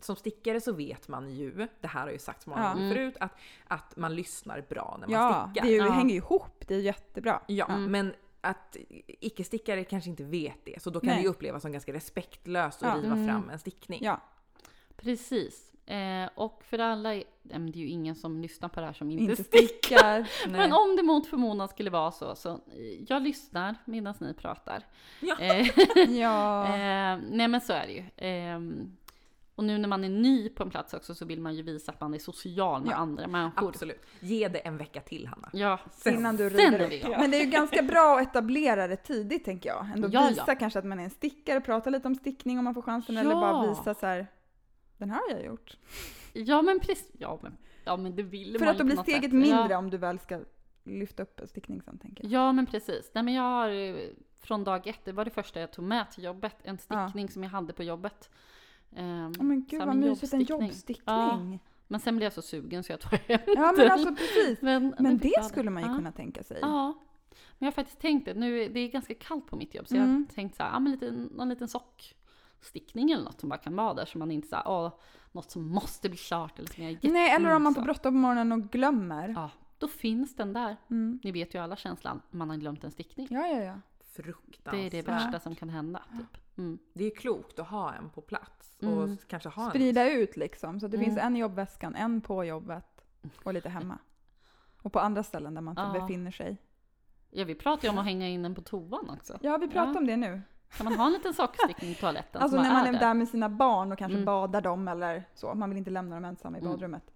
Speaker 3: som stickare så vet man ju, det här har ju sagts många
Speaker 1: Ja.
Speaker 3: gånger
Speaker 2: Mm.
Speaker 3: förut, att, att man lyssnar bra när man
Speaker 1: Ja, det
Speaker 3: stickar.
Speaker 1: är ju,
Speaker 2: Ja.
Speaker 1: hänger ju ihop. Det är jättebra.
Speaker 3: Ja,
Speaker 2: Mm.
Speaker 3: men att icke-stickare kanske inte vet det, så då kan
Speaker 1: Nej.
Speaker 3: det ju upplevas som ganska respektlöst att
Speaker 1: Ja.
Speaker 3: riva
Speaker 2: Mm.
Speaker 3: fram en stickning.
Speaker 1: Ja,
Speaker 2: Precis. Eh, och för alla, eh, men det är ju ingen som lyssnar på det här som inte,
Speaker 1: inte
Speaker 2: stickar.
Speaker 1: stickar.
Speaker 3: Nej.
Speaker 2: Men om det mot förmodan skulle vara så, så eh, jag lyssnar medan ni pratar.
Speaker 3: Ja.
Speaker 2: Eh,
Speaker 1: Ja.
Speaker 2: eh, nej men så är det ju. Eh, och nu när man är ny på en plats också så vill man ju visa att man är social med
Speaker 1: Ja,
Speaker 2: andra människor.
Speaker 3: Absolut. Ge det en vecka till Hanna.
Speaker 2: Ja,
Speaker 3: Sen-
Speaker 1: Innan du
Speaker 2: sen
Speaker 1: river
Speaker 2: är
Speaker 1: upp.
Speaker 2: vi igång.
Speaker 1: Men det är ju ganska bra att etablera det tidigt tänker jag. Ändå
Speaker 2: Ja,
Speaker 1: visa
Speaker 2: ja.
Speaker 1: kanske att man är en stickare, prata lite om stickning om man får chansen.
Speaker 2: Ja.
Speaker 1: Eller bara visa så här, den här har jag gjort.
Speaker 2: ja men precis. Ja men, ja, men det vill
Speaker 1: För
Speaker 2: man
Speaker 1: att
Speaker 2: ju
Speaker 1: då
Speaker 2: på
Speaker 1: blir
Speaker 2: något
Speaker 1: steget
Speaker 2: sätt.
Speaker 1: mindre
Speaker 2: Ja, Mm.
Speaker 1: om du väl ska lyfta upp en stickning sen tänker jag.
Speaker 2: ja men precis. Nej men jag har eh, från dag ett, det var det första jag tog med till jobbet, en stickning som jag hade på jobbet. Ehm,
Speaker 1: Åh men gud
Speaker 2: så här,
Speaker 1: vad
Speaker 2: min
Speaker 1: mysigt, en jobbstickning.
Speaker 2: Men sen blev jag så sugen så jag tog hem
Speaker 1: Ja, men alltså precis.
Speaker 2: Men,
Speaker 1: Men
Speaker 2: den fick jag
Speaker 1: det
Speaker 2: aldrig.
Speaker 1: skulle man ju
Speaker 2: Ja.
Speaker 1: kunna tänka sig.
Speaker 2: Ja. Men jag har faktiskt tänkt det. Nu, är- det är ganska kallt på mitt jobb så jag
Speaker 1: Mm.
Speaker 2: har tänkt så här, ja, men lite, någon liten sockstickning eller något som bara kan vara där så man inte så här, åh, något som måste bli klart eller som jag är jätte-
Speaker 1: Nej, eller om man
Speaker 2: så.
Speaker 1: får bråttom på morgonen och glömmer.
Speaker 2: Ja, då finns den där.
Speaker 1: Mm.
Speaker 2: Ni vet ju alla känslan, man har glömt en stickning.
Speaker 1: Ja, ja, ja.
Speaker 3: Fruktansvärt.
Speaker 2: Det är det värsta som kan hända. Typ. Mm.
Speaker 3: Det är ju klokt att ha en på plats och
Speaker 2: Mm.
Speaker 3: kanske ha en
Speaker 1: Sprida ut liksom. Så att det
Speaker 2: Mm.
Speaker 1: finns en i jobbväskan, en på jobbet och lite hemma. Och på andra ställen där man typ
Speaker 2: Ja.
Speaker 1: befinner sig.
Speaker 2: Ja, vi pratar ju om att hänga in den på toan också.
Speaker 1: Ja, vi pratar
Speaker 2: Ja.
Speaker 1: om det nu.
Speaker 2: Kan man ha en liten sockstickning i toaletten?
Speaker 1: Alltså
Speaker 2: som
Speaker 1: när
Speaker 2: bara
Speaker 1: man är där med sina barn och kanske
Speaker 2: Mm.
Speaker 1: badar dem eller så. Man vill inte lämna dem ensamma i
Speaker 2: Mm.
Speaker 1: badrummet.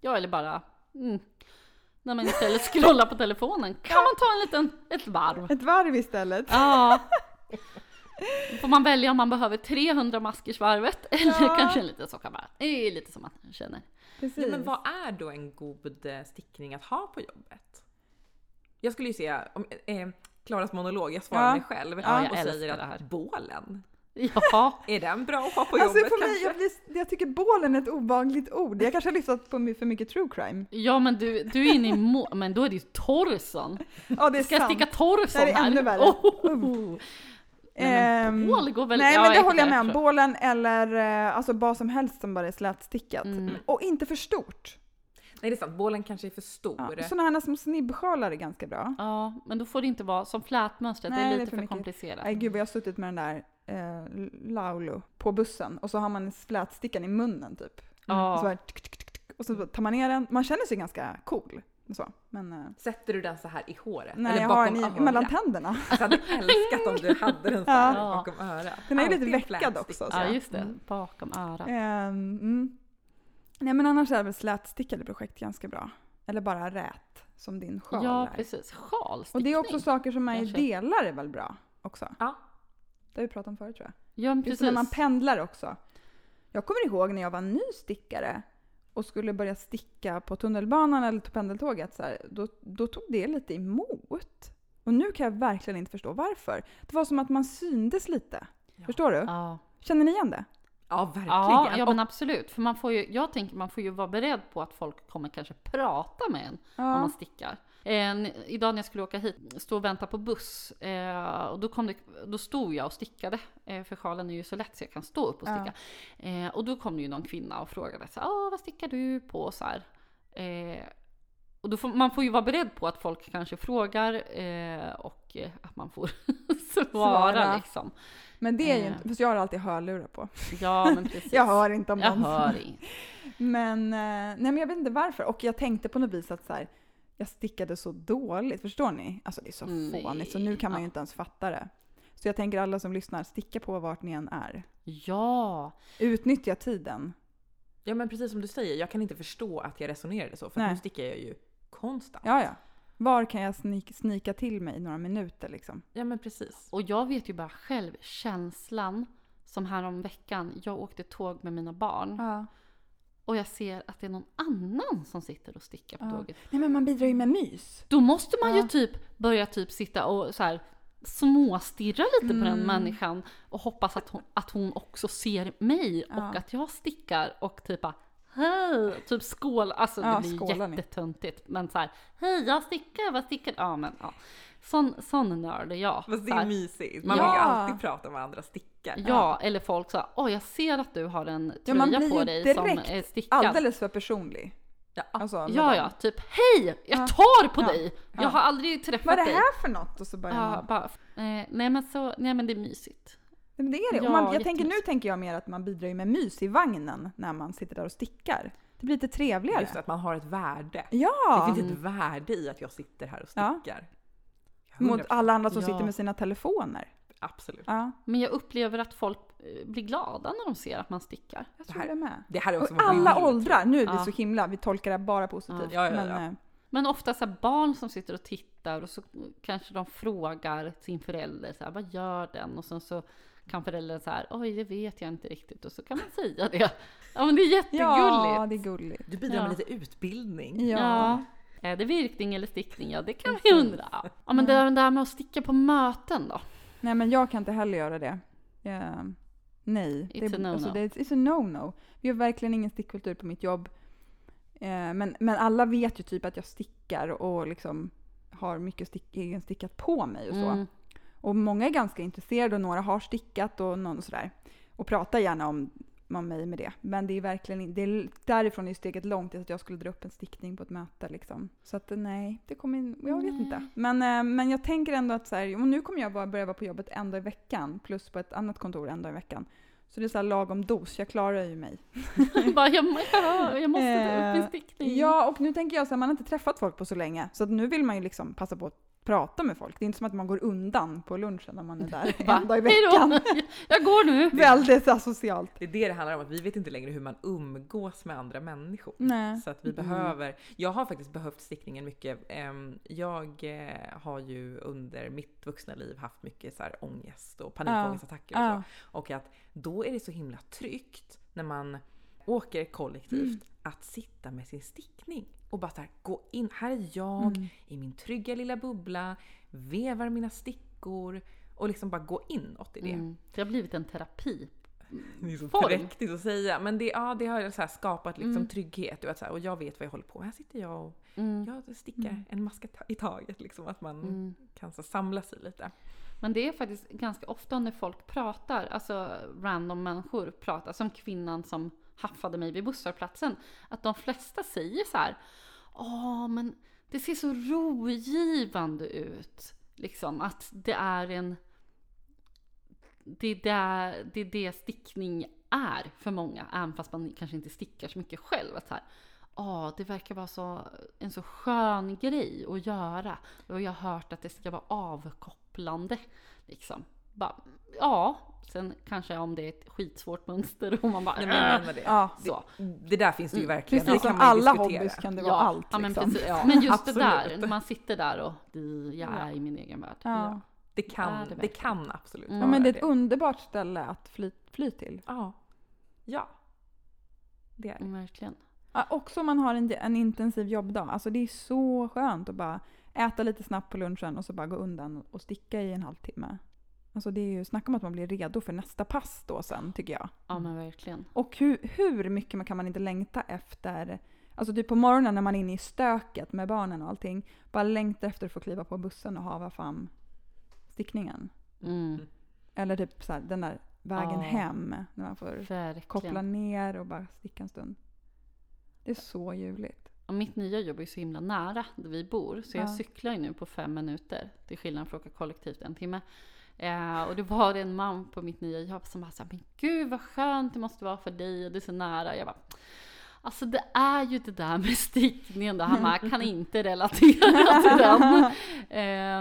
Speaker 2: Ja, eller bara... Mm. När man istället scrollar på telefonen kan man ta en liten, ett varv.
Speaker 1: Ett varv istället.
Speaker 2: Ja. Då Får man välja om man behöver 300 maskers varvet eller
Speaker 1: Ja.
Speaker 2: kanske en liten socka bara. Det är lite som man känner.
Speaker 1: Precis.
Speaker 3: Ja, men vad är då en god eh, stickning att ha på jobbet? Jag skulle ju säga, om, eh, Klaras monolog, jag svarar
Speaker 1: Ja.
Speaker 3: mig själv
Speaker 1: Ja,
Speaker 2: jag
Speaker 3: och
Speaker 2: älskar
Speaker 3: säger
Speaker 2: det här.
Speaker 3: att bålen,
Speaker 2: Ja,
Speaker 3: är den bra att ha på
Speaker 1: Alltså
Speaker 3: jobbet
Speaker 1: för mig,
Speaker 3: kanske?
Speaker 1: jag, blir, jag tycker bålen är ett obehagligt ord. Jag kanske har lyssnat på my- för mycket true crime.
Speaker 2: ja men du, du är inne i må- men då är det ju Torson.
Speaker 1: Ja, det är
Speaker 2: Ska jag
Speaker 1: sant.
Speaker 2: sticka Torson
Speaker 1: Det här är
Speaker 2: här?
Speaker 1: ännu värre.
Speaker 2: Oh. Nej, men
Speaker 1: Ehm,
Speaker 2: bål går väl...
Speaker 1: Nej
Speaker 2: ja,
Speaker 1: men det
Speaker 2: jag-
Speaker 1: håller jag med om.
Speaker 2: tror-
Speaker 1: Bålen eller eh, alltså vad som helst som bara är slätstickat.
Speaker 2: Mm.
Speaker 1: Och inte för stort.
Speaker 3: Nej det är sant, bålen kanske är för
Speaker 1: Ja.
Speaker 3: stor.
Speaker 1: Sådana här små snibbsjalar är ganska bra.
Speaker 2: Ja, men då får det inte vara som flätmönstret, det
Speaker 1: Nej,
Speaker 2: är
Speaker 1: det är
Speaker 2: lite
Speaker 1: för
Speaker 2: för,
Speaker 1: mycket.
Speaker 2: komplicerat.
Speaker 1: Nej gud vad jag har suttit med den där eh, Laulu på bussen och så har man slätstickan i munnen typ.
Speaker 2: Ja.
Speaker 1: Så bara tk, tk, tk, tk, och så tar man ner den. Man känner sig ganska cool. Så. Men eh,
Speaker 3: Sätter du den så här i håret?
Speaker 1: nej
Speaker 3: Eller
Speaker 1: jag har
Speaker 3: bakom
Speaker 1: den i,
Speaker 3: örat?
Speaker 1: mellan tänderna.
Speaker 3: Jag hade älskat om du hade den så här
Speaker 2: Ja.
Speaker 3: bakom örat.
Speaker 1: Den är ju lite
Speaker 3: Alltid
Speaker 1: veckad
Speaker 3: flätsticka.
Speaker 1: också. Så.
Speaker 2: Ja, just det.
Speaker 1: Mm.
Speaker 2: Bakom örat.
Speaker 1: Ehm, mm. Nej men annars är väl slätstickade projekt ganska bra. Eller bara rät som din sjal
Speaker 2: Ja,
Speaker 1: är.
Speaker 2: precis. Sjalstickning.
Speaker 1: Och det är också saker som är i
Speaker 2: kanske.
Speaker 1: delar är väl bra också?
Speaker 3: Ja.
Speaker 1: Det har vi pratat om förut tror jag.
Speaker 2: Ja, men
Speaker 1: Just
Speaker 2: precis.
Speaker 1: när man pendlar också. Jag kommer ihåg när jag var ny stickare och skulle börja sticka på tunnelbanan eller på pendeltåget. Så här, då, då tog det lite emot. Och nu kan jag verkligen inte förstå varför. Det var som att man syndes lite.
Speaker 3: Ja.
Speaker 1: Förstår du?
Speaker 2: Ja.
Speaker 1: Känner ni igen det?
Speaker 3: Ja, verkligen.
Speaker 2: Ja, ja,
Speaker 3: Och
Speaker 2: men absolut. För man får ju, jag tänker man får ju vara beredd på att folk kommer kanske prata med en om man stickar. En, idag när jag skulle åka hit, stod och väntade på buss eh, och då, kom det, då stod jag och stickade. Eh, för sjalen är ju så lätt så jag kan stå upp och
Speaker 1: Ja.
Speaker 2: sticka. Eh, och då kom det ju någon kvinna och frågade så här, "Ah, vad stickar du på? Så här. Eh, och då får, man får ju vara beredd på att folk kanske frågar eh, och eh, att man får svara,
Speaker 1: Svara.
Speaker 2: liksom.
Speaker 1: Men det är ju
Speaker 2: Eh.
Speaker 1: inte... Fast jag har alltid hörlurar på.
Speaker 2: Ja men precis.
Speaker 1: Jag hör inte om
Speaker 2: Jag
Speaker 1: någon
Speaker 2: hör inte.
Speaker 1: Men, eh, nej men jag vet inte varför. Och jag tänkte på något vis att så här, jag stickade så dåligt, förstår ni? Alltså det är så
Speaker 2: Mm, Nej.
Speaker 1: fånigt så nu kan man ju
Speaker 2: Ja.
Speaker 1: inte ens fatta det. Så jag tänker alla som lyssnar, sticka på vart ni än är.
Speaker 2: Ja,
Speaker 1: Utnyttja tiden.
Speaker 3: Ja men precis som du säger, jag kan inte förstå att jag resonerade så för
Speaker 1: Nej.
Speaker 3: nu stickar jag ju konstant.
Speaker 1: Ja, ja. Var kan jag snik, snika till mig några minuter liksom?
Speaker 3: Ja, men precis.
Speaker 2: och jag vet ju bara själv känslan som härom veckan. Jag åkte tåg med mina barn
Speaker 1: Ja.
Speaker 2: och jag ser att det är någon annan som sitter och stickar på
Speaker 1: Ja.
Speaker 2: tåget.
Speaker 1: Nej men man bidrar ju med mys.
Speaker 2: Då måste man
Speaker 1: Ja.
Speaker 2: ju typ börja typ sitta och så här småstirra lite på
Speaker 1: Mm.
Speaker 2: den människan och hoppas att hon, att hon också ser mig och
Speaker 1: Ja.
Speaker 2: att jag stickar och typ bara Hej! Typ skål, alltså
Speaker 1: Ja,
Speaker 2: det blir
Speaker 1: skålar ni.
Speaker 2: jättetöntigt. Men så här, hej jag stickar, vad stickar Ja men ja. Sån, sån nörd är jag.
Speaker 3: Fast det
Speaker 2: Så här.
Speaker 3: är mysigt. Man
Speaker 2: Ja.
Speaker 3: vill ju alltid prata med andra stickar.
Speaker 1: Mm.
Speaker 2: Ja, eller folk sa åh jag ser att du har en
Speaker 1: Ja,
Speaker 2: tröja
Speaker 1: man blir
Speaker 2: på
Speaker 1: ju
Speaker 2: dig som
Speaker 1: direkt
Speaker 2: är stickad.
Speaker 1: Alldeles för personlig.
Speaker 3: Ja.
Speaker 1: Alltså, med
Speaker 2: Ja,
Speaker 1: dem.
Speaker 2: ja, typ hej,
Speaker 1: Ja.
Speaker 2: jag tar på
Speaker 1: Ja.
Speaker 2: dig!
Speaker 1: Ja.
Speaker 2: Jag har aldrig träffat
Speaker 1: Vad är det
Speaker 2: dig.
Speaker 1: här för något? Och så börjar man...
Speaker 2: Ja, bara, eh, nej men så, nej men det är mysigt.
Speaker 1: Nej, men det är det. och
Speaker 2: Ja,
Speaker 1: man, jag tänker, nu
Speaker 2: jättemysigt.
Speaker 1: tänker jag mer att man bidrar ju med mys i vagnen när man sitter där och stickar. Det blir lite trevligare.
Speaker 3: Just att man har ett värde.
Speaker 1: Ja!
Speaker 3: Det finns ett värde i att jag sitter här och
Speaker 1: Ja.
Speaker 3: stickar.
Speaker 1: Mot
Speaker 3: 100%.
Speaker 1: alla andra som
Speaker 2: Ja.
Speaker 1: sitter med sina telefoner.
Speaker 3: Absolut.
Speaker 1: Ja,
Speaker 2: Men jag upplever att folk eh, blir glada när de ser att man stickar.
Speaker 1: jag
Speaker 3: Det
Speaker 1: tror
Speaker 3: här-
Speaker 1: det med.
Speaker 3: Det här är
Speaker 1: Och
Speaker 3: också
Speaker 1: i
Speaker 3: vad vi
Speaker 1: alla
Speaker 3: vill.
Speaker 1: åldrar. Nu är vi
Speaker 2: Ja.
Speaker 1: så himla, vi tolkar det här bara positivt.
Speaker 3: Ja, ja, ja.
Speaker 1: Men, eh,
Speaker 2: Men ofta så här, barn som sitter och tittar och så kanske de frågar sin förälder så här, vad gör den? Och sen så kan föräldern så här, oj det vet jag inte riktigt. Och så kan man säga det. Ja men det är jättegulligt.
Speaker 1: ja, det är gulligt.
Speaker 3: Du bidrar med
Speaker 2: Ja.
Speaker 3: lite utbildning.
Speaker 1: Ja.
Speaker 2: Ja. Är det virkning eller stickning? Ja, det kan vi undra. Ja, men det är det där med att sticka på möten då.
Speaker 1: Nej men jag kan inte heller göra det. Eh, nej.
Speaker 2: It's
Speaker 1: det,
Speaker 2: a no-no.
Speaker 1: Alltså, det, är- it's a no-no. Vi har verkligen ingen stickkultur på mitt jobb. Eh, men, men alla vet ju typ att jag stickar och liksom har mycket stick, egen stickat på mig och så.
Speaker 2: Mm.
Speaker 1: Och många är ganska intresserade och några har stickat och någon sådär. Och pratar gärna om, om mig med det. Men det är verkligen in- det är, därifrån är steget långt till att jag skulle dra upp en stickning på ett möte liksom. Så att nej, det kommer in, jag vet
Speaker 2: Nej.
Speaker 1: inte. Men, eh, men jag tänker ändå att så här, och nu kommer jag bara börja vara på jobbet en dag i veckan plus på ett annat kontor en dag i veckan. Så det är så här lagom dos, jag klarar ju mig.
Speaker 2: Bara, jag, må- jag, jag måste ta upp
Speaker 1: Eh,
Speaker 2: en stickning.
Speaker 1: Ja, och nu tänker jag så här, man har inte träffat folk på så länge. Så att nu vill man ju liksom passa på att prata med folk. Det är inte som att man går undan på lunchen när man är där
Speaker 2: Bara,
Speaker 1: en dag i
Speaker 2: "Hej då,
Speaker 1: veckan. Mm.
Speaker 2: Jag går nu.
Speaker 1: Väldigt asocialt.
Speaker 3: Det är det det handlar om, att vi vet inte längre hur man umgås med andra människor.
Speaker 1: Nej.
Speaker 3: Så att vi
Speaker 2: Mm.
Speaker 3: behöver, jag har faktiskt behövt stickningen mycket. Ehm, Jag eh, har ju under mitt vuxna liv haft mycket så här ångest och panikångestattacker och så.
Speaker 1: Ja.
Speaker 3: Och att då är det så himla tryggt när man åker
Speaker 1: Mm.
Speaker 3: kollektivt att sitta
Speaker 1: Mm.
Speaker 3: med sin stickning och bara så här, gå in. Här är jag i min trygga lilla bubbla vevar mina stickor och liksom bara gå inåt i det.
Speaker 2: Mm. Det har blivit en terapi.
Speaker 3: Det är så
Speaker 2: Form.
Speaker 3: präktigt att säga. Men det, ja, det har så här skapat liksom
Speaker 2: Mm.
Speaker 3: trygghet. Du vet, så här, och jag vet vad jag håller på med. Här sitter jag och
Speaker 2: Mm.
Speaker 3: jag stickar
Speaker 1: Mm.
Speaker 3: en maska ta- i taget. Liksom, att man
Speaker 2: Mm.
Speaker 3: kan så, samla sig lite.
Speaker 2: Men det är faktiskt ganska ofta när folk pratar, alltså random människor pratar, som kvinnan som haffade mig vid busshållplatsen, att de flesta säger så här Åh, men det ser så rogivande ut. Liksom att det är en... Det är, där, det är det stickning är för många, även fast man kanske inte stickar så mycket själv. Att så här, Åh, det verkar vara så, en så skön grej att göra. Och jag har hört att det ska vara avkopplande. Liksom. Bara, ja, sen kanske om det är ett skitsvårt mönster och man bara...
Speaker 3: Nej, men jag menar det.
Speaker 1: Ja.
Speaker 2: så.
Speaker 3: det där finns det ju verkligen.
Speaker 1: Ah. Mm. Precis
Speaker 3: det
Speaker 1: som
Speaker 3: man ju
Speaker 1: alla
Speaker 3: diskutera.
Speaker 1: hobbys kan det vara allt.
Speaker 2: ja, men,
Speaker 1: liksom.
Speaker 2: precis, men just det
Speaker 3: Absolut.
Speaker 2: där, när man sitter där och "Du, jag
Speaker 3: Ja.
Speaker 2: är i min egen värld.
Speaker 1: Ja.
Speaker 3: Det
Speaker 2: Ja,
Speaker 3: kan,
Speaker 2: det
Speaker 3: det kan absolut
Speaker 2: Mm.
Speaker 1: Ja,
Speaker 3: vara
Speaker 1: men det är
Speaker 3: det.
Speaker 1: ett underbart ställe att fly, fly till.
Speaker 3: Ja. Ja. Det är det.
Speaker 2: Mm, Verkligen.
Speaker 1: Ja, också om man har en, en intensiv jobbdag. Alltså det är så skönt att bara äta lite snabbt på lunchen och så bara gå undan och sticka i en halvtimme. Alltså det är ju snack om att man blir redo för nästa pass då sen tycker jag.
Speaker 2: Ja men
Speaker 1: Mm.
Speaker 2: verkligen.
Speaker 1: Och hur, hur mycket man kan man inte längta efter, alltså typ på morgonen när man är inne i stöket med barnen och allting, bara längta efter att få kliva på bussen och hava fram stickningen.
Speaker 2: Mm,
Speaker 1: Eller typ så här, den där vägen
Speaker 2: Ja.
Speaker 1: hem när man får koppla
Speaker 2: verkligen.
Speaker 1: ner och bara sticka en stund. Det är så ljuvligt.
Speaker 2: Och mitt nya jobb är så himla nära där vi bor så jag
Speaker 1: Ja.
Speaker 2: cyklar ju nu på fem minuter. Till skillnad från att åka kollektivt en timme. Eh, och det var en man på mitt nya jobb som bara såhär, men gud vad skönt det måste vara för dig och det är så nära. Jag bara, alltså det är ju det där med stickningen då. Han bara, "Jag kan inte relatera till den.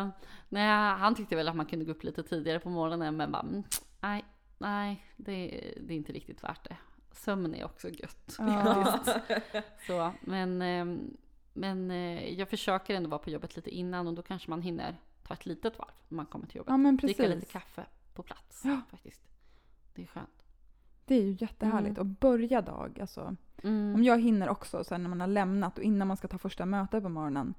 Speaker 2: Eh, nej, han tyckte väl att man kunde gå upp lite tidigare på morgonen men bara, "Mm, nej, nej, det, det är inte riktigt värt det. Sömn är också gött.
Speaker 1: Ja.
Speaker 2: Så, men, ehm, men eh, jag försöker ändå vara på jobbet lite innan och då kanske man hinner ta ett litet varv när man kommer till jobbet.
Speaker 1: Ja men
Speaker 2: Dricka lite
Speaker 1: precis.
Speaker 2: kaffe på plats
Speaker 1: Ja.
Speaker 2: faktiskt. Det är skönt.
Speaker 1: Det är ju
Speaker 2: Mm.
Speaker 1: jättehärligt. Och börja dag alltså. Om jag hinner också sen när man har lämnat och innan man ska ta första mötet på morgonen.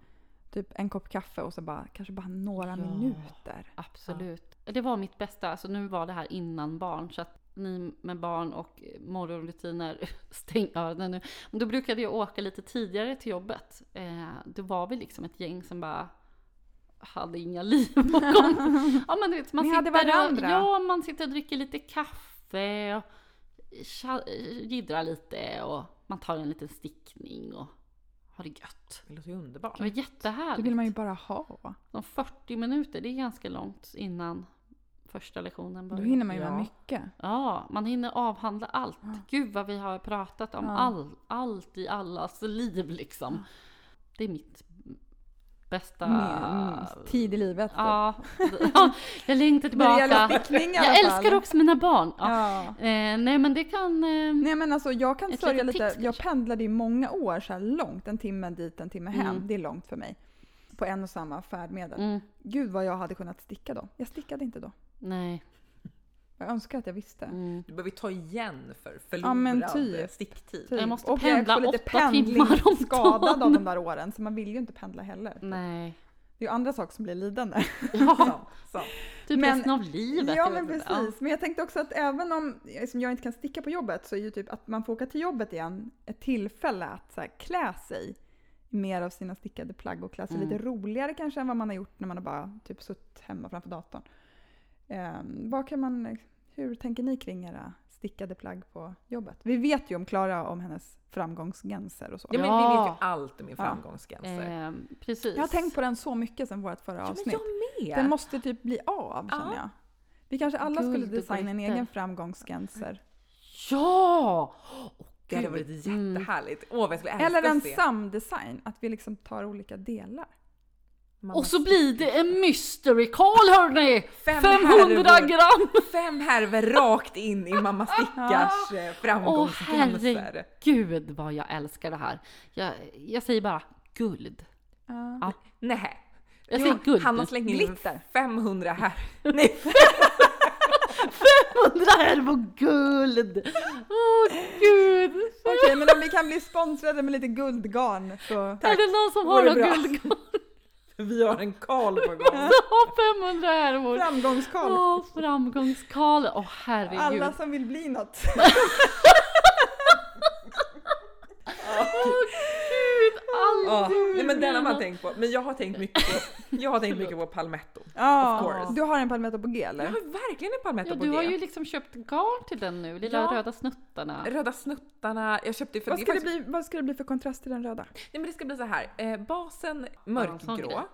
Speaker 1: Typ en kopp kaffe och så bara, kanske bara några
Speaker 2: Ja.
Speaker 1: minuter.
Speaker 2: Absolut. Det var mitt bästa, alltså nu var det här innan barn så att ni med barn och morgonrutiner, stäng öronen nu. Men då brukade jag åka lite tidigare till jobbet. Eh, då var vi liksom ett gäng som bara hade inga liv bakom Ja men du vet, man
Speaker 1: Ni
Speaker 2: sitter
Speaker 1: hade varandra.
Speaker 2: Och, ja, man sitter och dricker lite kaffe och tja- jiddrar lite och man tar en liten stickning och har det gött.
Speaker 3: Det låter ju underbart.
Speaker 2: Det var
Speaker 1: Det
Speaker 2: jättehärligt.
Speaker 1: vill man ju bara ha.
Speaker 2: De 40 minuter, det är ganska långt innan första lektionen
Speaker 1: Då
Speaker 2: börjar.
Speaker 1: hinner man ju
Speaker 3: Ja.
Speaker 1: med mycket.
Speaker 2: Ja, man hinner avhandla allt.
Speaker 1: Ja.
Speaker 2: Gud vad vi har pratat om
Speaker 1: Ja.
Speaker 2: all, allt i allas liv liksom. Det är mitt bästa...
Speaker 1: Minst tid i livet. typ.
Speaker 2: Ja, ja, jag
Speaker 1: När
Speaker 2: längtar
Speaker 1: det
Speaker 2: tillbaka.
Speaker 1: gäller stickning i alla
Speaker 2: Jag
Speaker 1: fall.
Speaker 2: älskar också mina barn. Ja.
Speaker 1: Ja.
Speaker 2: Eh, nej men det kan... Eh,
Speaker 1: Nej men alltså jag kan
Speaker 2: Ett
Speaker 1: sörja
Speaker 2: litet
Speaker 1: lite.
Speaker 2: tips
Speaker 1: Jag
Speaker 2: kanske.
Speaker 1: pendlade i många år så här långt. En timme dit, en timme hem.
Speaker 2: Mm.
Speaker 1: Det är långt för mig. På en och samma färdmedel.
Speaker 2: mm,
Speaker 1: Gud vad jag hade kunnat sticka då. Jag stickade inte då.
Speaker 2: nej.
Speaker 1: Jag önskar att jag visste.
Speaker 2: Mm.
Speaker 3: Du behöver ju ta igen för
Speaker 1: Ja, men
Speaker 3: förlorad
Speaker 1: typ.
Speaker 3: sticktid.
Speaker 1: Typ.
Speaker 2: Jag måste
Speaker 1: och
Speaker 2: pendla
Speaker 1: jag är också
Speaker 2: åtta
Speaker 1: lite pendling-
Speaker 2: timmar om
Speaker 1: skadad av
Speaker 2: dagen.
Speaker 1: de där åren så man vill ju inte pendla heller.
Speaker 2: Nej.
Speaker 1: Det är ju andra saker som blir lidande.
Speaker 2: Ja,
Speaker 3: Sant, sant.
Speaker 2: typ
Speaker 1: Men-
Speaker 2: resten av livet.
Speaker 1: Ja
Speaker 2: jag
Speaker 1: men
Speaker 2: vet inte. Ja.
Speaker 1: precis. Men jag tänkte också att även om som jag inte kan sticka på jobbet så är ju typ att man får åka till jobbet igen ett tillfälle att så här, klä sig i mer av sina stickade plagg och klä sig
Speaker 2: Mm.
Speaker 1: lite roligare kanske än vad man har gjort när man har bara typ suttit hemma framför datorn. Ehm, vad kan man, hur tänker ni kring era stickade plagg på jobbet? Vi vet ju om Klara om hennes framgångsgränser och så.
Speaker 3: Ja, men vi
Speaker 2: Ja.
Speaker 3: vet ju allt om min
Speaker 1: Ja.
Speaker 3: framgångsgränser.
Speaker 2: Ehm, precis.
Speaker 1: Jag har tänkt på den så mycket sen vårt förra
Speaker 3: ja, men
Speaker 1: avsnitt.
Speaker 3: jag med!
Speaker 1: Den måste typ bli av
Speaker 3: Ja.
Speaker 1: känner jag. Vi kanske alla
Speaker 2: Guld
Speaker 1: skulle
Speaker 2: och
Speaker 1: designa en
Speaker 2: glitter.
Speaker 1: egen framgångsgränser.
Speaker 2: Ja! mm.
Speaker 3: det hade varit
Speaker 1: Mm.
Speaker 3: jättehärligt. Åh, vad jag skulle älska
Speaker 1: Eller en
Speaker 3: att se.
Speaker 1: samdesign, att vi liksom tar olika delar.
Speaker 3: Mamma,
Speaker 2: Och så blir det en mystery call hörni!
Speaker 3: Fem
Speaker 2: 500
Speaker 3: härvor.
Speaker 2: gram!
Speaker 3: Fem härvor rakt in i mamma stickars eh,
Speaker 2: Åh
Speaker 3: framgångsgränser.
Speaker 2: herregud vad jag älskar det här. Jag, jag säger bara guld. Ja.
Speaker 3: Nej.
Speaker 2: Jag säger guld.
Speaker 3: Hanna slänger in
Speaker 1: Glitter.
Speaker 3: 500 här. Nej,
Speaker 2: 100 härvor guld! Åh gud!
Speaker 1: Okej, men om vi kan bli sponsrade med lite guldgarn så...
Speaker 2: Är det någon som
Speaker 1: Vore
Speaker 2: har något
Speaker 1: bra.
Speaker 2: guldgarn?
Speaker 3: Vi har en Karl på gång.
Speaker 2: har 500 härvor!
Speaker 1: Framgångskarl.
Speaker 2: Åh, framgångskarl! Åh herregud.
Speaker 1: Alla som vill bli något.
Speaker 2: Åh gud! Alla
Speaker 3: Ja,
Speaker 2: som
Speaker 3: nej, men den har man
Speaker 2: vill
Speaker 3: tänkt på. Men jag har tänkt mycket på, jag har tänkt mycket på palmetto.
Speaker 1: Ja,
Speaker 3: Of course.
Speaker 1: Du har en palmetto på G eller?
Speaker 3: Jag har verkligen en palmetto
Speaker 2: Ja,
Speaker 3: på
Speaker 2: du
Speaker 3: G.
Speaker 2: har ju liksom köpt garn till den nu, lilla
Speaker 3: Ja.
Speaker 2: röda snuttarna.
Speaker 3: Röda snuttarna, jag köpte ju för
Speaker 1: Vad
Speaker 3: är
Speaker 1: ska, det
Speaker 3: faktiskt-
Speaker 1: bli, vad ska det bli för kontrast till den röda?
Speaker 3: Nej men det ska bli så här. Eh, basen
Speaker 2: Ja, en sån grej.
Speaker 3: mörkgrå.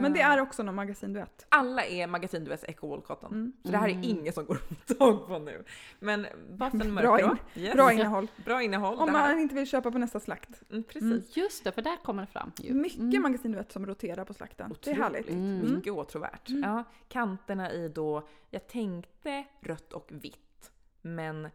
Speaker 1: Men det
Speaker 3: Eh,
Speaker 1: är också någon magasinduett.
Speaker 3: Alla är magasin du Echo Wall Cotton.
Speaker 1: Mm.
Speaker 3: Så det här är
Speaker 2: Mm.
Speaker 3: inget som går att få tag på nu. Men basen
Speaker 1: Bra
Speaker 3: mörkgrå. yes.
Speaker 1: Bra innehåll.
Speaker 3: Bra innehåll.
Speaker 1: Om
Speaker 3: det här.
Speaker 1: man inte vill köpa på nästa slakt.
Speaker 3: Mm, precis.
Speaker 1: Mm.
Speaker 2: Just det, för där kommer det fram ju.
Speaker 1: Mycket
Speaker 2: Mm.
Speaker 1: magasinduett som roterar på slakten. Det är
Speaker 3: Otroligt.
Speaker 1: härligt.
Speaker 2: Mm.
Speaker 3: Mycket åtråvärt. Ja, kanterna i då, jag tänkte rött och vitt. Men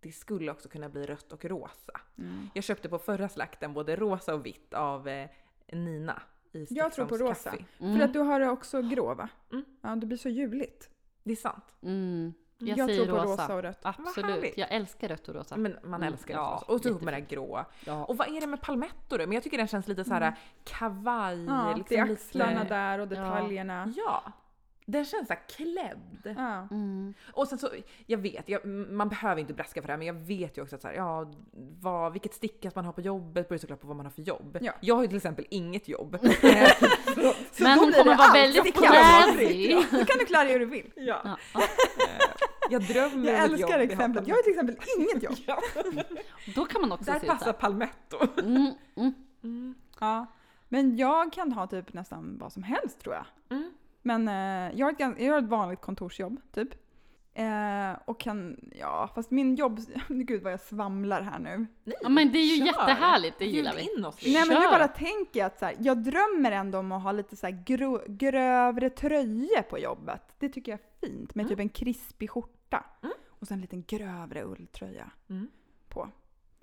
Speaker 3: det skulle också kunna bli rött och rosa.
Speaker 1: Mm.
Speaker 3: Jag köpte på förra slakten både rosa och vitt av eh, Nina i
Speaker 1: Jag tror på
Speaker 3: Stockholms
Speaker 1: rosa.
Speaker 3: Kaffe.
Speaker 2: Mm.
Speaker 1: För att du har också grå va?
Speaker 3: Mm.
Speaker 1: Ja, det blir så ljuvligt.
Speaker 3: Det är sant.
Speaker 2: Mm. Jag,
Speaker 1: tror
Speaker 2: säger
Speaker 1: på
Speaker 2: rosa.
Speaker 1: rosa och rött.
Speaker 2: Absolut,
Speaker 3: härligt.
Speaker 2: jag älskar rött och rosa.
Speaker 3: Men man
Speaker 2: Mm,
Speaker 3: älskar
Speaker 2: ja,
Speaker 3: det förstås. Och så upp med det här
Speaker 2: jättefint.
Speaker 3: gråa.
Speaker 2: Ja.
Speaker 3: Och vad är det med palmetto då? Men jag tycker den känns lite så här kavaj.
Speaker 1: Mm. Ja, det är
Speaker 3: liksom
Speaker 1: axlarna
Speaker 3: lite, Mm.
Speaker 1: där och detaljerna.
Speaker 3: Ja. Den känns så här klädd.
Speaker 1: Ja.
Speaker 2: Mm.
Speaker 3: Och sen så, jag vet, jag, man behöver inte braska för det här men jag vet ju också att så här, ja, vad, vilket stickat man har på jobbet beror ju såklart på vad man har för jobb.
Speaker 1: Ja.
Speaker 3: Jag har ju till exempel inget jobb.
Speaker 1: Så
Speaker 2: Men
Speaker 1: då
Speaker 2: hon
Speaker 1: blir
Speaker 2: kommer
Speaker 1: det
Speaker 2: vara
Speaker 1: allt.
Speaker 2: väldigt
Speaker 1: Det kan vara fritt.
Speaker 2: classy.
Speaker 1: Då kan du klara dig hur du vill.
Speaker 3: ja.
Speaker 2: Ja.
Speaker 3: Jag drömmer
Speaker 1: Jag
Speaker 3: om ett jobb
Speaker 1: älskar
Speaker 3: i
Speaker 1: exemplet.
Speaker 3: Haparanda.
Speaker 1: Jag har till exempel inget jobb.
Speaker 3: Ja.
Speaker 2: Då kan man också
Speaker 3: Där
Speaker 2: se ut
Speaker 3: passar
Speaker 2: där.
Speaker 3: palmetto.
Speaker 2: Mm, mm.
Speaker 1: Ja. Men jag kan ha typ nästan vad som helst tror jag.
Speaker 3: Mm.
Speaker 1: Men eh, jag, har ett, gans- jag har ett vanligt kontorsjobb typ. Eh, och kan, ja, fast min jobb, gud vad jag svamlar här nu.
Speaker 2: Ja, men det är ju
Speaker 3: Kör.
Speaker 2: jättehärligt, det gillar
Speaker 3: Bjud
Speaker 2: vi.
Speaker 3: in oss.
Speaker 2: Nej,
Speaker 1: Nej men nu
Speaker 2: Kör.
Speaker 1: bara tänker jag att så här, jag drömmer ändå om att ha lite så här grå, grövre tröjor på jobbet. Det tycker jag är fint, med
Speaker 2: Mm.
Speaker 1: typ en krispig skjorta. Och sen en liten grövre ulltröja
Speaker 3: Mm.
Speaker 1: på.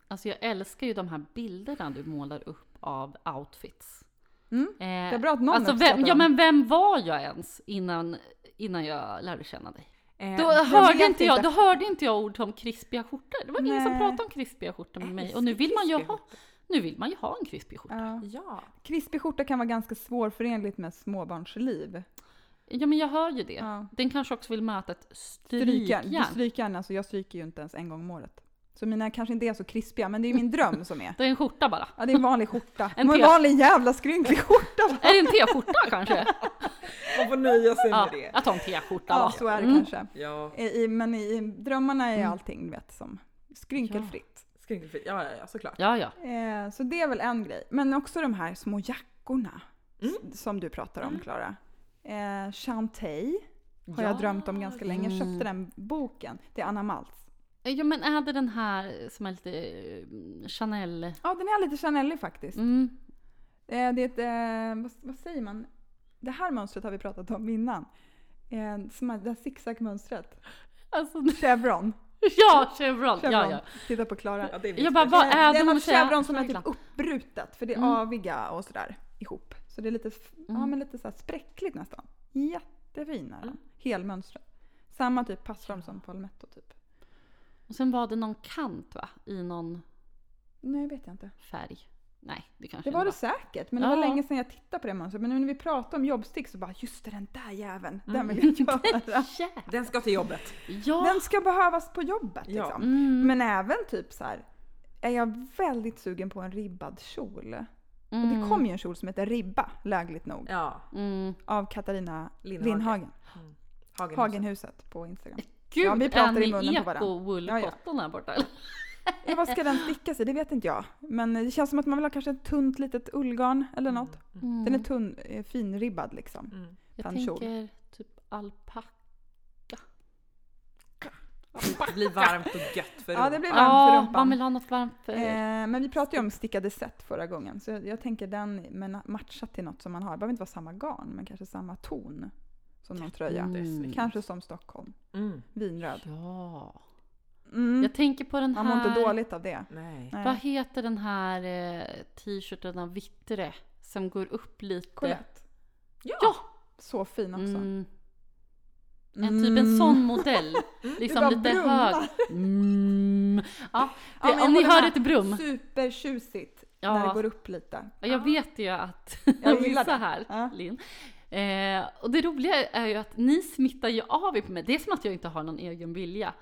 Speaker 2: Alltså jag älskar ju de här bilderna du målar upp av outfits.
Speaker 1: Mm.
Speaker 2: Eh, det
Speaker 1: är bra att någon
Speaker 2: alltså
Speaker 1: uppskattar
Speaker 2: vem, Ja
Speaker 1: dem.
Speaker 2: men vem var jag ens innan, innan jag lärde känna dig?
Speaker 3: Eh,
Speaker 2: Då
Speaker 1: jag
Speaker 2: hörde,
Speaker 1: vet
Speaker 2: inte jag,
Speaker 1: inte.
Speaker 2: då hörde inte jag ord som krispiga skjortor. Det var ingen som
Speaker 1: Nej.
Speaker 2: pratade om krispiga skjortor med mig. Och nu vill man ju ha, nu vill man ju ha en krispig skjorta.
Speaker 1: Ja.
Speaker 3: Ja.
Speaker 1: Krispig skjorta kan vara ganska svårförenligt med småbarnsliv.
Speaker 2: Ja men jag hör ju det.
Speaker 1: Ja.
Speaker 2: Den kanske också vill möta ett
Speaker 1: Strykjärn.
Speaker 2: strykjärn.
Speaker 1: Du strykjärn, alltså jag stryker ju inte ens en gång om året. Så mina kanske inte är så krispiga, men det är ju min dröm som är.
Speaker 2: Det är en skjorta bara.
Speaker 1: Ja, det är en vanlig skjorta.
Speaker 2: En
Speaker 1: En, en
Speaker 2: pet.
Speaker 1: vanlig jävla skrynklig skjorta!
Speaker 2: Är det en t-skjorta kanske?
Speaker 3: Man får nöja sig
Speaker 2: Ja,
Speaker 3: med det.
Speaker 2: jag tar en t-skjorta
Speaker 1: Ja,
Speaker 2: va.
Speaker 1: så är det
Speaker 2: Mm.
Speaker 1: kanske.
Speaker 3: Ja,
Speaker 1: I, i, men i, i drömmarna är allting, du vet, som skrynkelfritt.
Speaker 3: skrynkligt. Ja, ja, ja, såklart.
Speaker 2: Ja, ja.
Speaker 1: Eh, så det är väl en grej. Men också de här små jackorna s- som du pratar om, Klara. Eh, Chantay har jag
Speaker 3: Ja,
Speaker 1: drömt om ganska länge. Jag
Speaker 2: mm.
Speaker 1: köpte den boken. Det är Anna Maltz.
Speaker 2: Ja men är det den här som är lite eh, Chanel?
Speaker 1: Ja, den är lite Chanel faktiskt.
Speaker 2: Mm.
Speaker 1: Eh, det är ett, eh, vad, vad säger man? Det här mönstret har vi pratat om innan. Eh, som är det här zigzagmönstret.
Speaker 2: Alltså,
Speaker 1: Chevron.
Speaker 2: ja, Chevron.
Speaker 1: Chevron.
Speaker 2: Ja, ja.
Speaker 1: Titta på Klara.
Speaker 3: Ja, det är
Speaker 2: Jag
Speaker 3: mitt
Speaker 2: bara, vad
Speaker 1: Eh,
Speaker 2: är
Speaker 1: det
Speaker 2: det
Speaker 1: är
Speaker 2: man
Speaker 1: något
Speaker 2: säger?
Speaker 1: chevron som är typ
Speaker 2: Snagla.
Speaker 1: uppbrutet för det är
Speaker 2: Mm.
Speaker 1: aviga och sådär ihop. Så det är lite, f- ja,
Speaker 2: Mm.
Speaker 1: men lite så här spräckligt nästan. Jättefin är den. Helmönstret. Samma typ passform som palmetto typ.
Speaker 2: Och sen var det någon kant va? I någon
Speaker 1: Nej, vet jag inte.
Speaker 2: färg. Nej, det kanske
Speaker 1: Det var det
Speaker 2: inte
Speaker 1: säkert, men det
Speaker 2: Ja.
Speaker 1: var länge sedan jag tittade på det mönstret. Men nu när vi pratade om jobbstick så bara, just det, den där jäveln,
Speaker 2: Mm.
Speaker 1: den vill jag göra.
Speaker 2: var.
Speaker 3: Den ska till jobbet.
Speaker 2: Ja.
Speaker 1: Den ska behövas på jobbet
Speaker 3: Ja.
Speaker 1: liksom.
Speaker 2: Mm.
Speaker 1: Men även typ så här är jag väldigt sugen på en ribbad kjol. Och det kom ju en kjol som heter Ribba, lägligt nog,
Speaker 3: Ja,
Speaker 2: Mm.
Speaker 1: av Katarina
Speaker 3: Lindhagen.
Speaker 1: Lindhagen.
Speaker 3: Hagen.
Speaker 1: Hagenhuset på Instagram.
Speaker 2: Gud,
Speaker 1: Ja, vi pratar
Speaker 2: är
Speaker 1: i munnen
Speaker 2: ni
Speaker 1: på varandra.
Speaker 2: eko-woolcotton här borta? eller?
Speaker 1: Ja, vad ska den stickas i? Det vet inte jag. Men det känns som att man vill ha kanske ett tunt litet ullgarn eller något. Den är tunn, eh, finribbad liksom.
Speaker 3: Mm.
Speaker 2: Mm. Jag
Speaker 1: Tannkjol.
Speaker 2: tänker typ alpacka.
Speaker 3: Det blir varmt och gött för
Speaker 1: Ja, det
Speaker 3: rumpan.
Speaker 1: blir varmt för
Speaker 2: Ja, man
Speaker 1: rumpan.
Speaker 2: vill ha något varmt för...
Speaker 1: Eh, men vi pratade ju om stickade set förra gången, så jag, jag tänker den men matchat till något som man har. Det behöver inte vara samma garn, men kanske samma ton som någon tröja.
Speaker 2: Mm.
Speaker 3: Det är snyggt.
Speaker 1: Kanske som Stockholm,
Speaker 3: Mm.
Speaker 1: vinröd.
Speaker 2: Ja.
Speaker 1: Mm.
Speaker 2: Jag tänker på den här...
Speaker 1: Man mår inte dåligt av det.
Speaker 3: Nej.
Speaker 2: Vad
Speaker 1: Nej.
Speaker 2: heter den här eh, t-shirten av Vittre? Som går upp lite.
Speaker 1: Colette.
Speaker 3: Ja.
Speaker 2: Ja!
Speaker 1: Så fin också. Mm.
Speaker 2: Mm. En typ en sån modell. Liksom
Speaker 1: bara
Speaker 2: lite
Speaker 1: brummar.
Speaker 2: hög. Mm. Ja,
Speaker 1: Ja,
Speaker 2: det,
Speaker 1: men jag
Speaker 2: om ni
Speaker 1: håller
Speaker 2: hör
Speaker 1: med.
Speaker 2: ett brum.
Speaker 1: Supertjusigt.
Speaker 2: Ja.
Speaker 1: när det går upp lite.
Speaker 2: Ja, Jag vet ju att
Speaker 1: Jag gillar
Speaker 2: vissa
Speaker 1: det.
Speaker 2: här,
Speaker 1: Ja.
Speaker 2: Linn. Eh, och det roliga är ju att ni smittar ju av er på mig. Det är som att jag inte har någon egen vilja.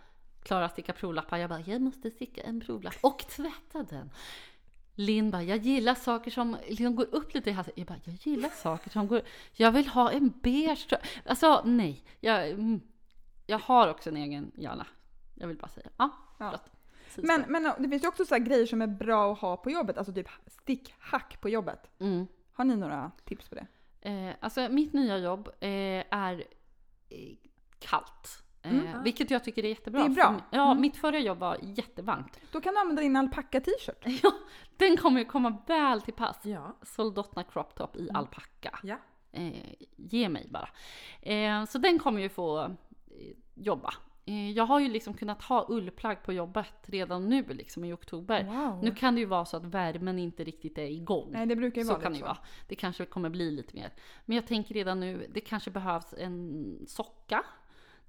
Speaker 2: Klara stickar provlappar. Jag bara, jag måste sticka en provlapp och tvätta den. Linn bara, jag gillar saker som liksom går upp lite i halsen. Jag bara, jag gillar saker som går Jag vill ha en beige tröja. Alltså nej, jag, mm, jag har också en egen hjärna. Jag vill bara säga. Ja,
Speaker 1: Ja.
Speaker 2: förlåt. Precis
Speaker 1: Men, men det finns ju också så här grejer som är bra att ha på jobbet, alltså typ stickhack på jobbet.
Speaker 2: så. Mm.
Speaker 1: Har ni några tips på det?
Speaker 2: Eh, alltså mitt nya jobb eh, är eh, kallt. Eh,
Speaker 1: Mm.
Speaker 2: Vilket jag tycker är jättebra.
Speaker 1: Det är bra.
Speaker 2: För, ja,
Speaker 1: Mm.
Speaker 2: mitt förra jobb var jättevarmt.
Speaker 1: Då kan du använda din alpacka-t-shirt.
Speaker 2: Ja, den kommer ju komma väl till pass.
Speaker 3: Ja.
Speaker 2: Soldotna crop top
Speaker 1: Mm.
Speaker 2: i alpacka.
Speaker 3: Ja.
Speaker 2: Eh, ge mig bara. Eh, så den kommer ju få eh, jobba. Eh, jag har ju liksom kunnat ha ullplagg på jobbet redan nu liksom i oktober.
Speaker 1: Wow.
Speaker 2: Nu kan det ju vara så att värmen inte riktigt är igång.
Speaker 1: Nej, det brukar ju
Speaker 2: Så
Speaker 1: vara liksom.
Speaker 2: kan det
Speaker 1: lite
Speaker 2: ju vara. Det kanske kommer bli lite mer. Men jag tänker redan nu, det kanske behövs en socka.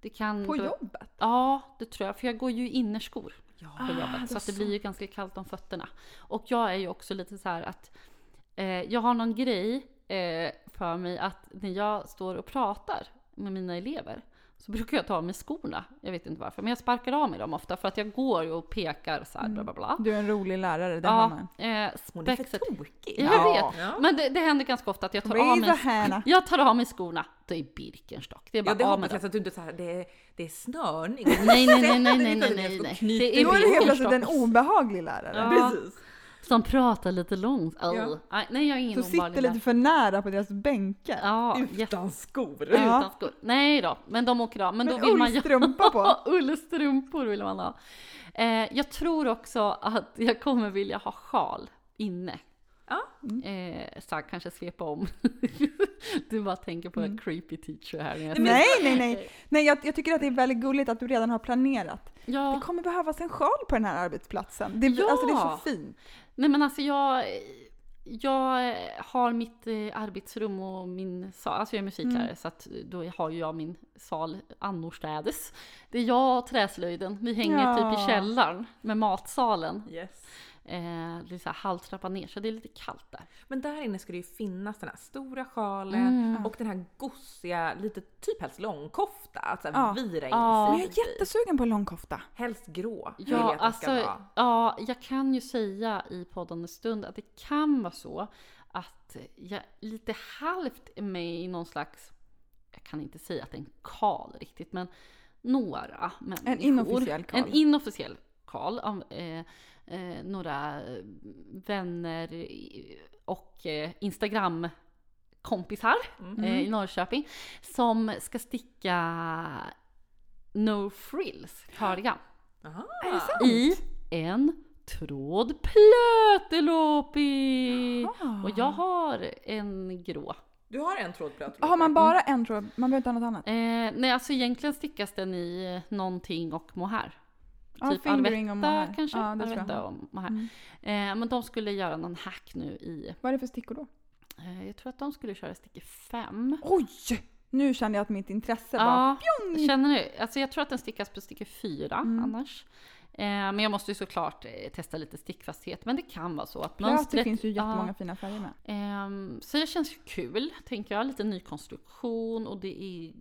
Speaker 2: Det kan
Speaker 1: På
Speaker 2: Mm, då-
Speaker 1: jobbet?
Speaker 2: Ja, det tror jag. För jag går ju i innerskor på
Speaker 3: Ja.
Speaker 1: det är
Speaker 2: jobbet. Så att det
Speaker 1: så.
Speaker 2: blir ju ganska kallt om fötterna. Och jag är ju också lite så här att eh, jag har någon grej eh, för mig att när jag står och pratar med mina elever så brukar jag ta av mig skorna. Jag vet inte varför, men jag sparkar av mig dem ofta för att jag går ju och pekar så här bla bla bla.
Speaker 1: Du är en rolig lärare, det har
Speaker 2: Ja,
Speaker 1: man.
Speaker 2: eh,
Speaker 3: Hon är för
Speaker 2: spexet-
Speaker 3: tokig.
Speaker 2: Ja, jag vet. Men det, det händer ganska ofta att jag tar av
Speaker 1: Raise a
Speaker 2: mig
Speaker 1: hand.
Speaker 2: jag tar av mig skorna, det är Birkenstock. Det är
Speaker 3: Ja,
Speaker 2: bara
Speaker 3: det
Speaker 2: av med
Speaker 3: hoppas
Speaker 2: dem.
Speaker 3: jag så att du inte så här, det är, det är snörning.
Speaker 2: Nej, nej, nej, nej, nej, nej, nej, nej. Det är
Speaker 1: Då är du helt plötsligt en
Speaker 2: Birkenstock
Speaker 1: obehaglig lärare.
Speaker 2: Ja.
Speaker 3: Precis.
Speaker 2: som pratar lite långt. Au.
Speaker 3: Ja.
Speaker 2: Aj, Nej, jag är ingen
Speaker 1: Som sitter
Speaker 2: obehaglig
Speaker 1: lite
Speaker 2: där.
Speaker 1: för nära på deras bänkar.
Speaker 2: Ja, jätte...
Speaker 3: Utan skor.
Speaker 1: Ja.
Speaker 2: Utan skor. Nej då, men de åker av. Men,
Speaker 1: Men
Speaker 2: då vill man ju...
Speaker 1: ullstrumpa på.
Speaker 2: Ja, ullstrumpor vill man ha. Eh, jag tror också att jag kommer vilja ha sjal inne.
Speaker 3: Ja.
Speaker 1: Mm.
Speaker 2: Eh, så här, kanske svepa om. du bara tänker på en creepy teacher här. när jag säger-
Speaker 1: Mm. Nej, nej, nej. nej jag, jag tycker att det är väldigt gulligt att du redan har planerat.
Speaker 2: Ja.
Speaker 1: Det kommer behövas en sjal på den här arbetsplatsen. Det, ja.
Speaker 2: Ja.
Speaker 1: Alltså det är så fint.
Speaker 2: Nej men alltså jag, jag har mitt eh, arbetsrum och min sal, alltså jag är musiklärare så att då har ju jag min sal annorstädes. Det är jag och träslöjden, vi hänger
Speaker 1: Ja.
Speaker 2: typ i källaren med matsalen.
Speaker 3: Yes.
Speaker 2: Eh, det är så här halvtrappa ner så det är lite kallt där.
Speaker 3: Men där inne ska det ju finnas den här stora sjalen och den här gosiga, lite typ helst långkofta att såhär
Speaker 1: Ja.
Speaker 3: vira in
Speaker 2: Ja.
Speaker 1: Men jag
Speaker 3: sig
Speaker 1: är
Speaker 3: lite i.
Speaker 1: jättesugen på en långkofta.
Speaker 3: Helst grå. vill jag
Speaker 2: Ja,
Speaker 3: att den ska
Speaker 2: alltså,
Speaker 3: vara.
Speaker 2: ja, jag kan ju säga i podden en stund att det kan vara så att jag lite halvt är med i någon slags, jag kan inte säga att det är en kal riktigt, men några människor.
Speaker 1: inofficiell kal.
Speaker 2: En inofficiell kal av eh, eh, några eh, vänner i- och eh, Instagram kompisar eh, i Norrköping som ska sticka No frills cardigan
Speaker 3: Aha.
Speaker 2: i en tråd plöteloppi.
Speaker 1: Ah.
Speaker 2: Och jag har en grå.
Speaker 3: Du har en tråd blöt.
Speaker 1: Har man bara en tråd? Man behöver inte ha något annat?
Speaker 2: Eh, nej, alltså egentligen stickas den i eh, någonting och mohair.
Speaker 1: Ja, Ah, fingering och mohair.
Speaker 2: Typ kanske.
Speaker 1: Ja, det tror jag.
Speaker 2: Arvetta och mohair.
Speaker 1: Mm.
Speaker 2: Eh, men de skulle göra någon hack nu i,
Speaker 1: Vad är det för stickor då?
Speaker 2: eh, jag tror att de skulle köra stick i fem.
Speaker 1: Oj! Nu kände jag att mitt intresse bara...
Speaker 2: Ja, känner du? Alltså jag tror att den stickas på sticker fyra
Speaker 1: Mm.
Speaker 2: annars. Eh, men jag måste ju såklart eh, testa lite stickfasthet. Men det kan vara så att
Speaker 1: Plötsligt
Speaker 2: mönstret...
Speaker 1: finns ju
Speaker 2: ja.
Speaker 1: jättemånga fina färger med.
Speaker 2: Ehm, så det känns ju kul, tänker jag. Lite ny konstruktion och det är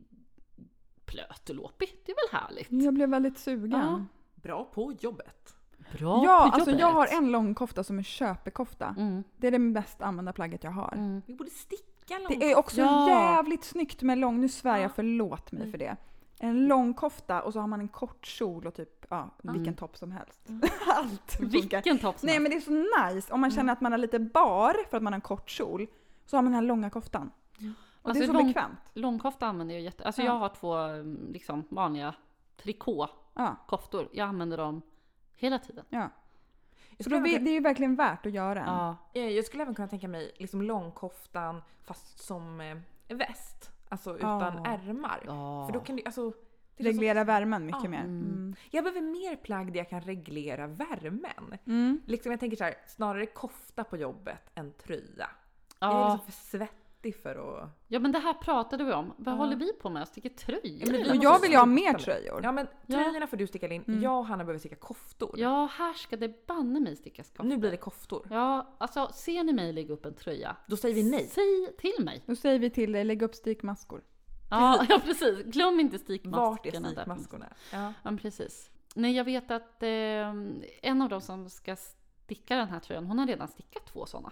Speaker 2: plötelåpigt. Det är väl härligt?
Speaker 1: Jag blev väldigt sugen.
Speaker 3: Mm. Bra på jobbet.
Speaker 2: Bra
Speaker 1: Ja,
Speaker 2: på
Speaker 1: alltså
Speaker 2: jobbet.
Speaker 1: jag har en långkofta som är köpekofta.
Speaker 2: Mm,
Speaker 1: Det är det mest använda plagget jag har.
Speaker 2: mm.
Speaker 3: Vi borde sticka långkofta.
Speaker 1: Det är också
Speaker 2: Ja. Mm.
Speaker 1: jävligt snyggt med lång, nu svär jag,
Speaker 3: Ja.
Speaker 1: förlåt mig för det. En lång kofta och så har man en kort kjol och typ, ja,
Speaker 2: Mm.
Speaker 1: vilken topp som helst. Allt som funkar.
Speaker 2: Vilken topp som
Speaker 1: Nej
Speaker 2: helst.
Speaker 1: men det är så nice om man känner att man är lite bar för att man har en kort kjol. Så har man den här långa koftan. Och
Speaker 2: Alltså,
Speaker 1: det är så
Speaker 2: lång-
Speaker 1: bekvämt.
Speaker 2: Långkofta använder jag jätte... Alltså
Speaker 1: Ja.
Speaker 2: jag har två mm, liksom, vanliga trikåkoftor.
Speaker 1: Ja,
Speaker 2: Jag använder dem hela tiden.
Speaker 1: ja.
Speaker 3: Jag
Speaker 1: Så
Speaker 3: skulle
Speaker 1: då, vi-
Speaker 3: även-
Speaker 1: det är ju verkligen värt att göra en.
Speaker 2: Ja.
Speaker 3: Eh, Jag skulle även kunna tänka mig liksom långkoftan fast som eh, en väst. Alltså utan
Speaker 1: Ja.
Speaker 3: ärmar.
Speaker 2: Ja.
Speaker 3: För då kan du, alltså, det är så-
Speaker 1: Reglera värmen mycket
Speaker 3: Ja.
Speaker 1: mer. Mm.
Speaker 3: Jag behöver mer plagg där jag kan reglera värmen.
Speaker 1: Mm.
Speaker 3: Liksom jag tänker så här, snarare kofta på jobbet än tröja. Jag är
Speaker 2: Ja.
Speaker 3: liksom för svettig fattig för att...
Speaker 2: Ja men det här pratade vi om. Vad håller vi på med? Sticker tröjor?
Speaker 3: men vi
Speaker 1: Och
Speaker 2: eller?
Speaker 3: måste
Speaker 1: jag vill ju ha mer
Speaker 3: sluta med-
Speaker 1: tröjor.
Speaker 3: Ja men
Speaker 2: Ja. Mm.
Speaker 3: tröjorna får du sticka in. Jag och Hanna behöver sticka koftor.
Speaker 2: Ja, här ska det banne mig stickas koftor.
Speaker 3: Nu blir det koftor.
Speaker 2: Ja, alltså ser ni mig lägga upp en tröja?
Speaker 3: Då säger vi nej.
Speaker 2: Säg till mig!
Speaker 1: Då säger vi till dig, lägg upp stikmaskor.
Speaker 2: Ja, ja precis. Glöm inte
Speaker 3: Vart är
Speaker 2: stikmaskerna. där.
Speaker 3: stikmaskorna? Ja.
Speaker 2: Ja, men precis. Nej, jag vet att eh, en av dem som ska sticka den här tröjan, hon har redan stickat två sådana.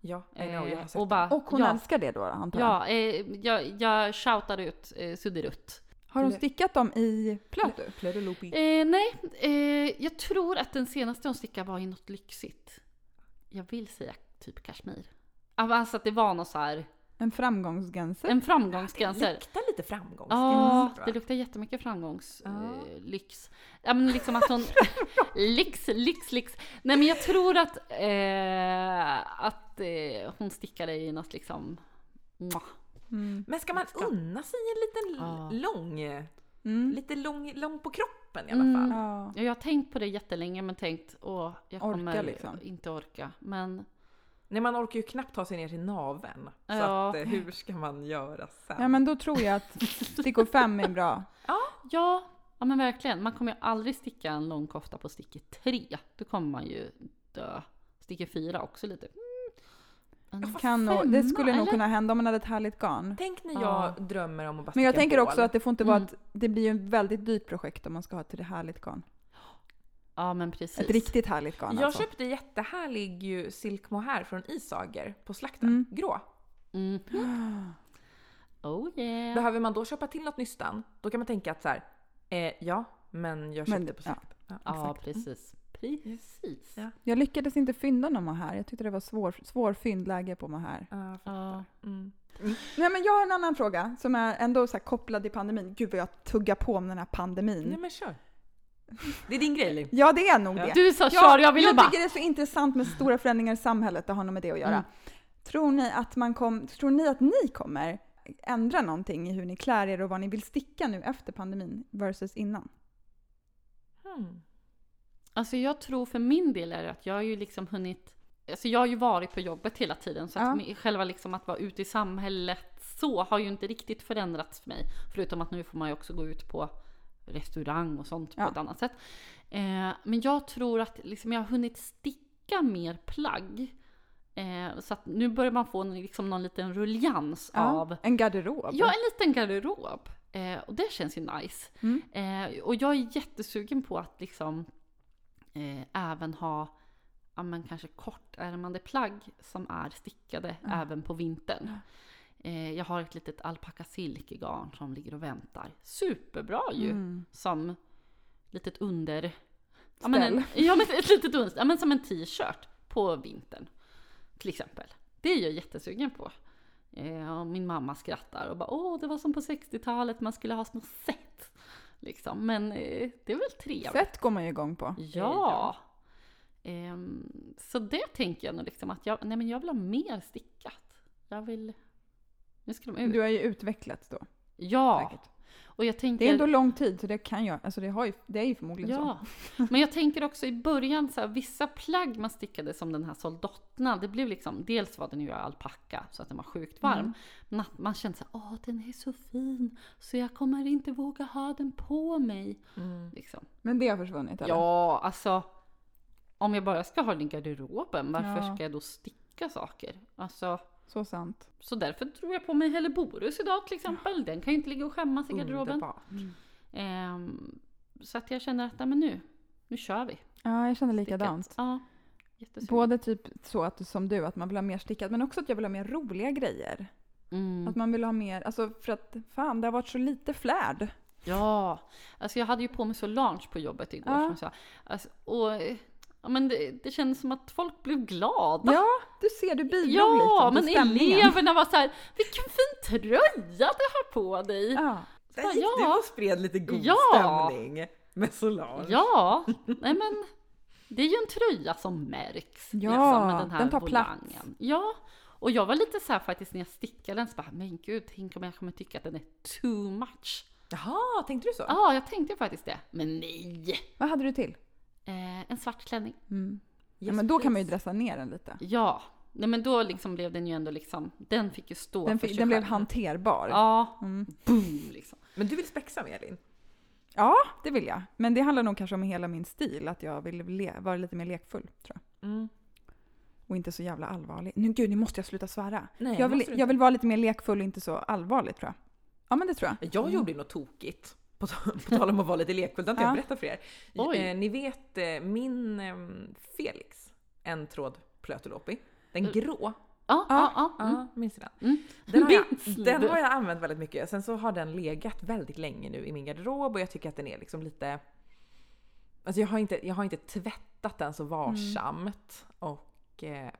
Speaker 3: Ja, I know, jag har sett
Speaker 2: Eh, och bara,
Speaker 1: Och hon
Speaker 2: ja,
Speaker 1: älskar det då antar jag.
Speaker 2: Ja, eh, jag, jag shoutar ut eh, Suddirutt.
Speaker 1: Har hon stickat dem i Plötu?
Speaker 3: Plödelopi.
Speaker 2: Eh, nej, eh, jag tror att den senaste hon stickade var i något lyxigt. Jag vill säga typ kashmir. Ja, men Alltså att det var något så här,
Speaker 1: En framgångsgenser?
Speaker 2: en framgångsgränser.
Speaker 3: Luktar lite framgångsrikt.
Speaker 2: Ja,
Speaker 3: tror jag.
Speaker 2: det luktar jättemycket framgångslyx.
Speaker 3: Ja.
Speaker 2: Eh, lyx. ja, men liksom att hon... lyx, lyx, lyx. Nej men jag tror att, eh, att eh, hon stickade i något liksom... Mwah.
Speaker 1: Mm.
Speaker 3: Men ska man unna sig en liten
Speaker 2: Ja.
Speaker 3: lång,
Speaker 1: Mm.
Speaker 3: lite lång, lång på kroppen i alla fall?
Speaker 2: Mm.
Speaker 1: Ja.
Speaker 2: Ja, Jag har tänkt på det jättelänge men tänkt åh, jag
Speaker 1: Orka,
Speaker 2: kommer
Speaker 1: liksom.
Speaker 2: inte orka. Men
Speaker 3: Nej man orkar ju knappt ta sig ner till naveln. Så
Speaker 2: Ja.
Speaker 3: att, eh, hur ska man göra sen?
Speaker 1: ja men då tror jag att stickor fem är bra.
Speaker 2: ja, ja men verkligen. Man kommer ju aldrig sticka en lång kofta på sticker tre. Då kommer man ju dö. Sticker fyra också lite. Mm.
Speaker 1: Kan nog, det
Speaker 2: femma,
Speaker 1: skulle nog
Speaker 2: eller?
Speaker 1: kunna hända om man hade ett härligt garn.
Speaker 3: Tänk när jag
Speaker 2: Ja.
Speaker 3: drömmer om att bara
Speaker 1: Men jag
Speaker 3: sticka en
Speaker 1: tänker också
Speaker 3: bål.
Speaker 1: att det får inte vara
Speaker 2: Mm.
Speaker 1: ett, det blir ju ett väldigt dyrt projekt om man ska ha ett härligt garn.
Speaker 2: Ja men precis.
Speaker 1: Ett riktigt härligt garn
Speaker 3: Jag
Speaker 1: alltså.
Speaker 3: köpte jättehärlig ju silk mohair från Isager på slakten.
Speaker 1: Mm.
Speaker 3: Grå.
Speaker 2: Mm. Oh yeah.
Speaker 3: Behöver man då köpa till något nystan, då kan man tänka att så här, eh, ja, men jag köpte
Speaker 1: Men, ja.
Speaker 3: på slakt.
Speaker 2: Ja,
Speaker 3: exakt.
Speaker 2: precis. Precis.
Speaker 3: Ja.
Speaker 1: Jag lyckades inte fynda någon här. Jag tyckte det var svår, svår fyndläge på mig här.
Speaker 3: Mm. Ja,
Speaker 2: Ja.
Speaker 3: mm.
Speaker 1: Nej men jag har en annan fråga som är ändå så här kopplad till pandemin. Gud vad jag tuggar på om den här pandemin.
Speaker 3: Nej men kör. Det är din grej Liv.
Speaker 1: Ja det är nog det.
Speaker 2: Du sa
Speaker 1: Ja,
Speaker 2: kör, jag ville bara...
Speaker 1: tycker det är så intressant med stora förändringar i samhället. Det har nog med det att göra.
Speaker 2: Mm.
Speaker 1: Tror, ni att man kom, tror ni att ni kommer ändra någonting i hur ni klär er och vad ni vill sticka nu efter pandemin versus innan?
Speaker 3: Mm.
Speaker 2: Alltså jag tror för min del är det att jag har ju liksom hunnit... Alltså jag har ju varit på jobbet hela tiden så
Speaker 1: Ja.
Speaker 2: att mi- själva liksom att vara ute i samhället så har ju inte riktigt förändrats för mig. Förutom att nu får man ju också gå ut på restaurang och sånt
Speaker 1: Ja.
Speaker 2: på ett annat sätt. Eh, men jag tror att liksom jag har hunnit sticka mer plagg. Eh, så att nu börjar man få en- liksom någon liten ruljans av
Speaker 1: En garderob?
Speaker 2: Ja, en liten garderob. Eh, och det känns ju nice.
Speaker 1: Mm.
Speaker 2: Eh, och jag är jättesugen på att liksom eh, även ha ja, men kanske kortärmade plagg som är stickade
Speaker 1: Mm.
Speaker 2: även på vintern. Eh, jag har ett litet alpaka silkegarn som ligger och väntar. Superbra ju!
Speaker 1: Mm.
Speaker 2: Som litet under... Ja,
Speaker 1: Ställ.
Speaker 2: men en, ja, men ett litet under, ja, men som en t-shirt på vintern. Till exempel. Det är jag jättesugen på. Eh, och min mamma skrattar och bara åh, det var som på 60-talet, man skulle ha små set. Liksom. Men eh, det är väl trevligt.
Speaker 1: Sätt går man ju igång på.
Speaker 2: Ja! Ehm, så det tänker jag nog liksom att jag, nej men jag vill ha mer stickat. Jag vill... Nu ska de ut.
Speaker 1: Du har ju utvecklats då.
Speaker 2: ja!
Speaker 1: Säkert.
Speaker 2: Och jag tänker...
Speaker 1: Det är ändå lång tid så det kan jag. Alltså det, har ju, det är ju förmodligen så.
Speaker 2: Ja, men jag tänker också i början så här, vissa plagg man stickade som den här soldotna, det blev liksom, dels var den ju alpacka så att den var sjukt varm, men att man kände så här, åh den är så fin så jag kommer inte våga ha den på mig.
Speaker 3: Mm.
Speaker 2: Liksom.
Speaker 1: Men det har försvunnit eller?
Speaker 2: Ja, alltså om jag bara ska ha den i garderoben, varför
Speaker 1: Ja.
Speaker 2: ska jag då sticka saker? Alltså,
Speaker 1: Så sant.
Speaker 2: så därför drog jag på mig Helleborus idag till exempel. Den kan ju inte ligga och skämmas i garderoben.
Speaker 3: Underbart.
Speaker 2: Ehm, så att jag känner att, nej, men nu, nu kör vi.
Speaker 1: Ja, jag känner likadant.
Speaker 2: Ja, jättesugen.
Speaker 1: Både typ så att, som du, att man vill ha mer stickat, men också att jag vill ha mer roliga grejer.
Speaker 2: Mm.
Speaker 1: Att man vill ha mer, alltså för att fan det har varit så lite flärd.
Speaker 2: Ja, alltså jag hade ju på mig Solange på jobbet igår.
Speaker 1: Ja.
Speaker 2: Som jag sa. Alltså, och, eh, ja, men det, det kändes som att folk blev glada.
Speaker 1: Ja, du ser, du bidrog
Speaker 2: Ja,
Speaker 1: lite
Speaker 2: men
Speaker 1: till stämningen.
Speaker 2: eleverna var så här, vilken fin tröja du har på dig. Ja,
Speaker 1: Ja.
Speaker 3: Där gick
Speaker 2: Ja.
Speaker 3: du och spred lite god
Speaker 2: Ja.
Speaker 3: stämning med Solange.
Speaker 2: nej men det är ju en tröja som märks. liksom,
Speaker 1: Ja, den tar plats.
Speaker 2: volangen. Ja, och jag var lite så här faktiskt när jag stickade den så bara, men gud, tänk om jag kommer tycka att den är too much.
Speaker 3: Jaha, tänkte du så?
Speaker 2: Ja, jag tänkte faktiskt det. Men nej!
Speaker 1: Vad hade du till?
Speaker 2: Eh, en svart klänning.
Speaker 1: Mm. ja, men då kan man ju dressa ner den lite.
Speaker 2: Ja, Nej men då liksom blev den ju ändå liksom, den fick ju stå
Speaker 1: Den,
Speaker 2: för
Speaker 1: fick,
Speaker 2: sig
Speaker 1: den blev
Speaker 2: själv.
Speaker 1: hanterbar.
Speaker 2: Ja,
Speaker 1: Mm.
Speaker 2: boom liksom.
Speaker 3: Men du vill spexa med Elin?
Speaker 1: Ja, det vill jag. Men det handlar nog kanske om hela min stil, att jag vill le- vara lite mer lekfull tror jag.
Speaker 2: Mm.
Speaker 1: Och inte så jävla allvarlig. Nu gud, nu måste jag sluta svära.
Speaker 3: Nej,
Speaker 1: jag, vill,
Speaker 3: måste du
Speaker 1: jag
Speaker 3: inte.
Speaker 1: vill vara lite mer lekfull och inte så allvarlig tror jag. Ja men det tror jag.
Speaker 3: Jag
Speaker 2: Mm.
Speaker 3: gjorde ju något tokigt. På, ta- på tal om att vara lite lekfull, det har inte
Speaker 1: Ja.
Speaker 3: jag berättat för er.
Speaker 2: Oj.
Speaker 3: Eh, ni vet eh, min ehm, Felix, en tråd Plötuloppi, den
Speaker 2: Mm.
Speaker 3: grå.
Speaker 2: Ja, ja, ja. Mm.
Speaker 3: Ja, minns ni den?
Speaker 2: Mm.
Speaker 3: Den har,
Speaker 2: Minns
Speaker 3: jag, den
Speaker 2: du?
Speaker 3: har jag använt väldigt mycket. Sen så har den legat väldigt länge nu i min garderob och jag tycker att den är liksom lite... Alltså jag har inte, jag har inte tvättat den så varsamt och eh,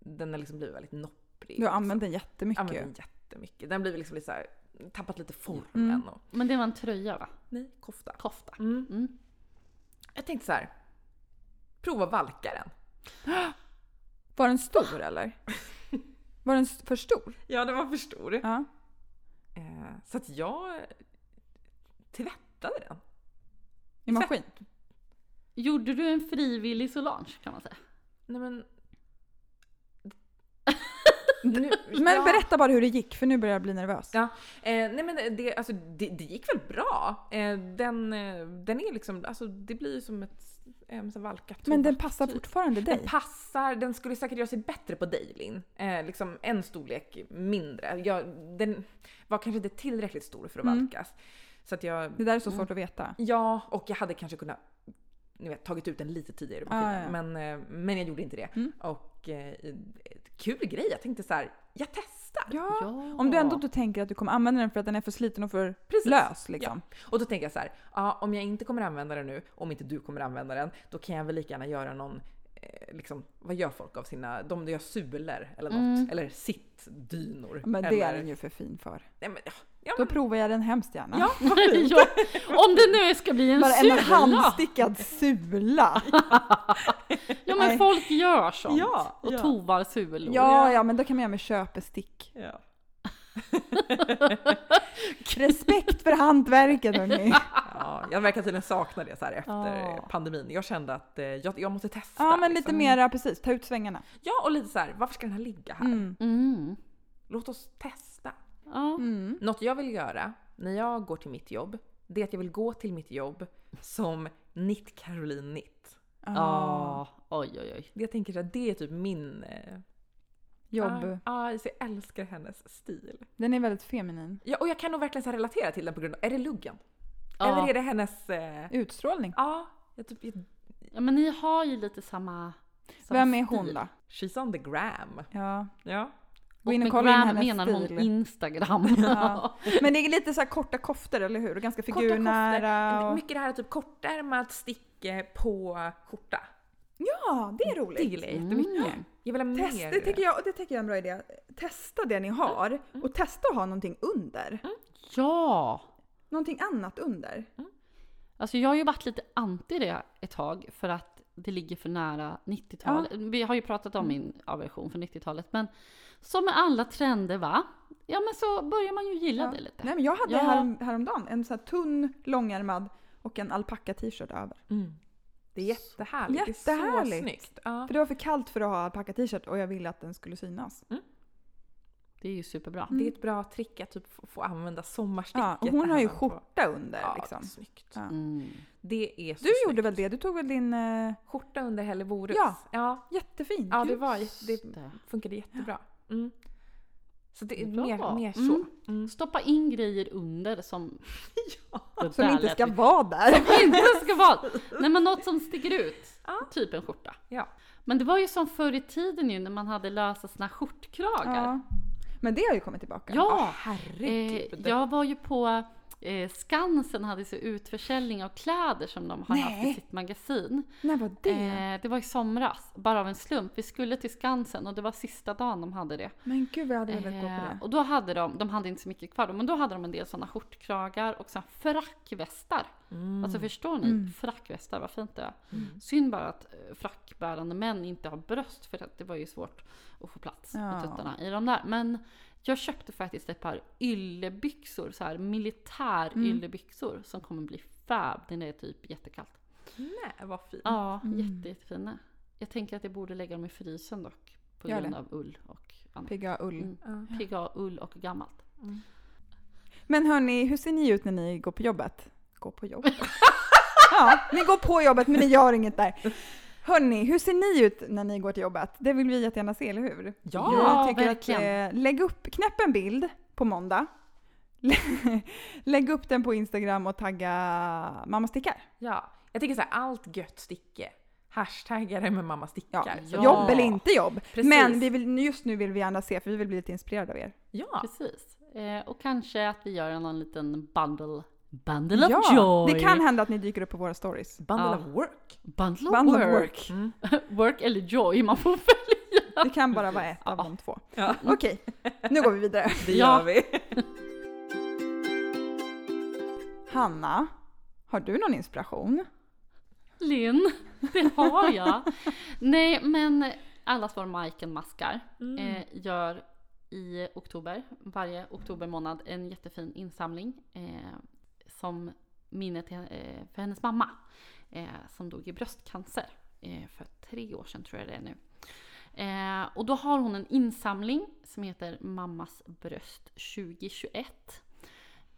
Speaker 3: den har liksom blivit väldigt nopprig.
Speaker 1: Du har
Speaker 3: liksom.
Speaker 1: använt den jättemycket.
Speaker 3: Använt den jättemycket. Den blir liksom lite så här, tappat lite formen
Speaker 1: Mm.
Speaker 3: och...
Speaker 2: Men det var en tröja va?
Speaker 3: Nej, kofta.
Speaker 2: Kofta.
Speaker 3: Mm.
Speaker 2: Mm.
Speaker 3: Jag tänkte så här. Prova att valka den.
Speaker 1: Var den
Speaker 3: Ah.
Speaker 1: stor eller? Var den s- för stor?
Speaker 3: Ja, den var för stor.
Speaker 1: Ja.
Speaker 3: Eh, så att jag tvättade den.
Speaker 1: I maskin?
Speaker 2: Gjorde du en frivillig Solange kan man säga?
Speaker 3: Nej men...
Speaker 1: Men berätta bara hur det gick för nu börjar jag bli nervös.
Speaker 3: Ja, eh, nej men det, alltså, det, det gick väl bra. Eh, den, eh, den är liksom, alltså det blir ju som ett eh, så valkat
Speaker 1: Men den
Speaker 3: tobak,
Speaker 1: passar
Speaker 3: typ.
Speaker 1: fortfarande
Speaker 3: Den
Speaker 1: dig?
Speaker 3: passar, den skulle säkert göra sig bättre på dig Linn. Eh, liksom en storlek mindre. Jag, den var kanske inte tillräckligt stor för att
Speaker 1: Mm.
Speaker 3: valkas. Så att jag,
Speaker 1: Det där är så
Speaker 3: Mm.
Speaker 1: svårt att veta.
Speaker 3: ja och jag hade kanske kunnat ni vet, tagit ut den lite tidigare i maskinen.
Speaker 1: Ah, ja.
Speaker 3: men, eh, men jag gjorde inte det.
Speaker 1: Mm.
Speaker 3: Och eh, kul grej, jag tänkte så här, jag testar!
Speaker 1: Ja. Om du ändå inte tänker att du kommer använda den för att den är för sliten och för
Speaker 3: Precis.
Speaker 1: lös liksom.
Speaker 3: Och då tänker jag så här, ja, om jag inte kommer använda den nu, om inte du kommer använda den, då kan jag väl lika gärna göra någon, eh, liksom, vad gör folk av sina, de gör sulor eller något,
Speaker 2: Mm.
Speaker 3: eller sittdynor.
Speaker 1: Men det
Speaker 3: eller,
Speaker 1: är den ju för fin för.
Speaker 3: Nej, men, ja, ja,
Speaker 1: Då
Speaker 3: men,
Speaker 1: provar jag den hemskt gärna.
Speaker 3: ja,
Speaker 2: ja, om det nu ska bli en
Speaker 1: Bara en
Speaker 2: sula!
Speaker 1: handstickad sula.
Speaker 2: Ja
Speaker 1: Nej.
Speaker 2: men folk gör sånt.
Speaker 3: Ja,
Speaker 2: och
Speaker 3: ja.
Speaker 2: tovar sulor.
Speaker 1: Ja, ja, men då kan man göra med köpestick.
Speaker 3: ja.
Speaker 1: Respekt för hantverket hörni.
Speaker 3: ja, jag verkar tydligen sakna det så här efter
Speaker 2: Ja.
Speaker 3: pandemin. Jag kände att eh, jag, jag måste testa.
Speaker 1: Ja, men lite
Speaker 3: liksom.
Speaker 1: mera precis. Ta ut svängarna.
Speaker 3: Ja, och lite så här, varför ska den här ligga här?
Speaker 1: Mm.
Speaker 2: Mm.
Speaker 3: Låt oss testa.
Speaker 2: Ja.
Speaker 1: Mm.
Speaker 3: Något jag vill göra när jag går till mitt jobb, det är att jag vill gå till mitt jobb som Knit Caroline Knit.
Speaker 1: Ah,
Speaker 2: Ja. Oj, oj, oj.
Speaker 3: Jag tänker att det är typ min... eh,
Speaker 1: jobb.
Speaker 3: Ja, ja, så jag älskar hennes stil.
Speaker 1: Den är väldigt feminin.
Speaker 3: Ja, och jag kan nog verkligen så här relatera till den på grund av, är det luggen? Eller
Speaker 2: Ja.
Speaker 3: är det hennes... eh,
Speaker 1: Utstrålning.
Speaker 3: Ja, jag typ... Jag,
Speaker 2: ja, men ni har ju lite samma... samma
Speaker 1: Vem är
Speaker 2: stil.
Speaker 1: hon då?
Speaker 3: she's on the gram.
Speaker 1: Ja.
Speaker 3: Ja.
Speaker 1: Gå in och
Speaker 2: med
Speaker 1: kolla in
Speaker 2: gram
Speaker 1: hennes
Speaker 2: menar
Speaker 1: stil.
Speaker 2: hon Instagram.
Speaker 1: Ja. Men det är lite så här korta koftor, eller hur? Och ganska
Speaker 3: Korta
Speaker 1: figurnära.
Speaker 3: koftor.
Speaker 1: Och...
Speaker 3: Mycket det här typ kortärmat stick eh, på skjorta.
Speaker 1: Ja, det är
Speaker 3: Det
Speaker 1: roligt.
Speaker 3: gillar jag jättemycket. Jag vill ha mer...
Speaker 1: Test, det, tycker jag, det tycker jag är en bra idé. Testa det ni har och testa att ha någonting under.
Speaker 2: Ja!
Speaker 1: Någonting annat under.
Speaker 2: Alltså jag har ju varit lite anti det ett tag för att det ligger för nära 90-talet. Vi har ju pratat om
Speaker 1: Mm.
Speaker 2: min aversion för 90-talet men som med alla trender va? Ja men så börjar man ju gilla
Speaker 1: Ja.
Speaker 2: det lite.
Speaker 1: Nej, men jag hade
Speaker 2: Ja.
Speaker 1: härom, häromdagen en sån här tunn, långärmad och en alpacka t-shirt över.
Speaker 3: Mm. Det är jättehärligt. Det är
Speaker 1: Jättehärligt.
Speaker 3: så snyggt. Ja.
Speaker 1: För det var för kallt för att ha alpacka t-shirt och jag ville att den skulle synas.
Speaker 2: Det är ju superbra.
Speaker 3: Det är ett bra trick att typ få- få använda sommarsticket.
Speaker 1: Mm. Ja, och hon har ju
Speaker 3: hemma på-
Speaker 1: skjorta under
Speaker 3: Ja,
Speaker 1: liksom.
Speaker 3: snyggt.
Speaker 1: Ja.
Speaker 2: Mm.
Speaker 3: Det är så
Speaker 1: Du
Speaker 3: snyggt.
Speaker 1: gjorde väl det? Du tog väl din... eh,
Speaker 3: Skjorta under Helleborus.
Speaker 1: Ja.
Speaker 3: ja.
Speaker 1: jättefin.
Speaker 3: Ja,
Speaker 1: Du-
Speaker 3: det var det
Speaker 2: Det.
Speaker 3: funkade jättebra. Mm. Så det är
Speaker 2: Bra.
Speaker 3: mer, mer så.
Speaker 2: Mm.
Speaker 3: Mm.
Speaker 2: Stoppa in grejer under som... Det
Speaker 1: Som
Speaker 2: där
Speaker 1: inte
Speaker 2: lät
Speaker 1: ska
Speaker 2: ju-
Speaker 1: vara där.
Speaker 2: inte ska vara. Nej men något som sticker ut.
Speaker 3: Ja.
Speaker 2: Typ en skjorta.
Speaker 3: Ja.
Speaker 2: Men det var ju som förr i tiden ju när man hade lösa såna här skjortkragar.
Speaker 1: Ja. Men det har ju kommit tillbaka.
Speaker 2: Ja!
Speaker 3: Ah, herregud. Mm.
Speaker 2: Eh, jag var ju på eh, Skansen hade så utförsäljning av kläder som de har haft
Speaker 1: Nej.
Speaker 2: i sitt magasin.
Speaker 1: När var det?
Speaker 2: Eh, det var i somras, bara av en slump. Vi skulle till Skansen och det var sista dagen de hade det.
Speaker 1: Men gud vad jag hade velat gå på
Speaker 2: Eh,
Speaker 1: det.
Speaker 2: och då hade de, de hade inte så mycket kvar då, men då hade de en del sådana skjortkragar och så här frackvästar.
Speaker 3: Mm.
Speaker 2: Alltså förstår ni? Frackvästar, vad fint det är.
Speaker 1: Mm.
Speaker 2: Synd bara att eh, frackbärande män inte har bröst för att det var ju svårt att få plats
Speaker 1: Ja.
Speaker 2: med tuttarna i de där. Men jag köpte faktiskt ett par yllebyxor, så här militär
Speaker 1: Mm.
Speaker 2: yllebyxor som kommer bli fab när det är typ jättekallt.
Speaker 3: Nej, vad fint.
Speaker 1: Mm.
Speaker 2: Ja, jätte, jättefina. Jag tänker att jag borde lägga dem i frysen dock. på
Speaker 1: Gör
Speaker 2: grund
Speaker 1: det.
Speaker 2: av ull och annat.
Speaker 1: Pigga ull.
Speaker 2: Mm.
Speaker 3: Ja.
Speaker 2: Pigga, ull och gammalt.
Speaker 1: Men hörni, hur ser ni ut när ni går på jobbet? Går på jobbet? ja, ni går på jobbet men ni gör inget där. Hörni, hur ser ni ut när ni går till jobbet? Det vill vi jättegärna se, eller hur?
Speaker 3: Ja,
Speaker 1: Vi tycker
Speaker 2: verkligen.
Speaker 1: Att, eh, lägg upp, knäpp en bild på måndag. lägg upp den på Instagram och tagga mamma stickar.
Speaker 3: ja. Jag tycker så här, allt gött sticke. Hashtaggar det med mamma
Speaker 1: Ja.
Speaker 3: stickar.
Speaker 2: Ja.
Speaker 1: Jobb eller inte jobb.
Speaker 3: Precis.
Speaker 1: Men vi vill, just nu vill vi gärna se, för vi vill bli lite inspirerade av er.
Speaker 3: Ja,
Speaker 2: Precis. Eh, och kanske att vi gör en annan liten bundle. Bundle of joy!
Speaker 1: det kan hända att ni dyker upp på våra stories.
Speaker 3: bundle
Speaker 2: Ja.
Speaker 3: of work.
Speaker 2: Bundle,
Speaker 1: Bundle
Speaker 2: of
Speaker 1: of
Speaker 2: work.
Speaker 1: work.
Speaker 3: Mm.
Speaker 2: work eller joy, man får välja.
Speaker 1: Det kan bara vara ett av
Speaker 2: Ja.
Speaker 1: de två.
Speaker 3: Ja.
Speaker 1: Okej, nu går vi vidare.
Speaker 3: Det
Speaker 2: Ja.
Speaker 3: gör vi.
Speaker 1: Hanna, har du någon inspiration?
Speaker 2: Linn, det har jag. Nej, men allas vår Majken Maskar eh, gör i oktober, varje oktober månad, en jättefin insamling eh, som minne till, eh, för hennes mamma eh, som dog i bröstcancer eh, för tre år sedan tror jag det är nu. Eh, och då har hon en insamling som heter Mammas bröst 2021.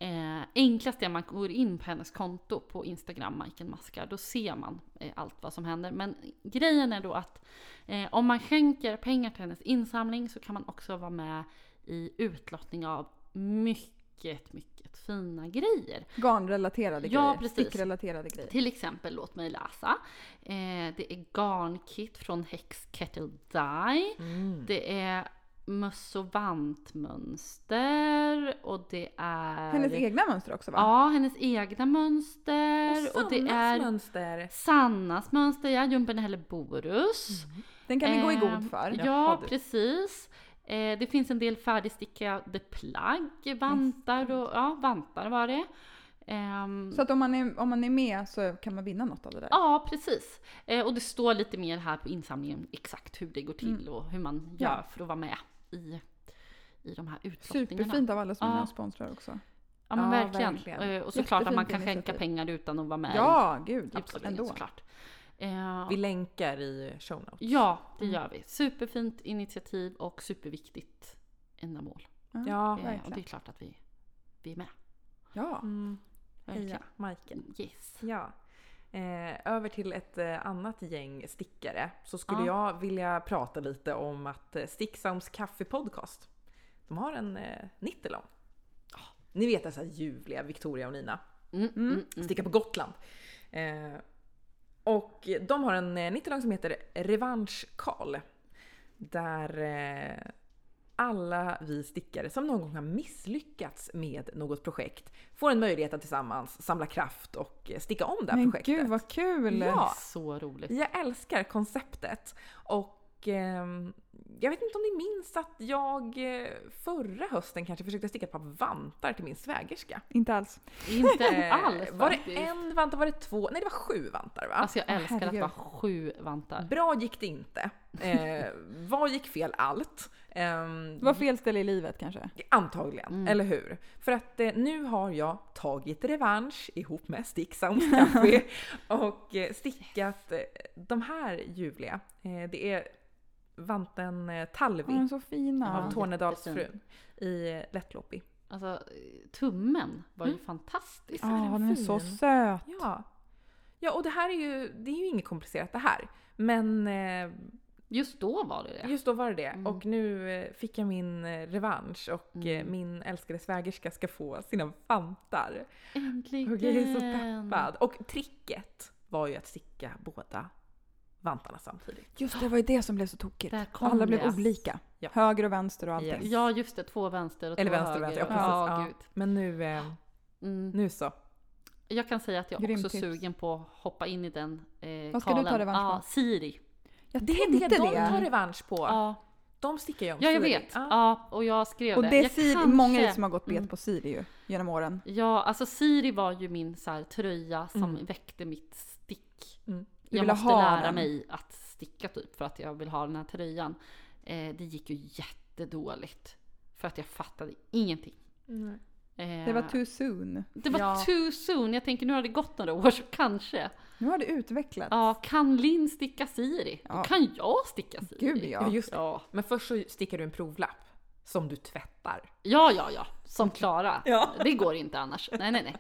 Speaker 2: Eh, enklast är att man går in på hennes konto på Instagram, Majken Maskar. Då ser man eh, allt vad som händer. Men grejen är då att eh, om man skänker pengar till hennes insamling så kan man också vara med i utlottning av mycket, mycket fina grejer.
Speaker 1: Garnrelaterade
Speaker 2: Ja,
Speaker 1: grejer,
Speaker 2: precis.
Speaker 1: stickrelaterade grejer.
Speaker 2: Till exempel Låt mig läsa. Eh, det är garnkit från Hex Kettle Dye.
Speaker 3: Mm.
Speaker 2: Det är möss och vantmönster och det är...
Speaker 1: Hennes egna mönster också va?
Speaker 2: Ja, hennes egna mönster. Och, det är
Speaker 3: mönster.
Speaker 2: Sannas mönster, ja. Jumpenhelle Borus.
Speaker 1: Den Mm. kan vi gå i
Speaker 2: Ehm,
Speaker 1: god för.
Speaker 2: Ja,
Speaker 3: Jaha, du.
Speaker 2: precis. Eh, det finns en del färdigstickade plagg, vantar och ja, vantar var det. Ehm,
Speaker 1: Så att om man, är, om man är med så kan man vinna något av det där.
Speaker 2: Ja, precis. Eh, och det står lite mer här på insamlingen exakt hur det går till och hur man gör
Speaker 1: Mm. Ja.
Speaker 2: för att vara med i, i de här utlottningarna.
Speaker 1: Superfint av alla som är med
Speaker 2: Ja.
Speaker 1: och sponsrar också.
Speaker 2: Ja, men
Speaker 3: Ja,
Speaker 2: verkligen.
Speaker 3: verkligen.
Speaker 2: Eh, och såklart att man
Speaker 1: Jättefint
Speaker 2: kan skänka
Speaker 1: initiativ.
Speaker 2: pengar utan att vara med
Speaker 1: Ja, gud.
Speaker 2: i utlottningen
Speaker 1: ändå.
Speaker 2: såklart. Eh,
Speaker 3: Vi länkar i show notes.
Speaker 2: ja, det gör vi. Superfint initiativ och superviktigt ändamål.
Speaker 3: Ja.
Speaker 2: Eh, och det är
Speaker 1: Verkligen.
Speaker 2: klart att vi, vi är med.
Speaker 1: Ja.
Speaker 3: Mm.
Speaker 2: Verkligen.
Speaker 3: Heja, Majken.
Speaker 2: Yes.
Speaker 3: Ja. Eh, över till ett eh, annat gäng stickare så skulle
Speaker 2: Ja.
Speaker 3: jag vilja prata lite om att eh, Sticksounds kaffepodcast. De har en eh, nittelång. Ni vet dessa ljuvliga Victoria och Nina.
Speaker 2: Mm, mm, mm.
Speaker 3: Sticka på Gotland. Eh, och de har en eh, nittelång som heter Revansch Karl. Där eh, alla vi stickare som någon gång har misslyckats med något projekt får en möjlighet att tillsammans samla kraft och eh, sticka om det här
Speaker 1: Men
Speaker 3: projektet.
Speaker 1: gud vad kul!
Speaker 3: Ja.
Speaker 2: Så roligt.
Speaker 3: Jag älskar konceptet. Och ehm, jag vet inte om ni minns att jag eh, förra hösten kanske försökte sticka ett par vantar till min svägerska.
Speaker 1: Inte alls.
Speaker 2: Inte
Speaker 3: Eh,
Speaker 2: alls
Speaker 3: Var det
Speaker 2: faktiskt.
Speaker 3: en vant och var det två? Nej det var sju vantar va?
Speaker 2: Alltså jag
Speaker 1: Åh,
Speaker 2: älskar att
Speaker 1: herregud.
Speaker 2: vara sju vantar.
Speaker 3: Bra gick det inte. Eh, vad gick fel? Allt. Ehm,
Speaker 1: Det var fel ställe i livet kanske.
Speaker 3: Antagligen, eller hur? För att eh, nu har jag tagit revansch ihop med Sticksounds Café och eh, stickat eh, de här ljuvliga. Eh, det är vanten eh, Talvi
Speaker 1: De är så fina.
Speaker 3: av
Speaker 2: Ja.
Speaker 3: Tornedalsfrun i eh, Lättloppig.
Speaker 2: Alltså tummen var
Speaker 3: Mm.
Speaker 2: ju fantastisk.
Speaker 1: Ja,
Speaker 3: är den
Speaker 1: den är så
Speaker 3: fin.
Speaker 1: söt.
Speaker 3: Ja. ja, och det här är ju, det är ju inget komplicerat det här. Men eh,
Speaker 2: Just då var det det.
Speaker 3: Just då var det det.
Speaker 2: Mm.
Speaker 3: Och nu eh, fick jag min eh, revansch och eh,
Speaker 2: Mm.
Speaker 3: min älskade svägerska ska få sina vantar.
Speaker 2: Mm. Äntligen!
Speaker 3: Och jag är så peppad. Och tricket var ju att sticka båda vantarna samtidigt.
Speaker 1: Just det, det var ju det som blev så tokigt.
Speaker 2: Där kom
Speaker 1: Alla blev
Speaker 2: det.
Speaker 1: olika.
Speaker 3: Ja.
Speaker 1: Höger och vänster och allting.
Speaker 3: Yes.
Speaker 2: Ja just det, två vänster och
Speaker 3: Eller
Speaker 2: två
Speaker 3: vänster och
Speaker 2: höger.
Speaker 3: vänster, ja, precis.
Speaker 2: ja,
Speaker 3: Ja.
Speaker 2: gud.
Speaker 3: Men nu, eh,
Speaker 2: Mm.
Speaker 3: nu så.
Speaker 2: Jag kan säga att jag
Speaker 1: Grymt
Speaker 2: också är
Speaker 1: tips.
Speaker 2: sugen på att hoppa in i den eh,
Speaker 1: Vad ska du ta
Speaker 2: kalen.
Speaker 1: revansch på?
Speaker 2: Ja, Siri.
Speaker 1: Jag
Speaker 3: Det är det
Speaker 1: tänkte
Speaker 3: de
Speaker 1: det.
Speaker 3: tar revansch på.
Speaker 2: Ja,
Speaker 3: De stickar ju om
Speaker 2: ja jag
Speaker 3: Siri.
Speaker 2: vet.
Speaker 3: Ja.
Speaker 2: Ja, och jag skrev
Speaker 1: Och det är
Speaker 2: Jag
Speaker 1: Siri,
Speaker 2: kanske- mm.
Speaker 1: många som har gått bet på Siri ju, genom åren.
Speaker 2: Ja, alltså Siri var ju min så här, tröja som väckte mitt stick.
Speaker 3: Mm.
Speaker 1: Du
Speaker 2: Jag
Speaker 1: ville
Speaker 2: måste
Speaker 1: ha
Speaker 2: lära
Speaker 1: den.
Speaker 2: mig att sticka typ för att jag vill ha den här tröjan. Eh, det gick ju jättedåligt. För att jag fattade ingenting.
Speaker 3: Nej.
Speaker 2: Eh,
Speaker 1: Det var too soon.
Speaker 2: det var
Speaker 3: Ja.
Speaker 2: too soon. Jag tänker nu har det gått några år så kanske.
Speaker 1: Nu har det utvecklats.
Speaker 2: Ja, kan Linn sticka siri?
Speaker 1: Ja.
Speaker 2: Då kan jag sticka siri.
Speaker 1: Gud ja.
Speaker 3: Ja, just det.
Speaker 2: Ja,
Speaker 3: Men först så stickar du en provlapp som du tvättar.
Speaker 2: ja, ja, ja. som Klara.
Speaker 3: Ja.
Speaker 2: Det går inte annars. Nej, nej, nej.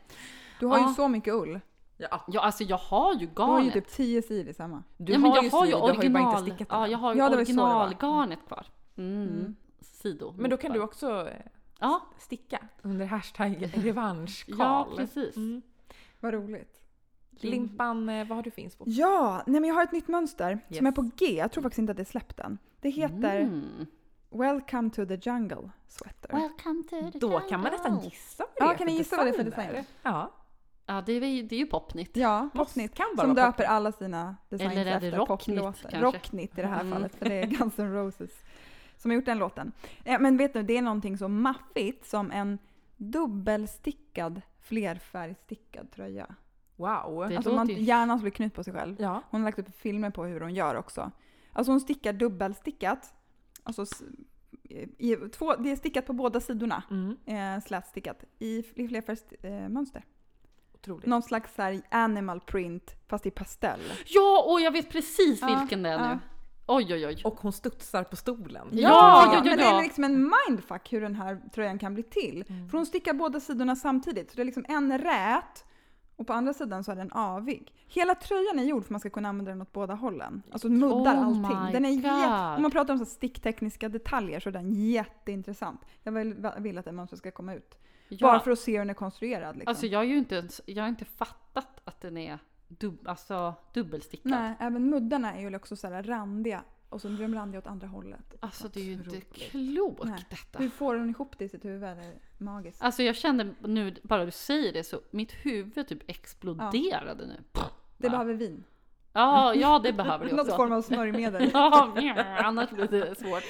Speaker 1: Du har ju
Speaker 2: Ja.
Speaker 1: så mycket ull.
Speaker 3: Ja,
Speaker 2: Ja, alltså jag har ju
Speaker 1: Du har ju
Speaker 2: garnet.
Speaker 1: typ 10 sidor samma.
Speaker 3: du
Speaker 2: ja, men
Speaker 3: har,
Speaker 2: jag
Speaker 3: ju
Speaker 2: har
Speaker 3: syd,
Speaker 2: ju
Speaker 3: du har ju bara
Speaker 2: original.
Speaker 3: inte stickat den
Speaker 2: ja,
Speaker 3: än.
Speaker 2: jag har ju
Speaker 1: Ja, det var ju så det var.
Speaker 2: originalgarnet kvar. Mm. Sido.
Speaker 3: Men då kan du också eh,
Speaker 2: Ja,
Speaker 3: sticka under hashtaggen revanschkal.
Speaker 2: ja precis.
Speaker 3: Mm.
Speaker 1: Vad roligt.
Speaker 3: Limpan, eh, vad har du finns på?
Speaker 1: Ja, nej men jag har ett nytt mönster
Speaker 3: Yes.
Speaker 1: som är på G. Jag tror faktiskt inte att det är släppt än. Det heter
Speaker 2: Mm.
Speaker 1: Welcome to the jungle sweater.
Speaker 2: Welcome to the
Speaker 3: Då kan man nästan
Speaker 2: jungle.
Speaker 3: gissa vad det
Speaker 1: Ja,
Speaker 3: är
Speaker 1: kan ni gissa vad det är för
Speaker 3: där.
Speaker 1: design?
Speaker 3: Ja,
Speaker 2: Ja, det är, ju- det är ju popnytt.
Speaker 1: Ja,
Speaker 3: Måste-
Speaker 1: Popknit.
Speaker 3: kan bara
Speaker 1: Som
Speaker 3: vara
Speaker 1: döper alla sina designs
Speaker 2: Eller är det
Speaker 1: efter
Speaker 2: Rocknit,
Speaker 1: poplåtar.
Speaker 2: kanske?
Speaker 1: Rocknit i det här
Speaker 2: Mm.
Speaker 1: fallet, för det är Guns N' Roses som har gjort den låten. Eh, Men vet du, det är någonting så maffigt som en dubbelstickad flerfärgstickad tröja.
Speaker 3: wow.
Speaker 1: Alltså
Speaker 2: Det låter
Speaker 1: man,
Speaker 2: ju-
Speaker 1: hjärnan skulle knyta på sig själv.
Speaker 3: Ja,
Speaker 1: Hon har lagt upp filmer på hur hon gör också. Alltså hon stickar dubbelstickat. Alltså s- i, två, det är stickat på båda sidorna.
Speaker 3: mm.
Speaker 1: Eh, slätstickat i, fl- i flerfärgsmönster. Eh, mönster.
Speaker 3: otroligt.
Speaker 1: Någon slags så här animal print fast i pastell.
Speaker 2: Ja, och jag vet precis
Speaker 1: Ja,
Speaker 2: vilken det är
Speaker 1: ja.
Speaker 2: nu. Oj, oj, oj.
Speaker 3: Och hon studsar på stolen.
Speaker 2: Ja, ja, ja, Mm.
Speaker 1: men det
Speaker 2: ja.
Speaker 1: är liksom en mindfuck hur den här tröjan kan bli till.
Speaker 2: Mm.
Speaker 1: För hon stickar båda sidorna samtidigt. Så det är liksom en rät och på andra sidan så är den avig. Hela tröjan är gjord för att man ska kunna använda den åt båda hållen. Alltså den muddar
Speaker 2: Oh my
Speaker 1: allting. Den är jätte-
Speaker 2: God.
Speaker 1: om man pratar om så här sticktekniska detaljer så är den jätteintressant. Jag vill, vill att det mönstret ska komma ut. Bara
Speaker 2: Ja,
Speaker 1: för att se hur den är konstruerad. Liksom.
Speaker 2: alltså jag har ju inte ens, jag har inte fattat att den är dub, alltså, dubbelstickad.
Speaker 1: Nej, även muddarna är ju också så här randiga. Och så blir de randiga åt andra hållet.
Speaker 2: Alltså det är ju inte
Speaker 3: Otroligt.
Speaker 2: klokt
Speaker 1: Nej.
Speaker 2: detta.
Speaker 1: Hur får hon ihop det i sitt huvud? Det är magiskt.
Speaker 2: Alltså jag kände nu, bara du säger det så mitt huvud typ exploderade nu. Pff.
Speaker 1: Det
Speaker 2: Ja.
Speaker 1: behöver vin.
Speaker 2: Ja, ja det behöver det
Speaker 1: Någon
Speaker 2: också.
Speaker 1: form av smörjmedel.
Speaker 2: Ja, mjau, annars blir det svårt.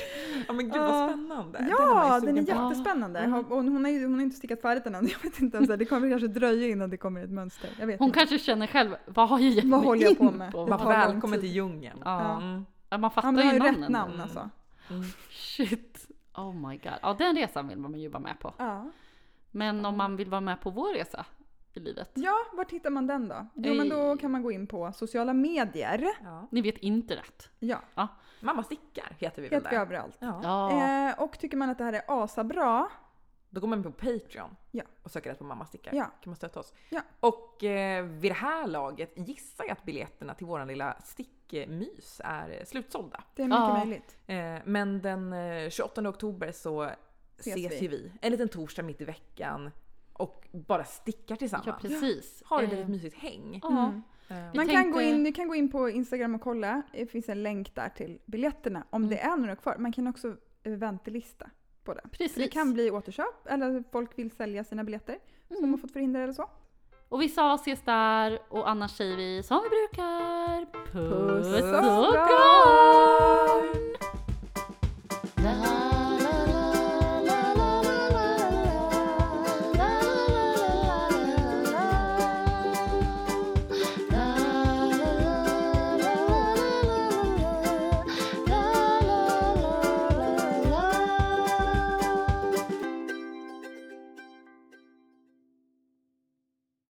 Speaker 3: Ja men gud vad
Speaker 1: Ja.
Speaker 3: spännande. Den är man
Speaker 1: Ja,
Speaker 3: ju
Speaker 1: den är
Speaker 3: sugen på.
Speaker 1: jättespännande.
Speaker 2: Mm.
Speaker 1: Och hon har ju hon har inte stickat färdigt den än. Jag vet inte ens, det kommer kanske dröja innan det kommer ett mönster. Jag vet
Speaker 2: Hon
Speaker 1: inte.
Speaker 2: kanske känner själv, vad har jag gett
Speaker 1: Vad
Speaker 2: mig
Speaker 1: håller jag
Speaker 2: in
Speaker 1: på med?
Speaker 2: på?
Speaker 1: Det
Speaker 3: Man
Speaker 1: tar
Speaker 3: får
Speaker 1: lång
Speaker 3: välkommen
Speaker 1: tid.
Speaker 3: till djungeln.
Speaker 2: Ja.
Speaker 3: Mm.
Speaker 2: Ja, man fattar
Speaker 1: Ja, men
Speaker 2: ju
Speaker 1: har ju
Speaker 2: namnen.
Speaker 1: rätt namn alltså.
Speaker 2: Shit. Oh my god. Ja, den resan vill man ju vara med på.
Speaker 1: Ja.
Speaker 2: Men om man vill vara med på vår resa i livet.
Speaker 1: ja, vart hittar man den då? Jo, men då kan man gå in på sociala medier.
Speaker 3: Ja.
Speaker 2: Ni vet internet.
Speaker 1: Ja,
Speaker 3: Mamma stickar heter vi väl
Speaker 1: heter vi
Speaker 3: där?
Speaker 1: överallt.
Speaker 3: Ja.
Speaker 2: Ja.
Speaker 1: Eh, och tycker man att det här är asabra,
Speaker 3: Då går man på Patreon
Speaker 1: Ja.
Speaker 3: och söker rätt på Mamma stickar.
Speaker 1: Ja.
Speaker 3: kan man stötta oss.
Speaker 1: Ja.
Speaker 3: Och eh, vid det här laget gissar jag att biljetterna till våran lilla stickmys är eh, slutsålda.
Speaker 1: det är mycket
Speaker 2: Ja.
Speaker 1: möjligt.
Speaker 3: Eh, men den eh, 28 oktober så ses,
Speaker 1: vi.
Speaker 3: vi. ju vi. En liten torsdag mitt i veckan och bara stickar
Speaker 2: ja,
Speaker 3: tillsammans.
Speaker 2: precis.
Speaker 3: Har ett
Speaker 2: Eh,
Speaker 3: litet mysigt häng.
Speaker 2: Ja.
Speaker 1: Mm.
Speaker 3: Eh,
Speaker 2: Vi
Speaker 1: Man kan
Speaker 2: tänkte-
Speaker 1: gå, in, ni kan gå in på Instagram och kolla. Det finns en länk där till biljetterna om
Speaker 2: Mm.
Speaker 1: det är några kvar. Man kan också eh, väntelista på den.
Speaker 2: Precis.
Speaker 1: För det kan bli återköp eller folk vill sälja sina biljetter som har fått förhinder eller så.
Speaker 2: Och vi sa ses där och annars säger vi som vi brukar. Puss,
Speaker 1: Puss och
Speaker 2: och
Speaker 1: kram!
Speaker 2: kram!